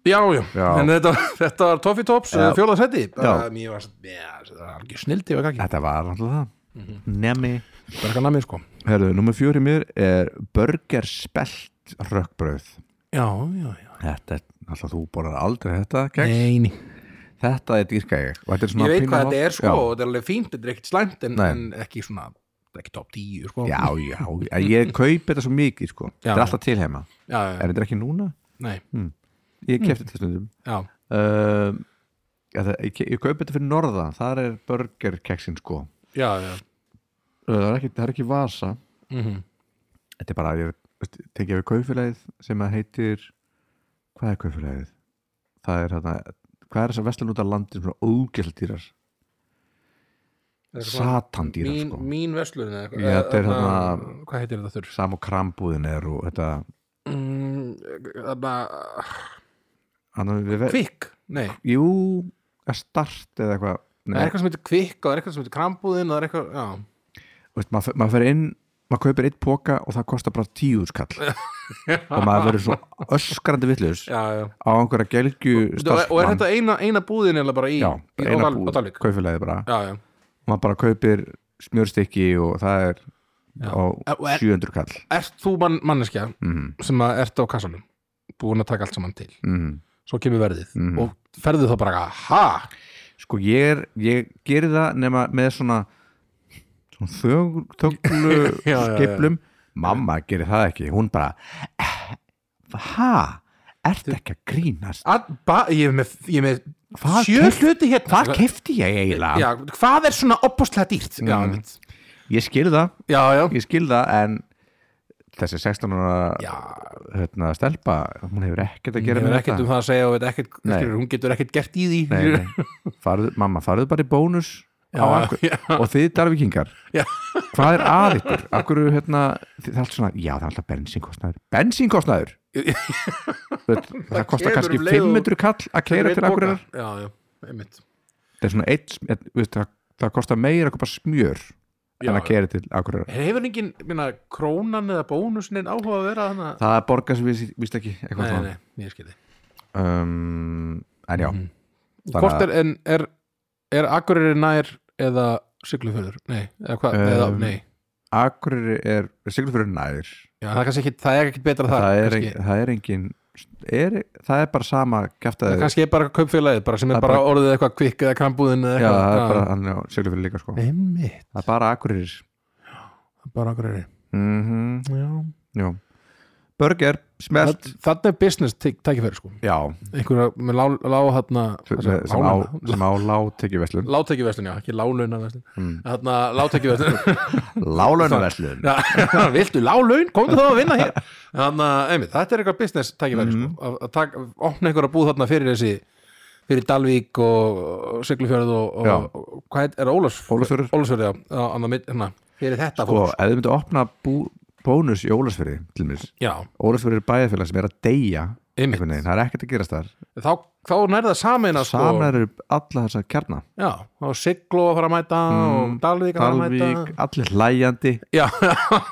Speaker 2: já, já,
Speaker 1: Já.
Speaker 2: en þetta, þetta var Toffee Tops eh,
Speaker 1: Já.
Speaker 2: fjólaðsætti
Speaker 1: Já.
Speaker 2: mér var já, það var algjör snildi og ekki,
Speaker 1: Þetta var alltaf það
Speaker 2: Mhm.
Speaker 1: Nemi
Speaker 2: bara eitthvað namið sko
Speaker 1: Herðu, nummer fjóri mér er Burger Spelt rökkbröð
Speaker 2: já, já, já,
Speaker 1: Þetta er, alltaf þú borðar aldrei þetta keks
Speaker 2: neini
Speaker 1: Þetta er dýrka ég Og þetta er svona
Speaker 2: ég veit
Speaker 1: pínu
Speaker 2: hvað þetta
Speaker 1: holt.
Speaker 2: er sko, og þetta er alveg fínt þetta er ekkert slæmt, en,
Speaker 1: Nei.
Speaker 2: en ekki svona ekki top 10 sko
Speaker 1: Já, já, já Ég kaupi þetta svo mikið sko
Speaker 2: Já.
Speaker 1: Þetta er alltaf til heima
Speaker 2: já, Hmm.
Speaker 1: Er þetta ekki núna?
Speaker 2: nei,
Speaker 1: Ég kefti þetta stundum
Speaker 2: já,
Speaker 1: uh, ég, ég, ég kaupi þetta fyrir norðan Þar er burger keksin sko
Speaker 2: já, já
Speaker 1: Uh, Það er ekki, það er ekki vasa
Speaker 2: mm
Speaker 1: þetta er bara að ég tekja við kaufélagið sem að heitir hvað er kaufélagið? það er hérna, hvað er þess að vestlun út af landi svona ógjöldýrar
Speaker 2: Þetta er svona
Speaker 1: satandýra
Speaker 2: mín,
Speaker 1: sko
Speaker 2: mín verslun eða eitthvað
Speaker 1: Já, þetta er
Speaker 2: Eða
Speaker 1: þarna-
Speaker 2: þarna- hvað heitir þetta þurr
Speaker 1: sam og krambúðin er og þetta
Speaker 2: mm, þarna,
Speaker 1: hann, við, ver-
Speaker 2: kvikk, nei
Speaker 1: jú, að start eða eitthvað
Speaker 2: það er eitthvað sem heitir kvikk og það er eitthvað sem heitir krambúðin og það er eitthvað, já,
Speaker 1: veist, maður, fer- maður fer inn maður kaupir eitt póka og það kostar bara tíu
Speaker 2: [LAUGHS]
Speaker 1: skall og maður verður svo öskrandi villus
Speaker 2: já, já
Speaker 1: á einhverja gelgju
Speaker 2: Þú- og er
Speaker 1: starfsmann
Speaker 2: þetta eina, eina búðin eða bara í,
Speaker 1: já,
Speaker 2: í
Speaker 1: eina
Speaker 2: á Dal- á
Speaker 1: búð,
Speaker 2: Dalvík
Speaker 1: kaufélagi bara
Speaker 2: já, já,
Speaker 1: og maður bara kaupir smjörstykki og það er
Speaker 2: Já.
Speaker 1: á
Speaker 2: Og er-
Speaker 1: 700 kall
Speaker 2: ert þú man, manneskja
Speaker 1: mm,
Speaker 2: sem að ert á kassanum búin að taka allt saman til,
Speaker 1: mm.
Speaker 2: svo kemur verðið
Speaker 1: Mhm.
Speaker 2: og ferðu þá bara, ha
Speaker 1: sko ég er ég gerir það nema með svona svona þögl, þöglu
Speaker 2: [LAUGHS] Já, já, já.
Speaker 1: skiplum mamma gerir það ekki, hún bara "Eh, ha, ertu ekki að grínast
Speaker 2: Að, ba, ég er með, ég er með
Speaker 1: Hvað
Speaker 2: sjö
Speaker 1: keypt-
Speaker 2: hluti hérna
Speaker 1: hvað kefti ég eiginlega
Speaker 2: já, hvað er svona opposlega dýrt já,
Speaker 1: Mhm.
Speaker 2: einmitt.
Speaker 1: ég skil það,
Speaker 2: já, já,
Speaker 1: ég skil það en þessi 16 ára
Speaker 2: já
Speaker 1: hérna, stelpa, hún hefur ekkert að gera
Speaker 2: hún
Speaker 1: með
Speaker 2: hefur ekkert um
Speaker 1: þetta
Speaker 2: það að segja og veit ekkert,
Speaker 1: Nei.
Speaker 2: skilur, hún getur ekkert gert í því
Speaker 1: nei, nei. Farðu, mamma, farðu bara í bónus
Speaker 2: Já,
Speaker 1: á akkur,
Speaker 2: já.
Speaker 1: og þið darvikingar
Speaker 2: Já.
Speaker 1: hvað er að ykkur? akkur hérna, þið- það er allt svona, já það er alltaf bensínkostnaður bensínkostnaður það, það kostar
Speaker 2: kemur
Speaker 1: kannski
Speaker 2: um leið og-
Speaker 1: 500 kall að keira til akkur
Speaker 2: Einn poka. já, já, einmitt
Speaker 1: það er svona eitt, eitt veist, það, það kostar meira að kopa smjör
Speaker 2: Já,
Speaker 1: en að
Speaker 2: já.
Speaker 1: keira til akkur
Speaker 2: hefur engin, minna, krónan eða bónusnin áhuga að vera þannig
Speaker 1: það borgar sem við víst ekki eitthvað
Speaker 2: nei,
Speaker 1: svona
Speaker 2: nei, ég skilði
Speaker 1: um, en já, Þannig
Speaker 2: Hvort
Speaker 1: að-
Speaker 2: er, en er, er Akureyri nær eða Siglufjörður? Nei, eða hvað,
Speaker 1: Um,
Speaker 2: eða, nei
Speaker 1: akkur er siglufyrir nær
Speaker 2: Já, það er kannski ekki, það er ekki betra
Speaker 1: það,
Speaker 2: það
Speaker 1: er,
Speaker 2: kannski,
Speaker 1: ein, það er engin er, það er bara sama
Speaker 2: það
Speaker 1: kjaftaði
Speaker 2: kannski er bara kaupfélagið, bara sem
Speaker 1: Það
Speaker 2: er
Speaker 1: er
Speaker 2: bara orðið eitthvað kvikk eða krambúðin eða
Speaker 1: Já, það er
Speaker 2: eitthvað
Speaker 1: bara hann á Siglufjörði líka sko
Speaker 2: Einmitt,
Speaker 1: Það er bara Akureyrir
Speaker 2: bara Akureyri
Speaker 1: mm
Speaker 2: Já
Speaker 1: Já Burger, smelt
Speaker 2: Þannig er business tæk- tækifæri sko
Speaker 1: Já,
Speaker 2: Einhverja með lá, lá hérna
Speaker 1: með- sem á, sem á látækjuveslun
Speaker 2: Látækjuverslun, já, ekki lálaunaverslun
Speaker 1: Mm.
Speaker 2: Þarna, látækjuverslun [LAUGHS]
Speaker 1: Lálaunaveslun
Speaker 2: Já, [LAUGHS] viltu lág laun, komdu þá að vinna hér þannig að, einmitt, þetta er eitthvað business tækifæri,
Speaker 1: Mm.
Speaker 2: sko, að, að tak, opna einhverja búð þarna fyrir þessi, fyrir Dalvík og, og Siglufjörð og,
Speaker 1: Já.
Speaker 2: og, og hvað heit- er Ólafs?
Speaker 1: Ólafsfjörður.
Speaker 2: Ólafsfjörð, já, á, á, mitt, hérna, fyrir þetta
Speaker 1: Sko,
Speaker 2: fólk,
Speaker 1: ef þið myndu opna bú, bónus í Ólasfyrði til mér
Speaker 2: já,
Speaker 1: Ólasfyrði er bæðafélag sem er að deyja
Speaker 2: Einmitt.
Speaker 1: einhvern veginn, það er ekkert að gerast þar
Speaker 2: þá, þá nærða sameina, sko,
Speaker 1: Samar eru alla þessa kjarna
Speaker 2: já, og Siglu að fara að mæta og Dalvík að fara að
Speaker 1: Mm. Dalvík,
Speaker 2: mæta
Speaker 1: allir hlæjandi
Speaker 2: já,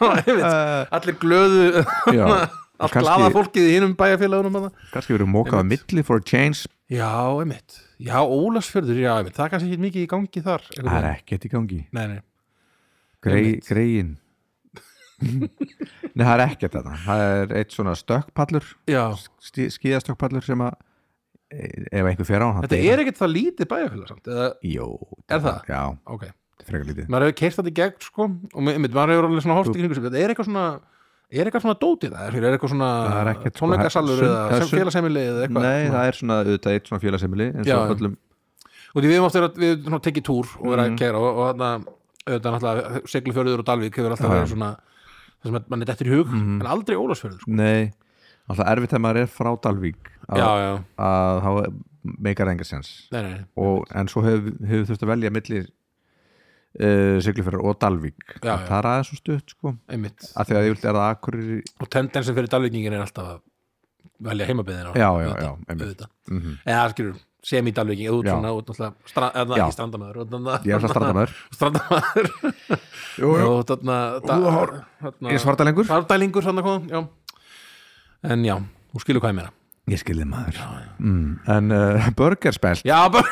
Speaker 2: einmitt,
Speaker 1: uh,
Speaker 2: allir [LAUGHS] glöðu
Speaker 1: Já,
Speaker 2: [LAUGHS] allt
Speaker 1: kannski-
Speaker 2: glaða fólkið í hinum bæjarfélagunum að
Speaker 1: Kannski verið mókað á milli for a change
Speaker 2: Já, einmitt. Já, Ólasfjörður, já, einmitt. Það er kannski ekki mikið í gangi þar.
Speaker 1: Það er ekkert í gangi
Speaker 2: Nei, nei.
Speaker 1: Grei,
Speaker 2: Einmitt.
Speaker 1: greiin Nei, það er ekkert þetta Það er eitt svona stökkpallur
Speaker 2: Já,
Speaker 1: skíðastökkpallur sem að e, ef einhver fer á hann
Speaker 2: þetta er ekkert það lítið bæjarfélag samt. Eða,
Speaker 1: Jó,
Speaker 2: Er það?
Speaker 1: Já,
Speaker 2: ok.
Speaker 1: þetta er frekar lítið
Speaker 2: Maður hefur keirt þetta í gegn, sko, og með- einmitt, maður hefur alveg svona hort í kringu sem þetta er eitthvað svona, er eitthvað svona dótið það, er eitthvað svona
Speaker 1: Það er ekkert, sko,
Speaker 2: tónleikasalur
Speaker 1: það-
Speaker 2: eða
Speaker 1: sund- það er
Speaker 2: sem
Speaker 1: sund-
Speaker 2: félagsemili eða eitthvað.
Speaker 1: Nei, það er svona, auðvitað eitt svona félagsemili eins
Speaker 2: Já,
Speaker 1: og
Speaker 2: já.
Speaker 1: öllum
Speaker 2: Og því við höfum oft verið að við svona, tekið túr og
Speaker 1: Mhm.
Speaker 2: verið að kæra og, og þarna, auðvitað náttúrulega, Siglufjörður og Dalvík hefur alltaf
Speaker 1: Já, Mhm. já.
Speaker 2: verið svona, það sem að mann er dettur í hug, en aldrei Ólasfjörður, sko.
Speaker 1: Nei, alltaf erfitt þegar maður er frá Dalvík að,
Speaker 2: Já, já,
Speaker 1: að þá meikar engar sens
Speaker 2: nei, nei,
Speaker 1: og, en svo hefur hef þurft að velja milli uh, siglufyrir og Dalvík
Speaker 2: Já, já.
Speaker 1: það er aðeins svo stutt sko
Speaker 2: einmitt.
Speaker 1: að því að ég vildi að það akkurir
Speaker 2: og tendensin fyrir dalvíkingin er alltaf að velja heimabyðina
Speaker 1: Já, já,
Speaker 2: auðvitað,
Speaker 1: já, einmitt.
Speaker 2: auðvitað.
Speaker 1: mm -hmm.
Speaker 2: eða skilur, sem í dalvíking eða út
Speaker 1: Já.
Speaker 2: svona, út náttúrulega stra, eða
Speaker 1: Já.
Speaker 2: ekki strandamæður út náttúrulega-
Speaker 1: ég er alltaf strandamæður
Speaker 2: [LAUGHS] strandamaður
Speaker 1: Jú,
Speaker 2: og þarna
Speaker 1: Húðhár.
Speaker 2: þarna-
Speaker 1: Ég er svartalengur
Speaker 2: svartdælingur þarna kom, já en já, þú skilur hvað ég meina
Speaker 1: Ég skilði maður mm. En uh, [LAUGHS] burgerspelt
Speaker 2: já, bara,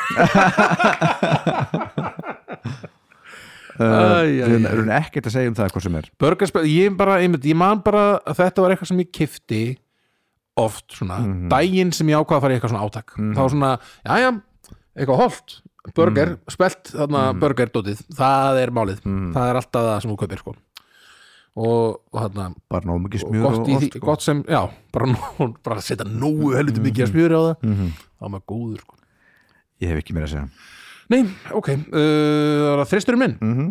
Speaker 1: uh,
Speaker 2: Æ, æ,
Speaker 1: Við
Speaker 2: æ.
Speaker 1: erum ekkert að segja um það hvað sem er
Speaker 2: börgarspil ég, bara, einmitt, ég man bara að þetta var eitthvað sem ég kifti oft svona, daginn sem ég ákvað að fara í eitthvað svona átak þá svona, já já, eitthvað holt burger, spelt þarna mm. burgerdótið, það er málið það er alltaf það sem þú kaupir sko og, og þarna,
Speaker 1: Bara nóg mikið
Speaker 2: og
Speaker 1: smjör og, sko.
Speaker 2: gott, í því,
Speaker 1: ost
Speaker 2: gott sem já, bara, nú- [LAUGHS] bara setja nógu helviti mikið að smjöri á það þá er maður góður sko
Speaker 1: Ég hef ekki meira að segja
Speaker 2: nei, ok, uh, það var þristurinn minn
Speaker 1: mm -hmm.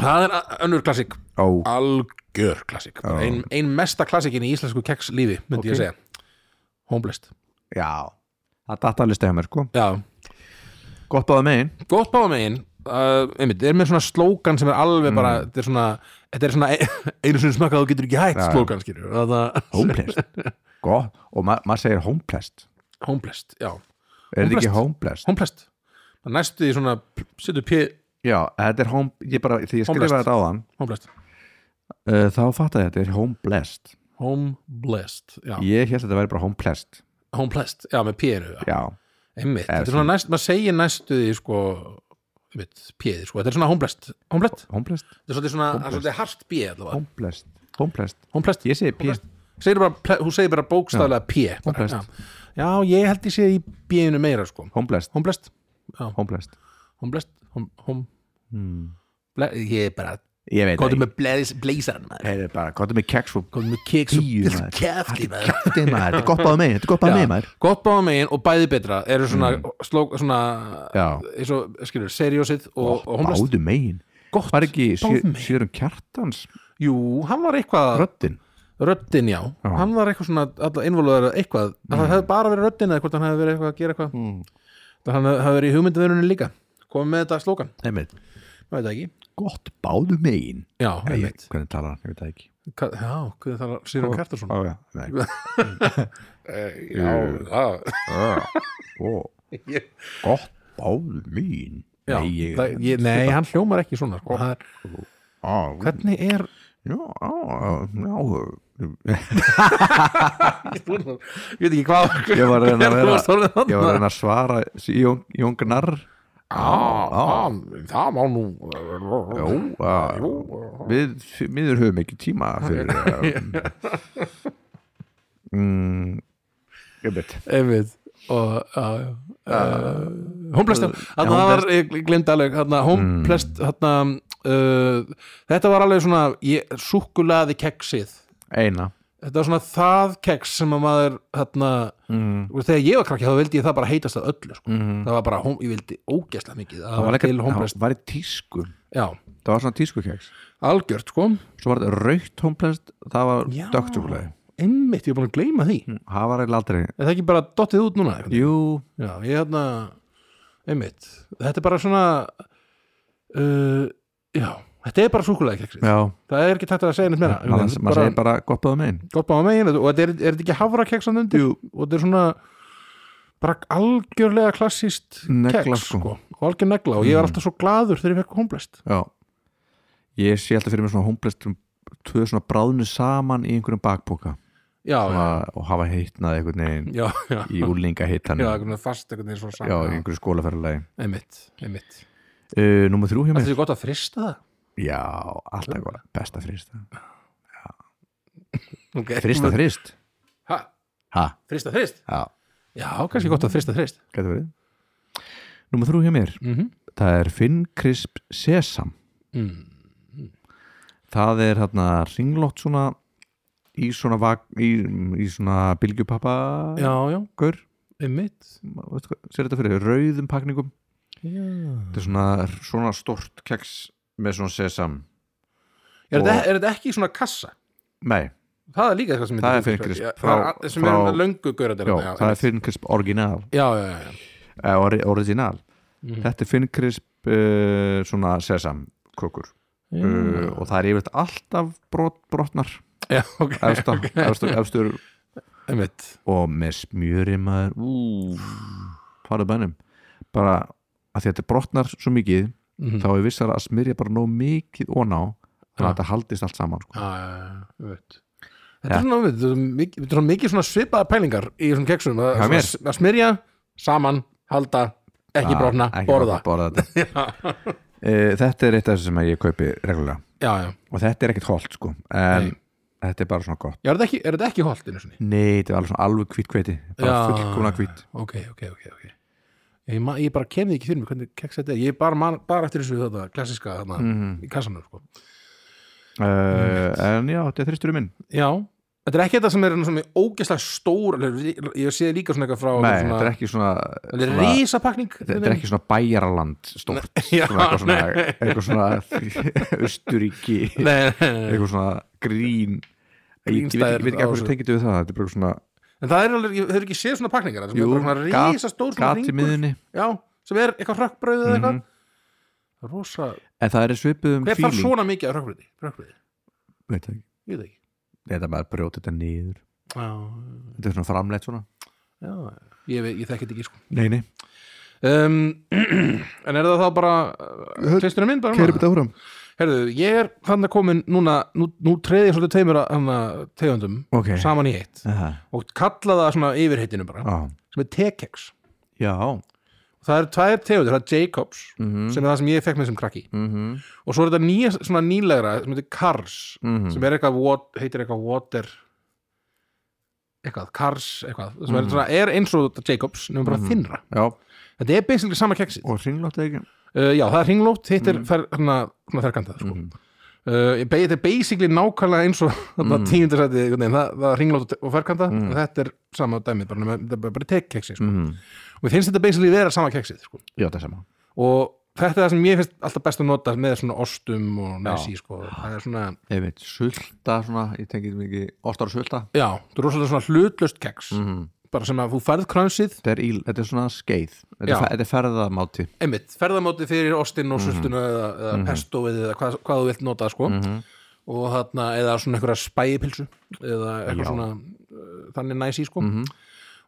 Speaker 2: það er a- önnur klassik
Speaker 1: Ó,
Speaker 2: algjör klassik
Speaker 1: Já.
Speaker 2: ein, ein mesta klassikin í íslensku keks lífi myndi
Speaker 1: Ok.
Speaker 2: ég segja Homeless
Speaker 1: já Það datt alveg stegja mér sko
Speaker 2: Já,
Speaker 1: Gott báða megin
Speaker 2: gott báða megin uh, einmitt, er með svona slókan sem er alveg bara, þetta er svona þetta er svona ein- [LAUGHS] einu sinni smakkað og getur ekki hægt
Speaker 1: Mm. Já.
Speaker 2: slókan, skilur það,
Speaker 1: Homeplest
Speaker 2: [LAUGHS]
Speaker 1: Gott, og ma maður segir homeplest
Speaker 2: Homeplest, já,
Speaker 1: Er þetta ekki
Speaker 2: Homeplest.
Speaker 1: homeplest?
Speaker 2: homeplest það næstu því svona, setur P
Speaker 1: Já, þetta er home, ég bara, því ég
Speaker 2: Homeplest.
Speaker 1: skrifaði þetta á þann
Speaker 2: homeplest,
Speaker 1: uh, þá fattaði ég þetta er homeplest
Speaker 2: homeblest já,
Speaker 1: Ég held að þetta væri bara homeplest
Speaker 2: homeplest, já, með P eru já.
Speaker 1: Já,
Speaker 2: einmitt,
Speaker 1: Eða
Speaker 2: þetta er svona
Speaker 1: svona-
Speaker 2: næst, maður segir næstu því sko, einmitt, P-ið sko, þetta er svona homeblest homeblest,
Speaker 1: homeplest,
Speaker 2: þetta er svolítið svona það er
Speaker 1: Homeblest.
Speaker 2: svolítið hart B allavega,
Speaker 1: homeplest Homeplest,
Speaker 2: homeblest
Speaker 1: ég segi píst
Speaker 2: segir bara, ple- hún segir bara bókstaflega P bara,
Speaker 1: Homeblest.
Speaker 2: já. já, ég held ég sé í B-inu meira sko,
Speaker 1: Homeplest,
Speaker 2: homeblest já,
Speaker 1: homeplest
Speaker 2: homeblest hom, hom,
Speaker 1: hmm.
Speaker 2: ble, ég er bara
Speaker 1: Ég veit
Speaker 2: komdu
Speaker 1: það
Speaker 2: með bleis, bleisaran maður
Speaker 1: Heyrðu bara, hvað er með keks og
Speaker 2: komdu með keks
Speaker 1: Tíu,
Speaker 2: og
Speaker 1: maður.
Speaker 2: kæfti maður
Speaker 1: Þetta er gott báða megin, þetta er gott báða
Speaker 2: Já,
Speaker 1: megin maður Hmm.
Speaker 2: gott báða megin og bæði betra eru svona, sló, svona
Speaker 1: Já.
Speaker 2: eins og, skilur, seriósið og, og homeblest
Speaker 1: Báðu megin
Speaker 2: gott,
Speaker 1: Var ekki
Speaker 2: báðum
Speaker 1: Sjö-
Speaker 2: megin.
Speaker 1: Sjörum Kjartans
Speaker 2: Jú, hann var eitthvað
Speaker 1: röddin
Speaker 2: röddin, já, Mm.
Speaker 1: Já.
Speaker 2: hann var eitthvað svona alltaf innvöluður eitthvað, það hefði bara verið röddin eða hvort hann hefði verið eitthvað að gera eitthvað
Speaker 1: Mm.
Speaker 2: það hann hefði verið í hugmyndaverunni líka komið með þetta slókan,
Speaker 1: Einmitt.
Speaker 2: ég veit það ekki
Speaker 1: Gott báðu megin
Speaker 2: Já,
Speaker 1: Eða ég-
Speaker 2: einmitt,
Speaker 1: Hvernig talar hann, ég veit það ekki
Speaker 2: Ka- já, hvernig það var Sýran Kjartarsson
Speaker 1: Ó, já, nei.
Speaker 2: Já,
Speaker 1: Ó,
Speaker 2: Ég-
Speaker 1: gott báðu mín
Speaker 2: já,
Speaker 1: nei, ég,
Speaker 2: það- ég- nei, hann hljómar ekki svona sko. Það er,
Speaker 1: á,
Speaker 2: hvernig er
Speaker 1: já, á, já,
Speaker 2: ég veit ekki hvað
Speaker 1: ég
Speaker 2: [LAUGHS]
Speaker 1: var að reyna að vera
Speaker 2: vera
Speaker 1: ég var að reyna að svara Jón, Jón Gnarr
Speaker 3: Ah, það má nú
Speaker 1: já, á, við miður höfum ekki tíma [LAUGHS] fyrir um, mm, ég veit
Speaker 2: einmitt og já, já
Speaker 1: Ah.
Speaker 2: Uh, homeplest, já. þarna það var, ég glemdi alveg þarna, homeplest,
Speaker 1: Mm.
Speaker 2: þarna uh, þetta var alveg svona ég, súkkulaði keksið
Speaker 1: eina
Speaker 2: þetta var svona það keks sem að maður þarna,
Speaker 1: mm,
Speaker 2: og þegar ég var krakki þá vildi ég það bara heitast að öllu sko.
Speaker 1: mm.
Speaker 2: það var bara, hom, ég vildi ógeðslega mikið að
Speaker 1: það var
Speaker 2: til
Speaker 1: ekki,
Speaker 2: homeplest,
Speaker 1: það var í tísku
Speaker 2: já,
Speaker 1: það var svona tískukeks
Speaker 2: algjört sko
Speaker 1: svo var þetta raukt homeplest það var
Speaker 2: Já.
Speaker 1: dögtjúkulega
Speaker 2: einmitt, ég er búin að gleyma því
Speaker 1: það var eiginlega aldrei
Speaker 2: er það ekki bara dottið út núna? einhvern veginn?
Speaker 1: jú,
Speaker 2: Já, ég hérna einmitt, þetta er bara svona uh, já þetta er bara súkulega keksið
Speaker 1: já
Speaker 2: það er ekki tætt að segja neitt meira
Speaker 1: maður
Speaker 2: Þetta er
Speaker 1: maður segir bara gott báða megin
Speaker 2: gott báða megin og þetta er, er þetta ekki hafra keksan undir Jú. og þetta er svona bara algjörlega klassíst
Speaker 1: Negla,
Speaker 2: keks
Speaker 1: sko. Mm.
Speaker 2: sko. og algjör negla og ég var alltaf svo gladur þegar ég fekk homblest
Speaker 1: Já Ég sé alltaf fyrir mér svona homeplest um tvö svona bráðnu saman í einhverjum bakpoka
Speaker 2: já, já,
Speaker 1: svona, og hafa heitnað einhvern veginn
Speaker 2: já, já,
Speaker 1: [LAUGHS] í úlinga
Speaker 2: já,
Speaker 1: heitanu já,
Speaker 2: einhvern veginn fast einhvern veginn svona
Speaker 1: í
Speaker 2: saman
Speaker 1: einhverju skólaferðulegi
Speaker 2: einmitt, einmitt
Speaker 1: uh, Númer þrjú hjá
Speaker 2: Það
Speaker 1: mér
Speaker 2: er gott að frista það
Speaker 1: Já, alltaf góð, besta frist
Speaker 2: okay.
Speaker 1: Frista frist
Speaker 2: Ha,
Speaker 1: Ha,
Speaker 2: Frista þrist?
Speaker 1: já,
Speaker 2: Já, kannski gott að frista þrist
Speaker 1: getur verið Númer þrjú hjá mér
Speaker 2: mm
Speaker 1: Það er Finn Crisp Sesam
Speaker 2: Mm.
Speaker 1: Það er hérna ringlótt svona í svona, vak, í, í svona bylgjupappa
Speaker 2: Já, já,
Speaker 1: gaur,
Speaker 2: einmitt
Speaker 1: veistu hvað, sér þetta fyrir rauðum pakningum
Speaker 2: Já.
Speaker 1: þetta er svona, svona stort keks með svona sesam
Speaker 2: Er
Speaker 1: Og-
Speaker 2: þetta- er þetta ekki í svona kassa?
Speaker 1: nei,
Speaker 2: Það er líka eitthvað sem
Speaker 1: Það er
Speaker 2: heitir-
Speaker 1: fyrir krisp.
Speaker 2: Já,
Speaker 1: Frá-
Speaker 2: það er- sem er
Speaker 1: frá-
Speaker 2: með löngu
Speaker 1: já,
Speaker 2: gauradæra
Speaker 1: það er Finn Crisp orginal
Speaker 2: já, já, já, já.
Speaker 1: eh, ori- original,
Speaker 2: Mhm.
Speaker 1: þetta er Finn Crisp uh, svona sesam kökur uh, og það er yfirleitt alltaf brot, brotnar
Speaker 2: já, [LAUGHS] ok,
Speaker 1: efsta, efstur, efstur
Speaker 2: einmitt
Speaker 1: og með smjöri maður úf, farðu bænum bara að því að þetta brotnar svo mikið
Speaker 2: Mhm.
Speaker 1: þá er vissara að smyrja bara nóg mikið og ná
Speaker 2: Já.
Speaker 1: þannig að þetta haldist allt saman sko.
Speaker 2: Já, já, já, einmitt Þetta er svona, einmitt, þetta er mikið- þetta er svona mikið svona svipaða pælingar í þessum keksum að,
Speaker 1: Já, mér.
Speaker 2: svona, að smyrja, saman, halda ekki
Speaker 1: Já,
Speaker 2: brotna,
Speaker 1: ekki
Speaker 2: borða
Speaker 1: borða
Speaker 2: [LAUGHS]
Speaker 1: þetta. Eh, þetta er eitt af þessu sem ég kaupi reglulega
Speaker 2: Já, já,
Speaker 1: og þetta er ekkert holdt sko en
Speaker 2: Nei.
Speaker 1: þetta er bara svona gott
Speaker 2: já er þetta ekki, er þetta ekki holt einu sinni?
Speaker 1: nei, þetta er alveg svona alveg hvít kveiti bara
Speaker 2: Já.
Speaker 1: fullkomna hvít
Speaker 2: ok, ok, ok, ok ég, ma- ég bara kemði ekki fyrir mig hvernig keks þetta er ég bara, man, bara eftir þessu þetta klassiska þarna
Speaker 1: Mhm.
Speaker 2: í kassanum sko.
Speaker 1: uh,
Speaker 2: Mm.
Speaker 1: en já, þetta er þristurinn minn
Speaker 2: já, þetta er ekki þetta sem er svona ógeðslega stór alveg- ég sé líka svona eitthvað frá
Speaker 1: nei,
Speaker 2: svona,
Speaker 1: þetta er ekki svona,
Speaker 2: þetta er
Speaker 1: svona
Speaker 2: risapakning
Speaker 1: þetta er ekki svona bæjaraland stórt
Speaker 2: já,
Speaker 1: svona eitthvað svona,
Speaker 2: nei.
Speaker 1: eitthvað
Speaker 2: [LAUGHS]
Speaker 1: svona austuríki
Speaker 2: Nei, nei, nei, [LAUGHS] nei.
Speaker 1: eitthvað svona grín Ég- ég veit ekki- ég veit ekki
Speaker 2: Grínstæður á
Speaker 1: hvað sem
Speaker 2: þessu.
Speaker 1: tengið við það þetta er bara svona
Speaker 2: en það er alveg, ég- þau eru ekki séð svona pakningar það sem
Speaker 1: jú,
Speaker 2: er bara svona
Speaker 1: gat-
Speaker 2: risastór svona
Speaker 1: gat í
Speaker 2: hringur
Speaker 1: miðunni
Speaker 2: já, sem er eitthvað hrökkbrauð eða eitthvað rosa,
Speaker 1: en það er svipið um
Speaker 2: hver þarf
Speaker 1: feeling
Speaker 2: svona mikið að rökbriði, rökbriði,
Speaker 1: Veit það ekki.
Speaker 2: ég veit ekki
Speaker 1: þetta er bara að brjóta þetta niður
Speaker 2: já,
Speaker 1: þetta er svona framleitt svona
Speaker 2: já, ég, veit- ég þekki þetta ekki sko
Speaker 1: nei, nei,
Speaker 2: um, [CLEARS THROAT] en er það þá bara tvisturinn minn bara núna?
Speaker 1: áfram
Speaker 2: Herðu, ég er þannig komin núna, nú, nú treði ég svolítið teimur að tegundum
Speaker 1: ok, Ah.
Speaker 2: saman í eitt
Speaker 1: Aha.
Speaker 2: og kalla það svona yfirheitinu bara,
Speaker 1: Á.
Speaker 2: sem er tekex.
Speaker 1: já
Speaker 2: Það eru tvær tegundur, það er Jacobs,
Speaker 1: Mhm.
Speaker 2: sem er það sem ég fekk með sem krakki.
Speaker 1: Mhm.
Speaker 2: Og svo er þetta nýja, svona nýlegra, sem heitir Kars,
Speaker 1: Mhm.
Speaker 2: sem er eitthvað, wat- heitir eitthvað water, eitthvað, Kars, eitthvað, sem
Speaker 1: Mhm.
Speaker 2: er, svona, er eins og þetta Jacobs, nefnum bara þinnra.
Speaker 1: já,
Speaker 2: Þetta er basically sama keksið.
Speaker 1: og hringlótt ekki
Speaker 2: Uh, já, það er ringlótt, hitt er fer, hana, hana þerkantað, sko.
Speaker 1: Mhm.
Speaker 2: Uh, ég beigði þetta er basically nákvæmlega eins og mm. tíundarsæti, það, það ringlótt og ferkanta og þetta er sama dæmið bara, nema- þetta er bara- bara tekkeksi sko.
Speaker 1: Mhm.
Speaker 2: og ég finnst þetta basically vera sama keksið sko.
Speaker 1: já, það er sama
Speaker 2: og þetta er það sem ég finnst alltaf best að nota með svona ostum og næsi sko. það er svona,
Speaker 1: Einmitt, sulta svona, ég tengi þetta mikið oftar að sulta
Speaker 2: já, þetta er rosalega svona hlutlust keks
Speaker 1: Mhm.
Speaker 2: bara sem að þú færð kransið
Speaker 1: þetta er, í, þetta er svona skeið þetta er,
Speaker 2: Já.
Speaker 1: fe- þetta er ferðamáti
Speaker 2: einmitt, ferðamóti fyrir ostinn og sultuna eða, eða pestoið eða hvað, hvað þú vilt nota sko. og þarna, eða svona einhverja spæjipilsu eða eitthvað svona uh, þannig næsi sko.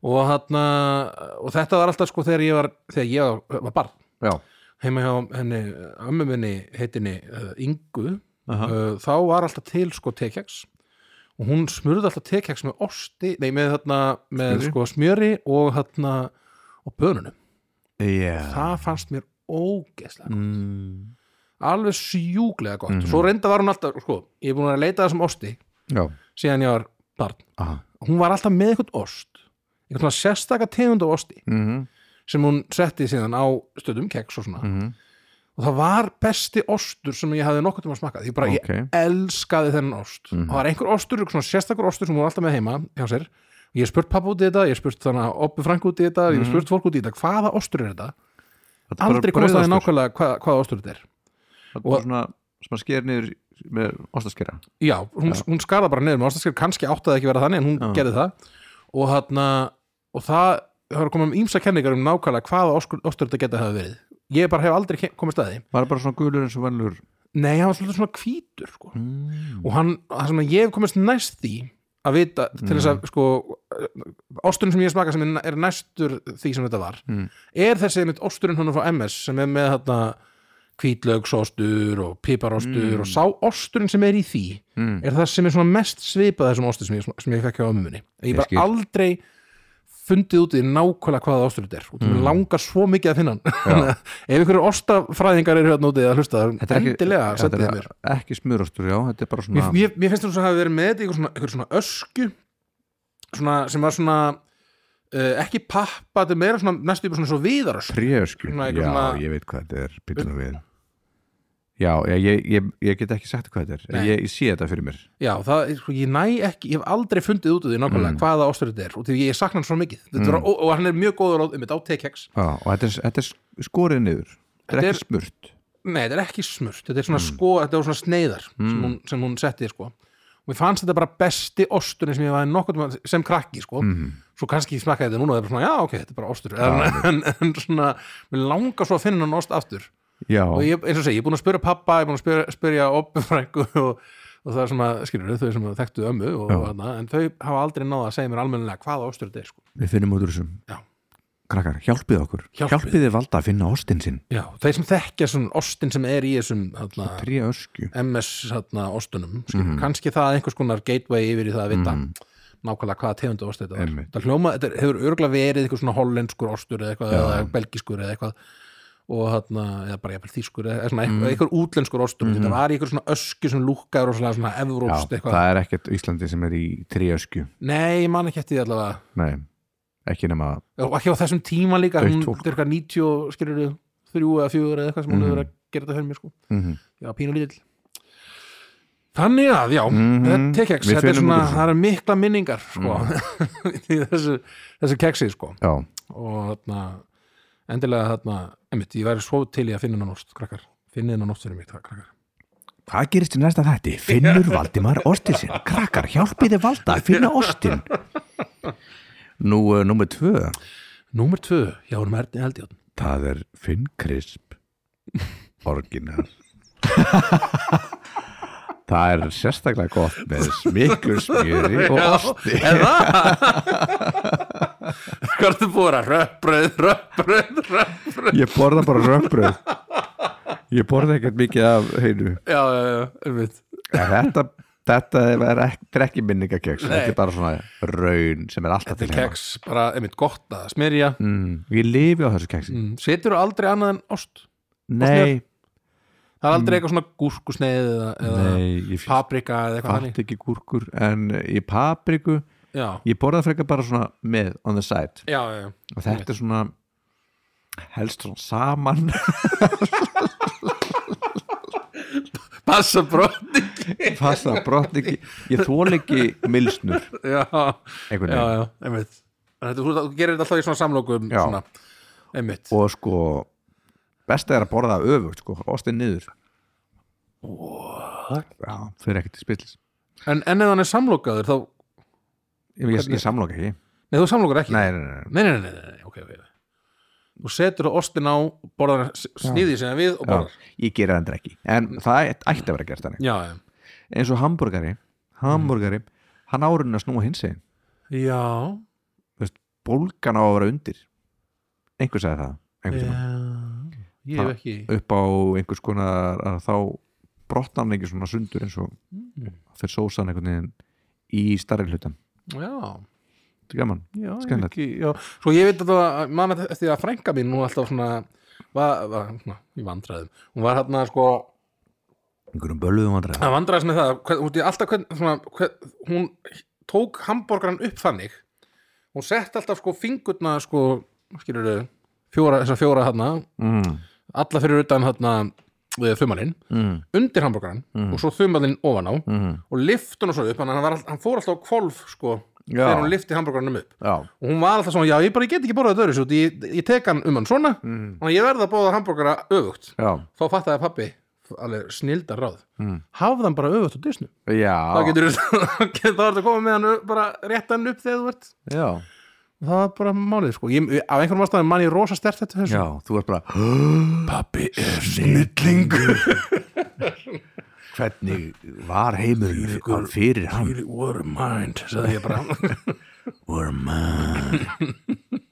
Speaker 2: og þarna og þetta var alltaf sko þegar ég var þegar ég var, var barn
Speaker 1: já,
Speaker 2: heima hjá henni, ömmu minni heitinni uh, Ingu uh, þá var alltaf til sko tekjaks og hún smurði alltaf tekjaks með osti, nei með þarna með
Speaker 1: Smjöri.
Speaker 2: sko smjöri og þarna og bönunum,
Speaker 1: yeah.
Speaker 2: það fannst mér ógeðslega
Speaker 1: mm.
Speaker 2: alveg sjúklega gott
Speaker 1: Mhm.
Speaker 2: og svo reynda var hún alltaf, sko, ég er búin að leita að þessum osti
Speaker 1: já,
Speaker 2: síðan ég var barn
Speaker 1: aha
Speaker 2: hún var alltaf með eitthvað ost eitthvað svona sérstaka tegund af osti
Speaker 1: mm
Speaker 2: sem hún setti síðan á stöðum keks og svona
Speaker 1: Mhm.
Speaker 2: og það var besti ostur sem ég hafði nokkuð tíma að smakka ég bara,
Speaker 1: Ókei.
Speaker 2: ég elskaði þennan ost
Speaker 1: Mhm.
Speaker 2: og það var einhver ostur, einhver svona sérstakur ostur sem hún var alltaf með heima hjá sér og ég hef spurt pappa út í þetta, ég hef spurt þannig að oppi frank út í þetta, ég hef spurt fólk út í þetta hvaða ostur er þetta?
Speaker 1: Þetta er Mhm. bara
Speaker 2: Aldrei komast að það
Speaker 1: brauðostur.
Speaker 2: nákvæmlega hvað, hvaða ostur þetta er
Speaker 1: Þetta er bara svona sem að sker niður með ostaskera
Speaker 2: Já, hún, hún skarða bara neður með ástaskir kannski átti það ekki að vera þannig en hún gerði það og þarna og það, það er að koma um ímsa kenningar um nákvæmlega hvaða oskur, ostur þetta geta hafa verið ég bara hef aldrei ke- komist að því
Speaker 1: Var bara svona gulur eins og vennlur
Speaker 2: Nei, hann var svolítið svona hvítur sko.
Speaker 1: mm.
Speaker 2: og hann, það sem ég hef komist næst því að vita til þess
Speaker 1: Mm.
Speaker 2: að sko, osturinn sem ég smaka sem er næ- er næstur því sem þetta var
Speaker 1: Mm.
Speaker 2: er þessi einmitt osturinn hann frá MS sem er með þarna hvítlaugsostur og piparostur og sá osturinn sem er í því
Speaker 1: Mm.
Speaker 2: er það sem er svona mest svipað þessum ostur sem ég, sem ég fekk hjá ömmu minni ég
Speaker 1: Ég
Speaker 2: bara
Speaker 1: skil.
Speaker 2: aldrei fundið út í nákvæmlega hvaða ostur þetta er og þú mm. langar svo mikið að finna hann [LAUGHS] ef einhverju ostafræðingar eru hérna úti að hlusta
Speaker 1: Þetta
Speaker 2: það
Speaker 1: er ekki-
Speaker 2: endilega
Speaker 1: þetta
Speaker 2: sendið
Speaker 1: er
Speaker 2: mér
Speaker 1: Ekki smurostur, já, þetta er bara svona
Speaker 2: mér, mér, mér finnst þú að hafa verið með þetta í einhver svona, einhver svona ösku svona, sem var svona uh, ekki pappa, þetta er meira svona næstu yfir svona svo viðarösku
Speaker 1: Tréösku,
Speaker 2: Svona
Speaker 1: já,
Speaker 2: eitthvað svona-
Speaker 1: ég veit hvað þetta er Pítunum við Já, já ég, ég, ég get ekki sagt hvað þetta
Speaker 2: Nei.
Speaker 1: er ég, ég sé þetta fyrir mér
Speaker 2: Já, það, er, sko, ég næ ekki, ég hef aldrei fundið út úr því nákvæmlega hvaða ástur þetta er og því ég sakna hann svo mikið mm. var, og, og hann er mjög góður á, um þetta á TKX
Speaker 1: já, Og þetta er, þetta er skorið niður Þetta er
Speaker 2: Þetta
Speaker 1: ekki smurt
Speaker 2: Nei, þetta er ekki smurt, þetta er svona sko þetta er svona sneiðar sem, hún, sem hún setti sko. og mér fannst þetta bara besti osturinn sem ég var nokkuð sem krakki sko. svo kannski smakkaði þetta núna og það er bara svona, já ok, þetta er bara ostur en, en svona, mér langar svo að finna hann ost aftur
Speaker 1: Já,
Speaker 2: og ég, eins og segi, ég er búin að spyrja pappa ég er búin að spyrja, spyrja oppfrængu [LAUGHS] og, og það sem að, skilur þau sem að þekktu ömmu og,
Speaker 1: Já.
Speaker 2: og hana, en þau hafa aldrei náða að segja mér almennilega hvaða ostur þetta er sko.
Speaker 1: við finnum út úr þessum
Speaker 2: Já.
Speaker 1: Krakkar, hjálpið okkur
Speaker 2: Hjálpið.
Speaker 1: Hjálpið þið valda að finna ostin sinn
Speaker 2: já, þeir sem þekkja svona ostin sem er í þessum hana,
Speaker 1: Tréösku
Speaker 2: MS hana, ostunum, skilur, hérna,
Speaker 1: Mhm.
Speaker 2: kannski það einhvers konar gateway yfir í það að vita nákvæmlega hvaða tegundu ost þetta var
Speaker 1: Einmitt.
Speaker 2: það hljóma, þetta er- hefur örgulega verið eitthvað svona hollenskur ostur eða eitthvað, eða belgiskur eða eitthvað og þarna, eða bara jafnvel þýskur eða eða svona eitthvað,
Speaker 1: Mhm.
Speaker 2: eitthvað útlenskur ostur þetta var í eitthvað svona ösku sem lúkkaður og svona, svona
Speaker 1: Já,
Speaker 2: evrópst eitthvað
Speaker 1: það er ekkert Íslandi sem er í tréösku
Speaker 2: Nei, ég man ekki eftir því allavega
Speaker 1: Nei, ekki nema
Speaker 2: og ekki á þessum tíma líka
Speaker 1: Dautt
Speaker 2: hún
Speaker 1: fólk. Mhm.
Speaker 2: er eitthvað 90, skilur þú, 3 eða 4 eða eitthvað sem hún hefur verið að gera þetta fyrir mér sko.
Speaker 1: mm
Speaker 2: já, pínu lítill Þannig að, já,
Speaker 1: Mhm.
Speaker 2: þetta er keks
Speaker 1: Við
Speaker 2: þetta er
Speaker 1: finnum
Speaker 2: svona,
Speaker 1: út úr þessu. Mhm.
Speaker 2: það er mikla minningar sko, [LAUGHS] í þessu, þessu keksi sko,
Speaker 1: Já,
Speaker 2: og þarna endilega þarna, einmitt, ég væri svo til í að finna hennan ost, krakkar, finna hennan ost fyrir mig, krakkar
Speaker 1: hvað gerist í næsta þætti?
Speaker 2: [LAUGHS]
Speaker 1: Finnur Valdimar ostin sinn Krakkar, hjálpið þið valda að finna ostin Nú, uh, nummer tvö
Speaker 2: Númer tvö, já, hún er merni eldjátt
Speaker 1: Það er Finn Krisp orginal það er sérstaklega gott með smiklu smjöri og
Speaker 2: [LAUGHS]
Speaker 1: osti
Speaker 2: Eða [LAUGHS] Hvað ertu búin að röpbröð, röpbröð, röpbröð
Speaker 1: ég borða bara römbröð ég borða ekkert mikið af heinu
Speaker 2: Já, já, já, einmitt
Speaker 1: En þetta, þetta er ekki, þetta er ekki minningakeks
Speaker 2: Nei.
Speaker 1: þetta er bara svona raun sem er alltaf
Speaker 2: Þetta er
Speaker 1: til heima
Speaker 2: keks, bara einmitt gott að smyrja
Speaker 1: mm, ég lifi á þessu keksi
Speaker 2: mm. Setur aldrei annað en ost
Speaker 1: nei,
Speaker 2: Það er aldrei eitthvað svona gúrkusneið eða, eða
Speaker 1: Mm. nei, ég
Speaker 2: Ah. paprika eða eitthvað þannig
Speaker 1: fatt ekki gúrkur en í papriku
Speaker 2: Já,
Speaker 1: ég borða frekar bara svona með on the side
Speaker 2: já, já, já
Speaker 1: og þetta er svona helst svona saman [LAUGHS]
Speaker 2: Passa brotni
Speaker 1: fasta brott ekki ég þól ekki milsnur
Speaker 2: Já,
Speaker 1: einhvern
Speaker 2: já,
Speaker 1: veginn
Speaker 2: já, einmitt Þetta, þú, þú gerir þetta alltaf í svona samlokum
Speaker 1: Já.
Speaker 2: svona, Einmitt
Speaker 1: og sko besta er að borða það öfugt sko ostið niður What? já, þau eru ekkert í spillis
Speaker 2: en, en ef hann er samlokaður þá
Speaker 1: ég, ég, ég samloka ekki
Speaker 2: Nei, þú samlokar ekki
Speaker 1: nei, nei, nei, nei.
Speaker 2: nei, nei, nei, nei, nei, ok, ok Þú setur það ostin á, borðar hann snýði sem við og borðar
Speaker 1: Já, ég gera það ekki en það ætti að vera gert þannig
Speaker 2: Já, já,
Speaker 1: eins og hambúrgari hambúrgari, hann árunni að snúa hins einn
Speaker 2: já,
Speaker 1: bólgan á að vera undir einhver sagði það einhver tíma
Speaker 2: Ég hef ekki
Speaker 1: upp á einhvers konar að þá brotnar hann ekki svona sundur eins og þeir sósa hann einhvern veginn í starri hlutan
Speaker 2: Já,
Speaker 1: þetta er gaman
Speaker 2: já, ég hef
Speaker 1: Skemmtilegt.
Speaker 2: ekki já. Svo ég veit að það, mann eftir að frænka mín nú alltaf svona var, var, svona, í vandræðum Hún var hann sko
Speaker 1: einhverjum bölvuðum vandræð
Speaker 2: að vandræðast með það hvern, hún, alltaf, hvern, svona, hvern, hún tók hambúrgaran upp þannig hún sett alltaf sko fingurna sko, skilur þau fjóra, þessar fjóra hann
Speaker 1: mm.
Speaker 2: alla fyrir utan hann þumalinn,
Speaker 1: Mm.
Speaker 2: undir hambúrgaran og svo þumalinn ofan á
Speaker 1: Mm.
Speaker 2: og lift hún og svo upp, þannig að hann, var all, hann fór alltaf á kvolf sko,
Speaker 1: Já.
Speaker 2: þegar hún lifti hambúrgaranum upp
Speaker 1: já,
Speaker 2: og hún var alltaf svona, já ég bara ég get ekki borðað þetta öðru svo, ég, ég tek hann um hann svona
Speaker 1: Mm.
Speaker 2: og ég verða að bóða hambúrgara öfugt
Speaker 1: já,
Speaker 2: þá fattaði pappi alveg snildar ráð
Speaker 1: Mm.
Speaker 2: hafðan bara öfugt á disnum
Speaker 1: já,
Speaker 2: þá getur þú [LAUGHS] þá ertu að koma með hann upp- bara rétt hann upp þegar þú ert
Speaker 1: já.
Speaker 2: það var bara málið sko ég, af einhverjum ástæðum mann ég rosa stert þetta
Speaker 1: já
Speaker 2: þessu
Speaker 1: þú ert bara pappi er snillingur hvernig var heimurinn fyrir hann
Speaker 2: what a mind sagði ég bara
Speaker 1: or man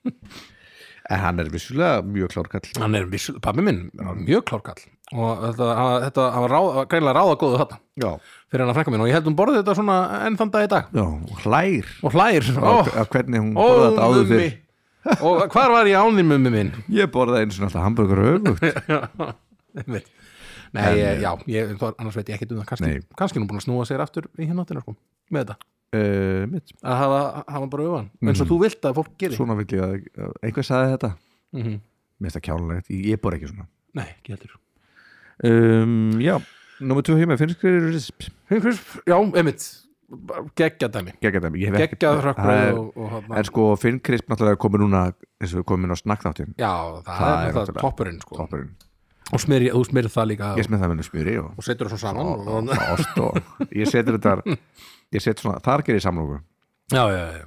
Speaker 1: [LAUGHS] en hann er vissulega mjög klárkall
Speaker 2: [LAUGHS] hann er vissu, pabbi minn var mjög klárkall og þetta, hann- þetta hann var ráð, greinlega ráða góðu þetta
Speaker 1: já,
Speaker 2: fyrir hann að frænka minn og ég held hún borði þetta svona enn þann dag í dag
Speaker 1: já og hlær
Speaker 2: og hlær
Speaker 1: oh,
Speaker 2: ó,
Speaker 1: að hvernig hún
Speaker 2: ó,
Speaker 1: borða þetta áður
Speaker 2: mummi
Speaker 1: fyrir
Speaker 2: [LAUGHS] og hvar var ég án þín mummi minn
Speaker 1: ég borðaði eins og alltaf hambúrgur öfugt [LAUGHS]
Speaker 2: Já, einmitt. Nei, ég, já, ég, þá- annars veit ég ekkert um það kannski,
Speaker 1: eh, Nei.
Speaker 2: kannski er hún búin að snúa sér aftur í hinn áttina sko, með þetta
Speaker 1: uh, mitt,
Speaker 2: að hafa, hafa bara öfan eins og
Speaker 1: Mhm.
Speaker 2: þú vilt að fólk gerir
Speaker 1: svona vil ég að einhver sagði þetta,
Speaker 2: mm -hmm.
Speaker 1: mér þetta kjálulegt ég, ég borð ekki svona
Speaker 2: Nei, ekki heldur
Speaker 1: um, já, nummer 2 heima finnst hverju risp
Speaker 2: Hringkrisp, Já, einmitt, geggjað dæmi
Speaker 1: geggjað dæmi, ég hef ekki
Speaker 2: geggjað
Speaker 1: það er-
Speaker 2: rökkur og, og hana,
Speaker 1: en sko Finn Krisp náttúrulega er komið núna eins og við komið inn á snakkþáttin
Speaker 2: Já, það,
Speaker 1: það er
Speaker 2: er náttúrulega
Speaker 1: náttúrulega
Speaker 2: toppurinn sko.
Speaker 1: toppurinn,
Speaker 2: og smyrir, þú smyrir það líka
Speaker 1: ég smið það með smjöri og
Speaker 2: og setur það svo saman og, og,
Speaker 1: og ost og ég setur þetta ég set svona, þar gerir ég samlóku
Speaker 2: Já, já, já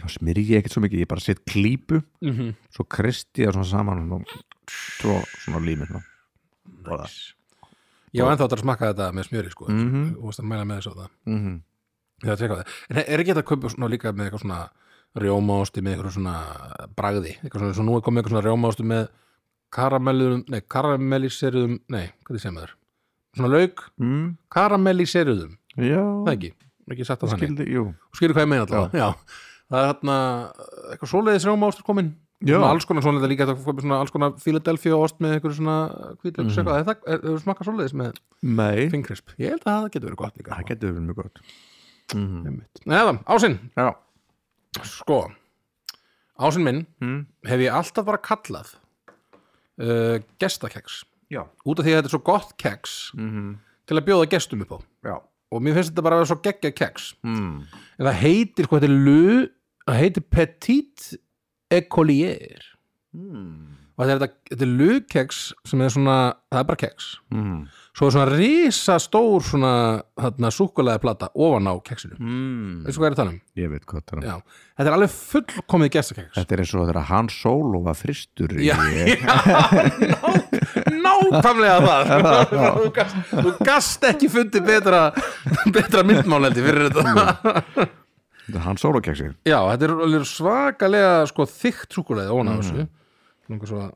Speaker 1: þá smyrji ég ekkert svo mikið, ég bara set klípu
Speaker 2: mm -hmm.
Speaker 1: svo kristi það svona saman og svo svona límir svona. Borða.
Speaker 2: Ég var ennþá að smakka þetta með smjöri sko, mm
Speaker 1: Mhm.
Speaker 2: og varst að mæla með þessu á það
Speaker 1: Mm
Speaker 2: Ég þarf að tjekka á það. En er ekki þetta að kaupa svona líka með eitthvað svona rjómaosti með eitthvað svona bragði, eitthvað svona, svo nú er komið eitthvað svona rjómaosti með karamellum, nei, karamelliseruðum, nei, hvað þið segja maður? Svona lauk
Speaker 1: mm,
Speaker 2: karamelliseruðum,
Speaker 1: já,
Speaker 2: það ekki, ekki sagt það þannig.
Speaker 1: skildi, jú
Speaker 2: Skil... Skilur hvað ég meina alltaf, já. Það er þarna eitthvað svoleiðis rjómaosti komin,
Speaker 1: Já.
Speaker 2: svona alls konar svoleiðis líka, það komið svona alls konar Philadelphia ost með eitthvað svona kvítlöks, mm. eitthvað, Er það- er- hefur smakkað svoleiðis með
Speaker 1: mei,
Speaker 2: fingrisp. Ég held að það getur verið gott líka.
Speaker 1: það getur verið mjög gott
Speaker 2: Nei, það, ásinn,
Speaker 1: já,
Speaker 2: sko ásinn minn
Speaker 1: Mm.
Speaker 2: hef ég alltaf bara kallað uh, gestakeks
Speaker 1: já,
Speaker 2: út af því að þetta er svo gott keks
Speaker 1: Mhm.
Speaker 2: til að bjóða gestum upp á
Speaker 1: já.
Speaker 2: og mér finnst þetta bara að vera svo geggja keks
Speaker 1: Mm.
Speaker 2: en það heitir, hvað þetta er lu það heitir petit écolier og þetta er, þetta, þetta er lu keks sem er svona, það er bara keks
Speaker 1: Mm.
Speaker 2: svo er svona risastór svona þarna súkulega plata ofan á keksinu
Speaker 1: Mm.
Speaker 2: veistu hvað er það um?
Speaker 1: ég veit hvað það er
Speaker 2: Já. þetta er alveg fullkomið gestakeks
Speaker 1: þetta er eins og þegar hann sóló var fristur í
Speaker 2: já, já, ná, nákvæmlega það sko. [LAUGHS] þú, gast, þú gast ekki fundið betra betra myndmálendi fyrir þetta
Speaker 1: [LAUGHS] Þetta er hann sólakeksi
Speaker 2: já, þetta er alveg svakalega sko, þykkt súkulega óna á þessu langar svo að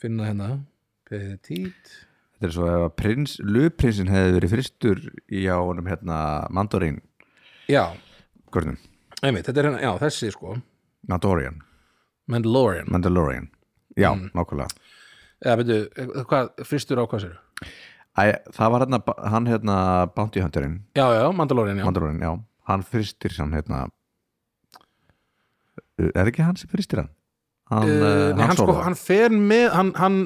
Speaker 2: finna hérna beðið tít
Speaker 1: Þetta er svo ef að prins, lögprinsinn hefði verið fristur í á honum hérna Mandarin
Speaker 2: já,
Speaker 1: Görnum,
Speaker 2: einmitt, þetta er hérna, já, þessi sko
Speaker 1: Mandalorian
Speaker 2: Mandalorian
Speaker 1: Mandalorian, já,
Speaker 2: Hmm.
Speaker 1: nákvæmlega
Speaker 2: eða veitu, eh, hvað, fristur á hvað sér
Speaker 1: Æ, það var hérna, hann hérna Bounty Hunterinn,
Speaker 2: já, já, Mandalorian, já
Speaker 1: Mandalorian, já hann fristir hann hérna er ekki hann sem fristir hann?
Speaker 2: Uh,
Speaker 1: Hann, uh,
Speaker 2: nei, hann, sko,
Speaker 1: Solo.
Speaker 2: hann fer með hann, hann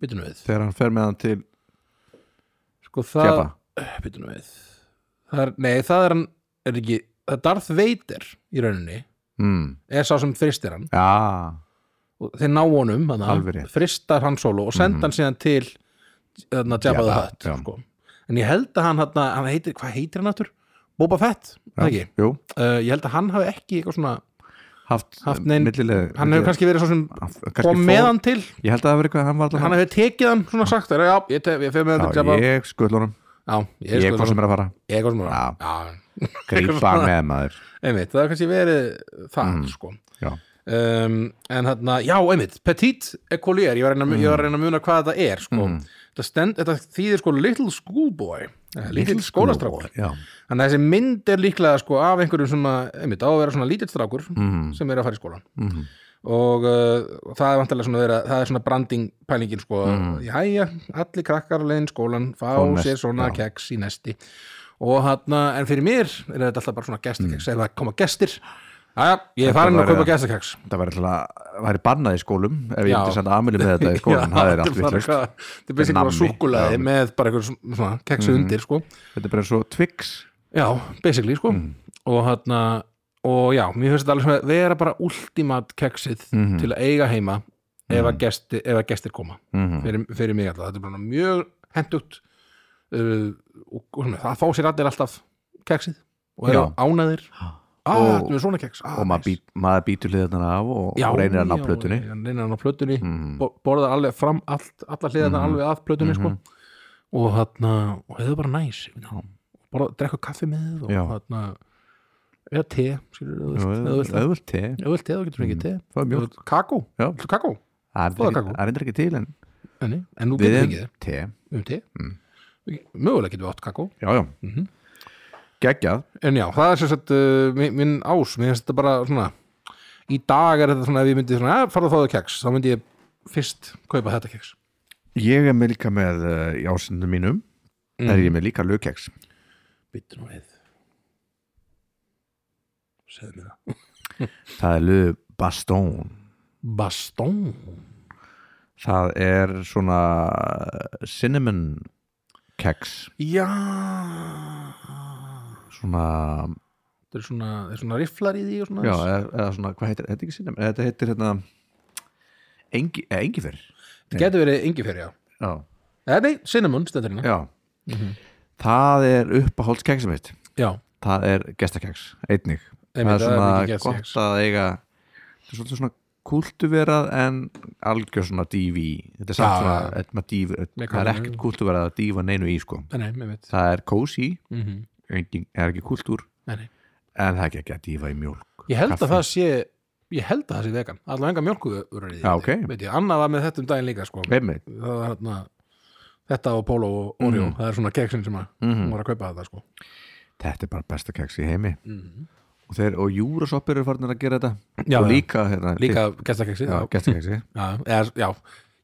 Speaker 2: byrjum við
Speaker 1: þegar hann fer með hann til
Speaker 2: sko það
Speaker 1: Kjapa
Speaker 2: byrjum við það er, nei það er hann er ekki, það er Darth Vader í rauninni
Speaker 1: mm.
Speaker 2: er sá sem fristir hann
Speaker 1: Já,
Speaker 2: og þeir ná honum,
Speaker 1: Alveg
Speaker 2: þannig
Speaker 1: rétt. Mhm.
Speaker 2: að fristar hann solo og senda hann síðan til þannig að
Speaker 1: Jabba,
Speaker 2: Jabba the Hutt
Speaker 1: já.
Speaker 2: sko. en ég held að hann, hann, hann heitir, hvað heitir hann aftur? Boba Fett, er það ekki?
Speaker 1: já, jú,
Speaker 2: Uh, ég held að hann hafi ekki eitthvað svona
Speaker 1: haft,
Speaker 2: Haft neinn-
Speaker 1: millileg,
Speaker 2: hann hefur kannski verið svo sem
Speaker 1: kannski,
Speaker 2: kom með hann til,
Speaker 1: ég held að það verið eitthvað, hann var alltaf
Speaker 2: hann hefur tekið hann svona sagt, er, já, ég, te- ég fer með hann til
Speaker 1: Já,
Speaker 2: Jabba
Speaker 1: ég skull honum,
Speaker 2: Já, ég
Speaker 1: ég
Speaker 2: sko
Speaker 1: hvað sem er að fara
Speaker 2: ég eitthvað sem er
Speaker 1: Já.
Speaker 2: að
Speaker 1: grípa
Speaker 2: svona.
Speaker 1: með maður
Speaker 2: einmitt, það er kannski verið það
Speaker 1: Mm.
Speaker 2: sko
Speaker 1: já,
Speaker 2: um, en þarna, já, einmitt, petit écolier, ég var að reyna, mm. reyna að muna hvað þetta er sko, þetta, stend, þetta þýðir sko little schoolboy, eh, lítill skólastrákur
Speaker 1: já,
Speaker 2: þannig að þessi mynd er líklega sko af einhverjum svona, einmitt, á að vera svona lítill strákur
Speaker 1: mm,
Speaker 2: sem er að fara í skólan
Speaker 1: mm,
Speaker 2: og uh, það er vantarlega svona vera, það er svona branding pælingin sko
Speaker 1: Mm.
Speaker 2: jæja, allir krakkar leiðin skólan fá
Speaker 1: Fá nest,
Speaker 2: sér svona
Speaker 1: já.
Speaker 2: keks í nesti og hann, en fyrir mér er þetta alltaf bara svona gestakeks, ef það koma gestir aðja, ég er
Speaker 1: Mhm. Þetta
Speaker 2: farin að
Speaker 1: væri
Speaker 2: kaupa
Speaker 1: það.
Speaker 2: gestakeks
Speaker 1: það væri alltaf væri bannað í skólum ef ég
Speaker 2: Já.
Speaker 1: myndi senda amilið með þetta
Speaker 2: [LAUGHS]
Speaker 1: í skólan það er allt vitlaust,
Speaker 2: það byrst
Speaker 1: Nammi,
Speaker 2: einhverja súkulaði
Speaker 1: já. Mhm.
Speaker 2: með bara einhver svona keksu undir sko
Speaker 1: þetta er bara svo Twix
Speaker 2: já, basically sko
Speaker 1: Mm.
Speaker 2: og hann, og já, mér finnst þetta alveg svona vera bara ultimat keksið
Speaker 1: Mhm.
Speaker 2: til að eiga heima ef að gestir, ef að gestir koma
Speaker 1: mm,
Speaker 2: fyrir, fyrir mig alltaf, þetta er bara mjög hendugt uh, og, og svona, það fá sér allir alltaf keksið og eru
Speaker 1: Já.
Speaker 2: ánæðir ah,
Speaker 1: Og-
Speaker 2: þetta er svona keks ah,
Speaker 1: og maður,
Speaker 2: nice.
Speaker 1: bít, maður býtur hliðarnar af og,
Speaker 2: Já,
Speaker 1: og reynir að ná
Speaker 2: já,
Speaker 1: plötunni
Speaker 2: já, reynir hann á plötunni,
Speaker 1: Mm.
Speaker 2: bo- borðar alveg fram allt, alla hliðarna
Speaker 1: Mhm.
Speaker 2: alveg að plötunni
Speaker 1: Mhm.
Speaker 2: sko. og þarna og hefur bara næs bara drekka kaffi með og
Speaker 1: Já.
Speaker 2: þarna eða te, skilur þú
Speaker 1: Jú,
Speaker 2: vilt- ef þú vilt það.
Speaker 1: auðvöld te,
Speaker 2: Ef þú vilt te, þú getur fengið te
Speaker 1: það er mjólk
Speaker 2: kakó,
Speaker 1: Mhm. Já.
Speaker 2: Viltu kakó
Speaker 1: það
Speaker 2: Góða
Speaker 1: er
Speaker 2: kakó.
Speaker 1: ekki- það er reyndar ekki til en
Speaker 2: en, en nú
Speaker 1: við
Speaker 2: getur fengið
Speaker 1: erum te,
Speaker 2: um te
Speaker 1: Mm.
Speaker 2: mögulega getum við átt kakó
Speaker 1: já, já
Speaker 2: Mhm.
Speaker 1: geggjað,
Speaker 2: En já, það er sem sagt uh, minn, minn ás, mér finnst þetta bara svona í dag er þetta svona ef ég myndi svona, að fara að fáðu keks, þá myndi ég fyrst kaupa þetta keks
Speaker 1: ég er með líka með uh, í ásendum mínum er ég með líka lögkeks
Speaker 2: Býttu nú við Segðu mér það
Speaker 1: það er lög bastón
Speaker 2: Bastón
Speaker 1: Það er svona cinnamon keks
Speaker 2: Já Þetta
Speaker 1: svona,
Speaker 2: er svona, það er svona rifflar í því og svona
Speaker 1: já, eða, eða svona hvað heitir, þetta er ekki cinnamon, þetta heitir hérna engi, eða engifer
Speaker 2: Þetta getur verið yngifjör, já
Speaker 1: já, Mhm.
Speaker 2: Eða nei, cinnamon, stendur hérna
Speaker 1: já. það er uppahóldskeksum mitt
Speaker 2: Já,
Speaker 1: það er gestakeks, einnig
Speaker 2: Einmitt,
Speaker 1: það
Speaker 2: það er mikið
Speaker 1: er svona
Speaker 2: gestakeks.
Speaker 1: gott að eiga þetta er svolítið svona kultuverað en algjör svona dífi þetta er samt
Speaker 2: Já,
Speaker 1: svona,
Speaker 2: já.
Speaker 1: þetta er maður dífi
Speaker 2: Með
Speaker 1: það er
Speaker 2: kaffinu.
Speaker 1: ekkert kultuverað að dífa neinu í sko
Speaker 2: nei, nei, með mitt
Speaker 1: það er kósi,
Speaker 2: mm
Speaker 1: engin, er ekki kultúr
Speaker 2: Nei, nei
Speaker 1: En það er ekki ekki að dífa í mjólk
Speaker 2: Ég held að
Speaker 1: Kaffi.
Speaker 2: það sé ég held að það sé vegan, allavega enga mjölkuverur í því
Speaker 1: Já, ok.
Speaker 2: veit ég, annað var með þetta um daginn líka sko.
Speaker 1: Einmitt.
Speaker 2: það var hérna þetta og Polo og Oreo, það er svona keksin sem að mm
Speaker 1: Mhm.
Speaker 2: var að kaupa þetta sko.
Speaker 1: Þetta er bara besta keks í heimi
Speaker 2: Mhm.
Speaker 1: Og, þeir, og júrasoppir eru farinir að gera þetta
Speaker 2: Já,
Speaker 1: Og
Speaker 2: já.
Speaker 1: líka, hérna,
Speaker 2: líka gestakeksi
Speaker 1: til- já,
Speaker 2: já,
Speaker 1: gestakeksi
Speaker 2: já, eða, já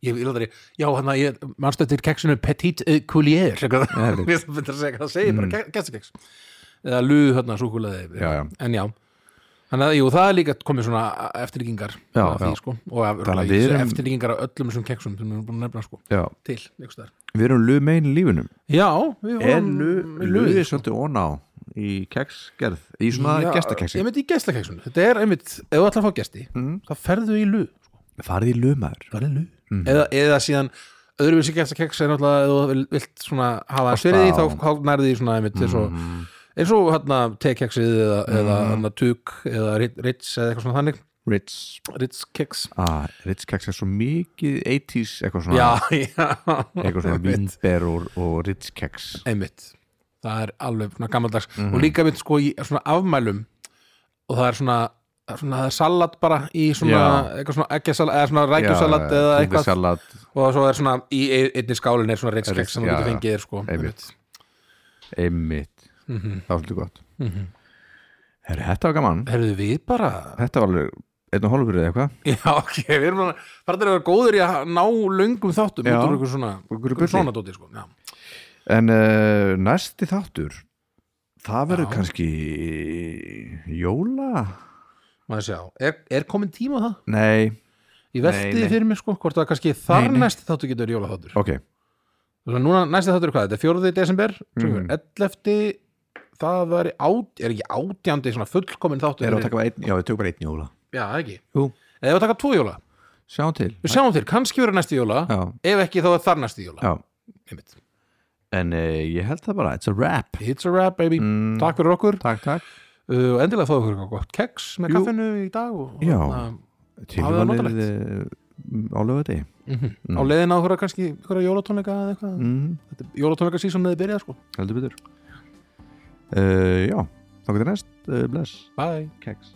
Speaker 2: ég vil aldrei, já hann að ég manstu eftir keksinu Petit euh, Coulier eitthvað. [LAUGHS]
Speaker 1: Einmitt.
Speaker 2: Mér finnst betra að segja, það segir bara ke- gestakeks eða luð hérna súkulaði
Speaker 1: Mm. Já, já.
Speaker 2: en já Þannig að jú, það er líka komið svona eftirlíkingar
Speaker 1: Já,
Speaker 2: af því,
Speaker 1: já.
Speaker 2: Sko, og af,
Speaker 1: Þannig að við um- erum-
Speaker 2: eftirlíkingar af öllum þessum keksum sem við erum búin að nefna sko,
Speaker 1: Já,
Speaker 2: til einhvers staðar.
Speaker 1: við erum luð megin í lífinu
Speaker 2: Já, við
Speaker 1: En
Speaker 2: vorum
Speaker 1: luð
Speaker 2: luð,
Speaker 1: Luð er
Speaker 2: sko.
Speaker 1: svolítið oná í keksgerð Í svona
Speaker 2: Já,
Speaker 1: gestakeksi
Speaker 2: einmitt í gestakeksun, þetta er einmitt ef þú ætlar að fá gesti,
Speaker 1: Mhm.
Speaker 2: þá ferðu í luð sko.
Speaker 1: Farið í luðmaður
Speaker 2: það er luð
Speaker 1: Mhm.
Speaker 2: eða, eða síðan öðruvísi gestakeks er náttúrulega ef þú vil- vilt svona hafa aðeins fyrir því,
Speaker 1: á.
Speaker 2: þá þá nærðu því svona einmitt eins og,
Speaker 1: Mhm.
Speaker 2: eins og hérna tekeksið eða, eða hann að tuk eða ritz eða eitthvað svona þannig
Speaker 1: Ritz
Speaker 2: Ritz Kicks
Speaker 1: ah, Ritz keks er svo mikið 80s eitthvað svona,
Speaker 2: Já, [LAUGHS] já
Speaker 1: eitthvað [LAUGHS] svona
Speaker 2: einmitt.
Speaker 1: vínber og, og Ritz keks
Speaker 2: einmitt það er alveg svona gammaldags
Speaker 1: Mhm.
Speaker 2: og líka mitt sko í svona afmælum og það er svona, svona það er salat bara í svona,
Speaker 1: Já.
Speaker 2: eitthvað svona ekkjasalat eða svona rækjusalat eða eitthvað
Speaker 1: salat,
Speaker 2: og svo er svona í ein- einni skálin er svona reitskekk sem þú
Speaker 1: Já,
Speaker 2: getur
Speaker 1: já.
Speaker 2: fengið þér sko
Speaker 1: Einmitt. einmitt það var svolítið gott Herri, þetta var gaman,
Speaker 2: Herðu við bara
Speaker 1: þetta var alveg einn og hálfur eða eitthvað
Speaker 2: Já, ok, við erum að fara að vera góður í að ná löngum þáttum
Speaker 1: Já.
Speaker 2: út úr ykkur svona,
Speaker 1: Úr einhverju
Speaker 2: ykkur svona
Speaker 1: bulli.
Speaker 2: dóti sko. Já.
Speaker 1: En uh, næsti þáttur Það verður
Speaker 2: Já.
Speaker 1: kannski Jóla
Speaker 2: Maður sjá, er, er komin tíma á það?
Speaker 1: Nei,
Speaker 2: Ég
Speaker 1: Nei,
Speaker 2: velti
Speaker 1: nei.
Speaker 2: því fyrir mér sko, hvort það kannski þar
Speaker 1: Nei, nei.
Speaker 2: næsti þáttu getur jólaþáttur
Speaker 1: ok
Speaker 2: Þannig að núna næsti þáttur er hvað, þetta er 4. desember
Speaker 1: Mhm.
Speaker 2: 11. það var át, er ekki átjandi svona fullkomin þáttur
Speaker 1: Erum við
Speaker 2: fyrir-
Speaker 1: að taka bara einn, Já, við tökum bara einn jóla
Speaker 2: Já, ekki
Speaker 1: Jú.
Speaker 2: Eða við taka tvo jóla,
Speaker 1: Sjá til
Speaker 2: við sjáum þér, kannski verður næsti jóla
Speaker 1: Já,
Speaker 2: Ef ekki þá er þar næsti jóla
Speaker 1: já
Speaker 2: Einmitt.
Speaker 1: En uh, ég held það bara, it's a wrap
Speaker 2: It's a wrap baby,
Speaker 1: Mm.
Speaker 2: takk fyrir okkur
Speaker 1: Takk, takk
Speaker 2: uh, og endilega fáðu okkur eitthvað gott keks með
Speaker 1: Jú.
Speaker 2: kaffinu í dag og, hérna, og
Speaker 1: Já.
Speaker 2: þarna, það
Speaker 1: Tilvalið uh, á lögati
Speaker 2: mhm, á leiðin á okkur kannski ykkur jólatónleika eða eitthvað
Speaker 1: mm,
Speaker 2: Þetta er jólatónleika síðan eða byrjað sko
Speaker 1: Heldur betur Eh, uh, Já, þá getur næst uh, Bless
Speaker 2: Bye
Speaker 1: Keks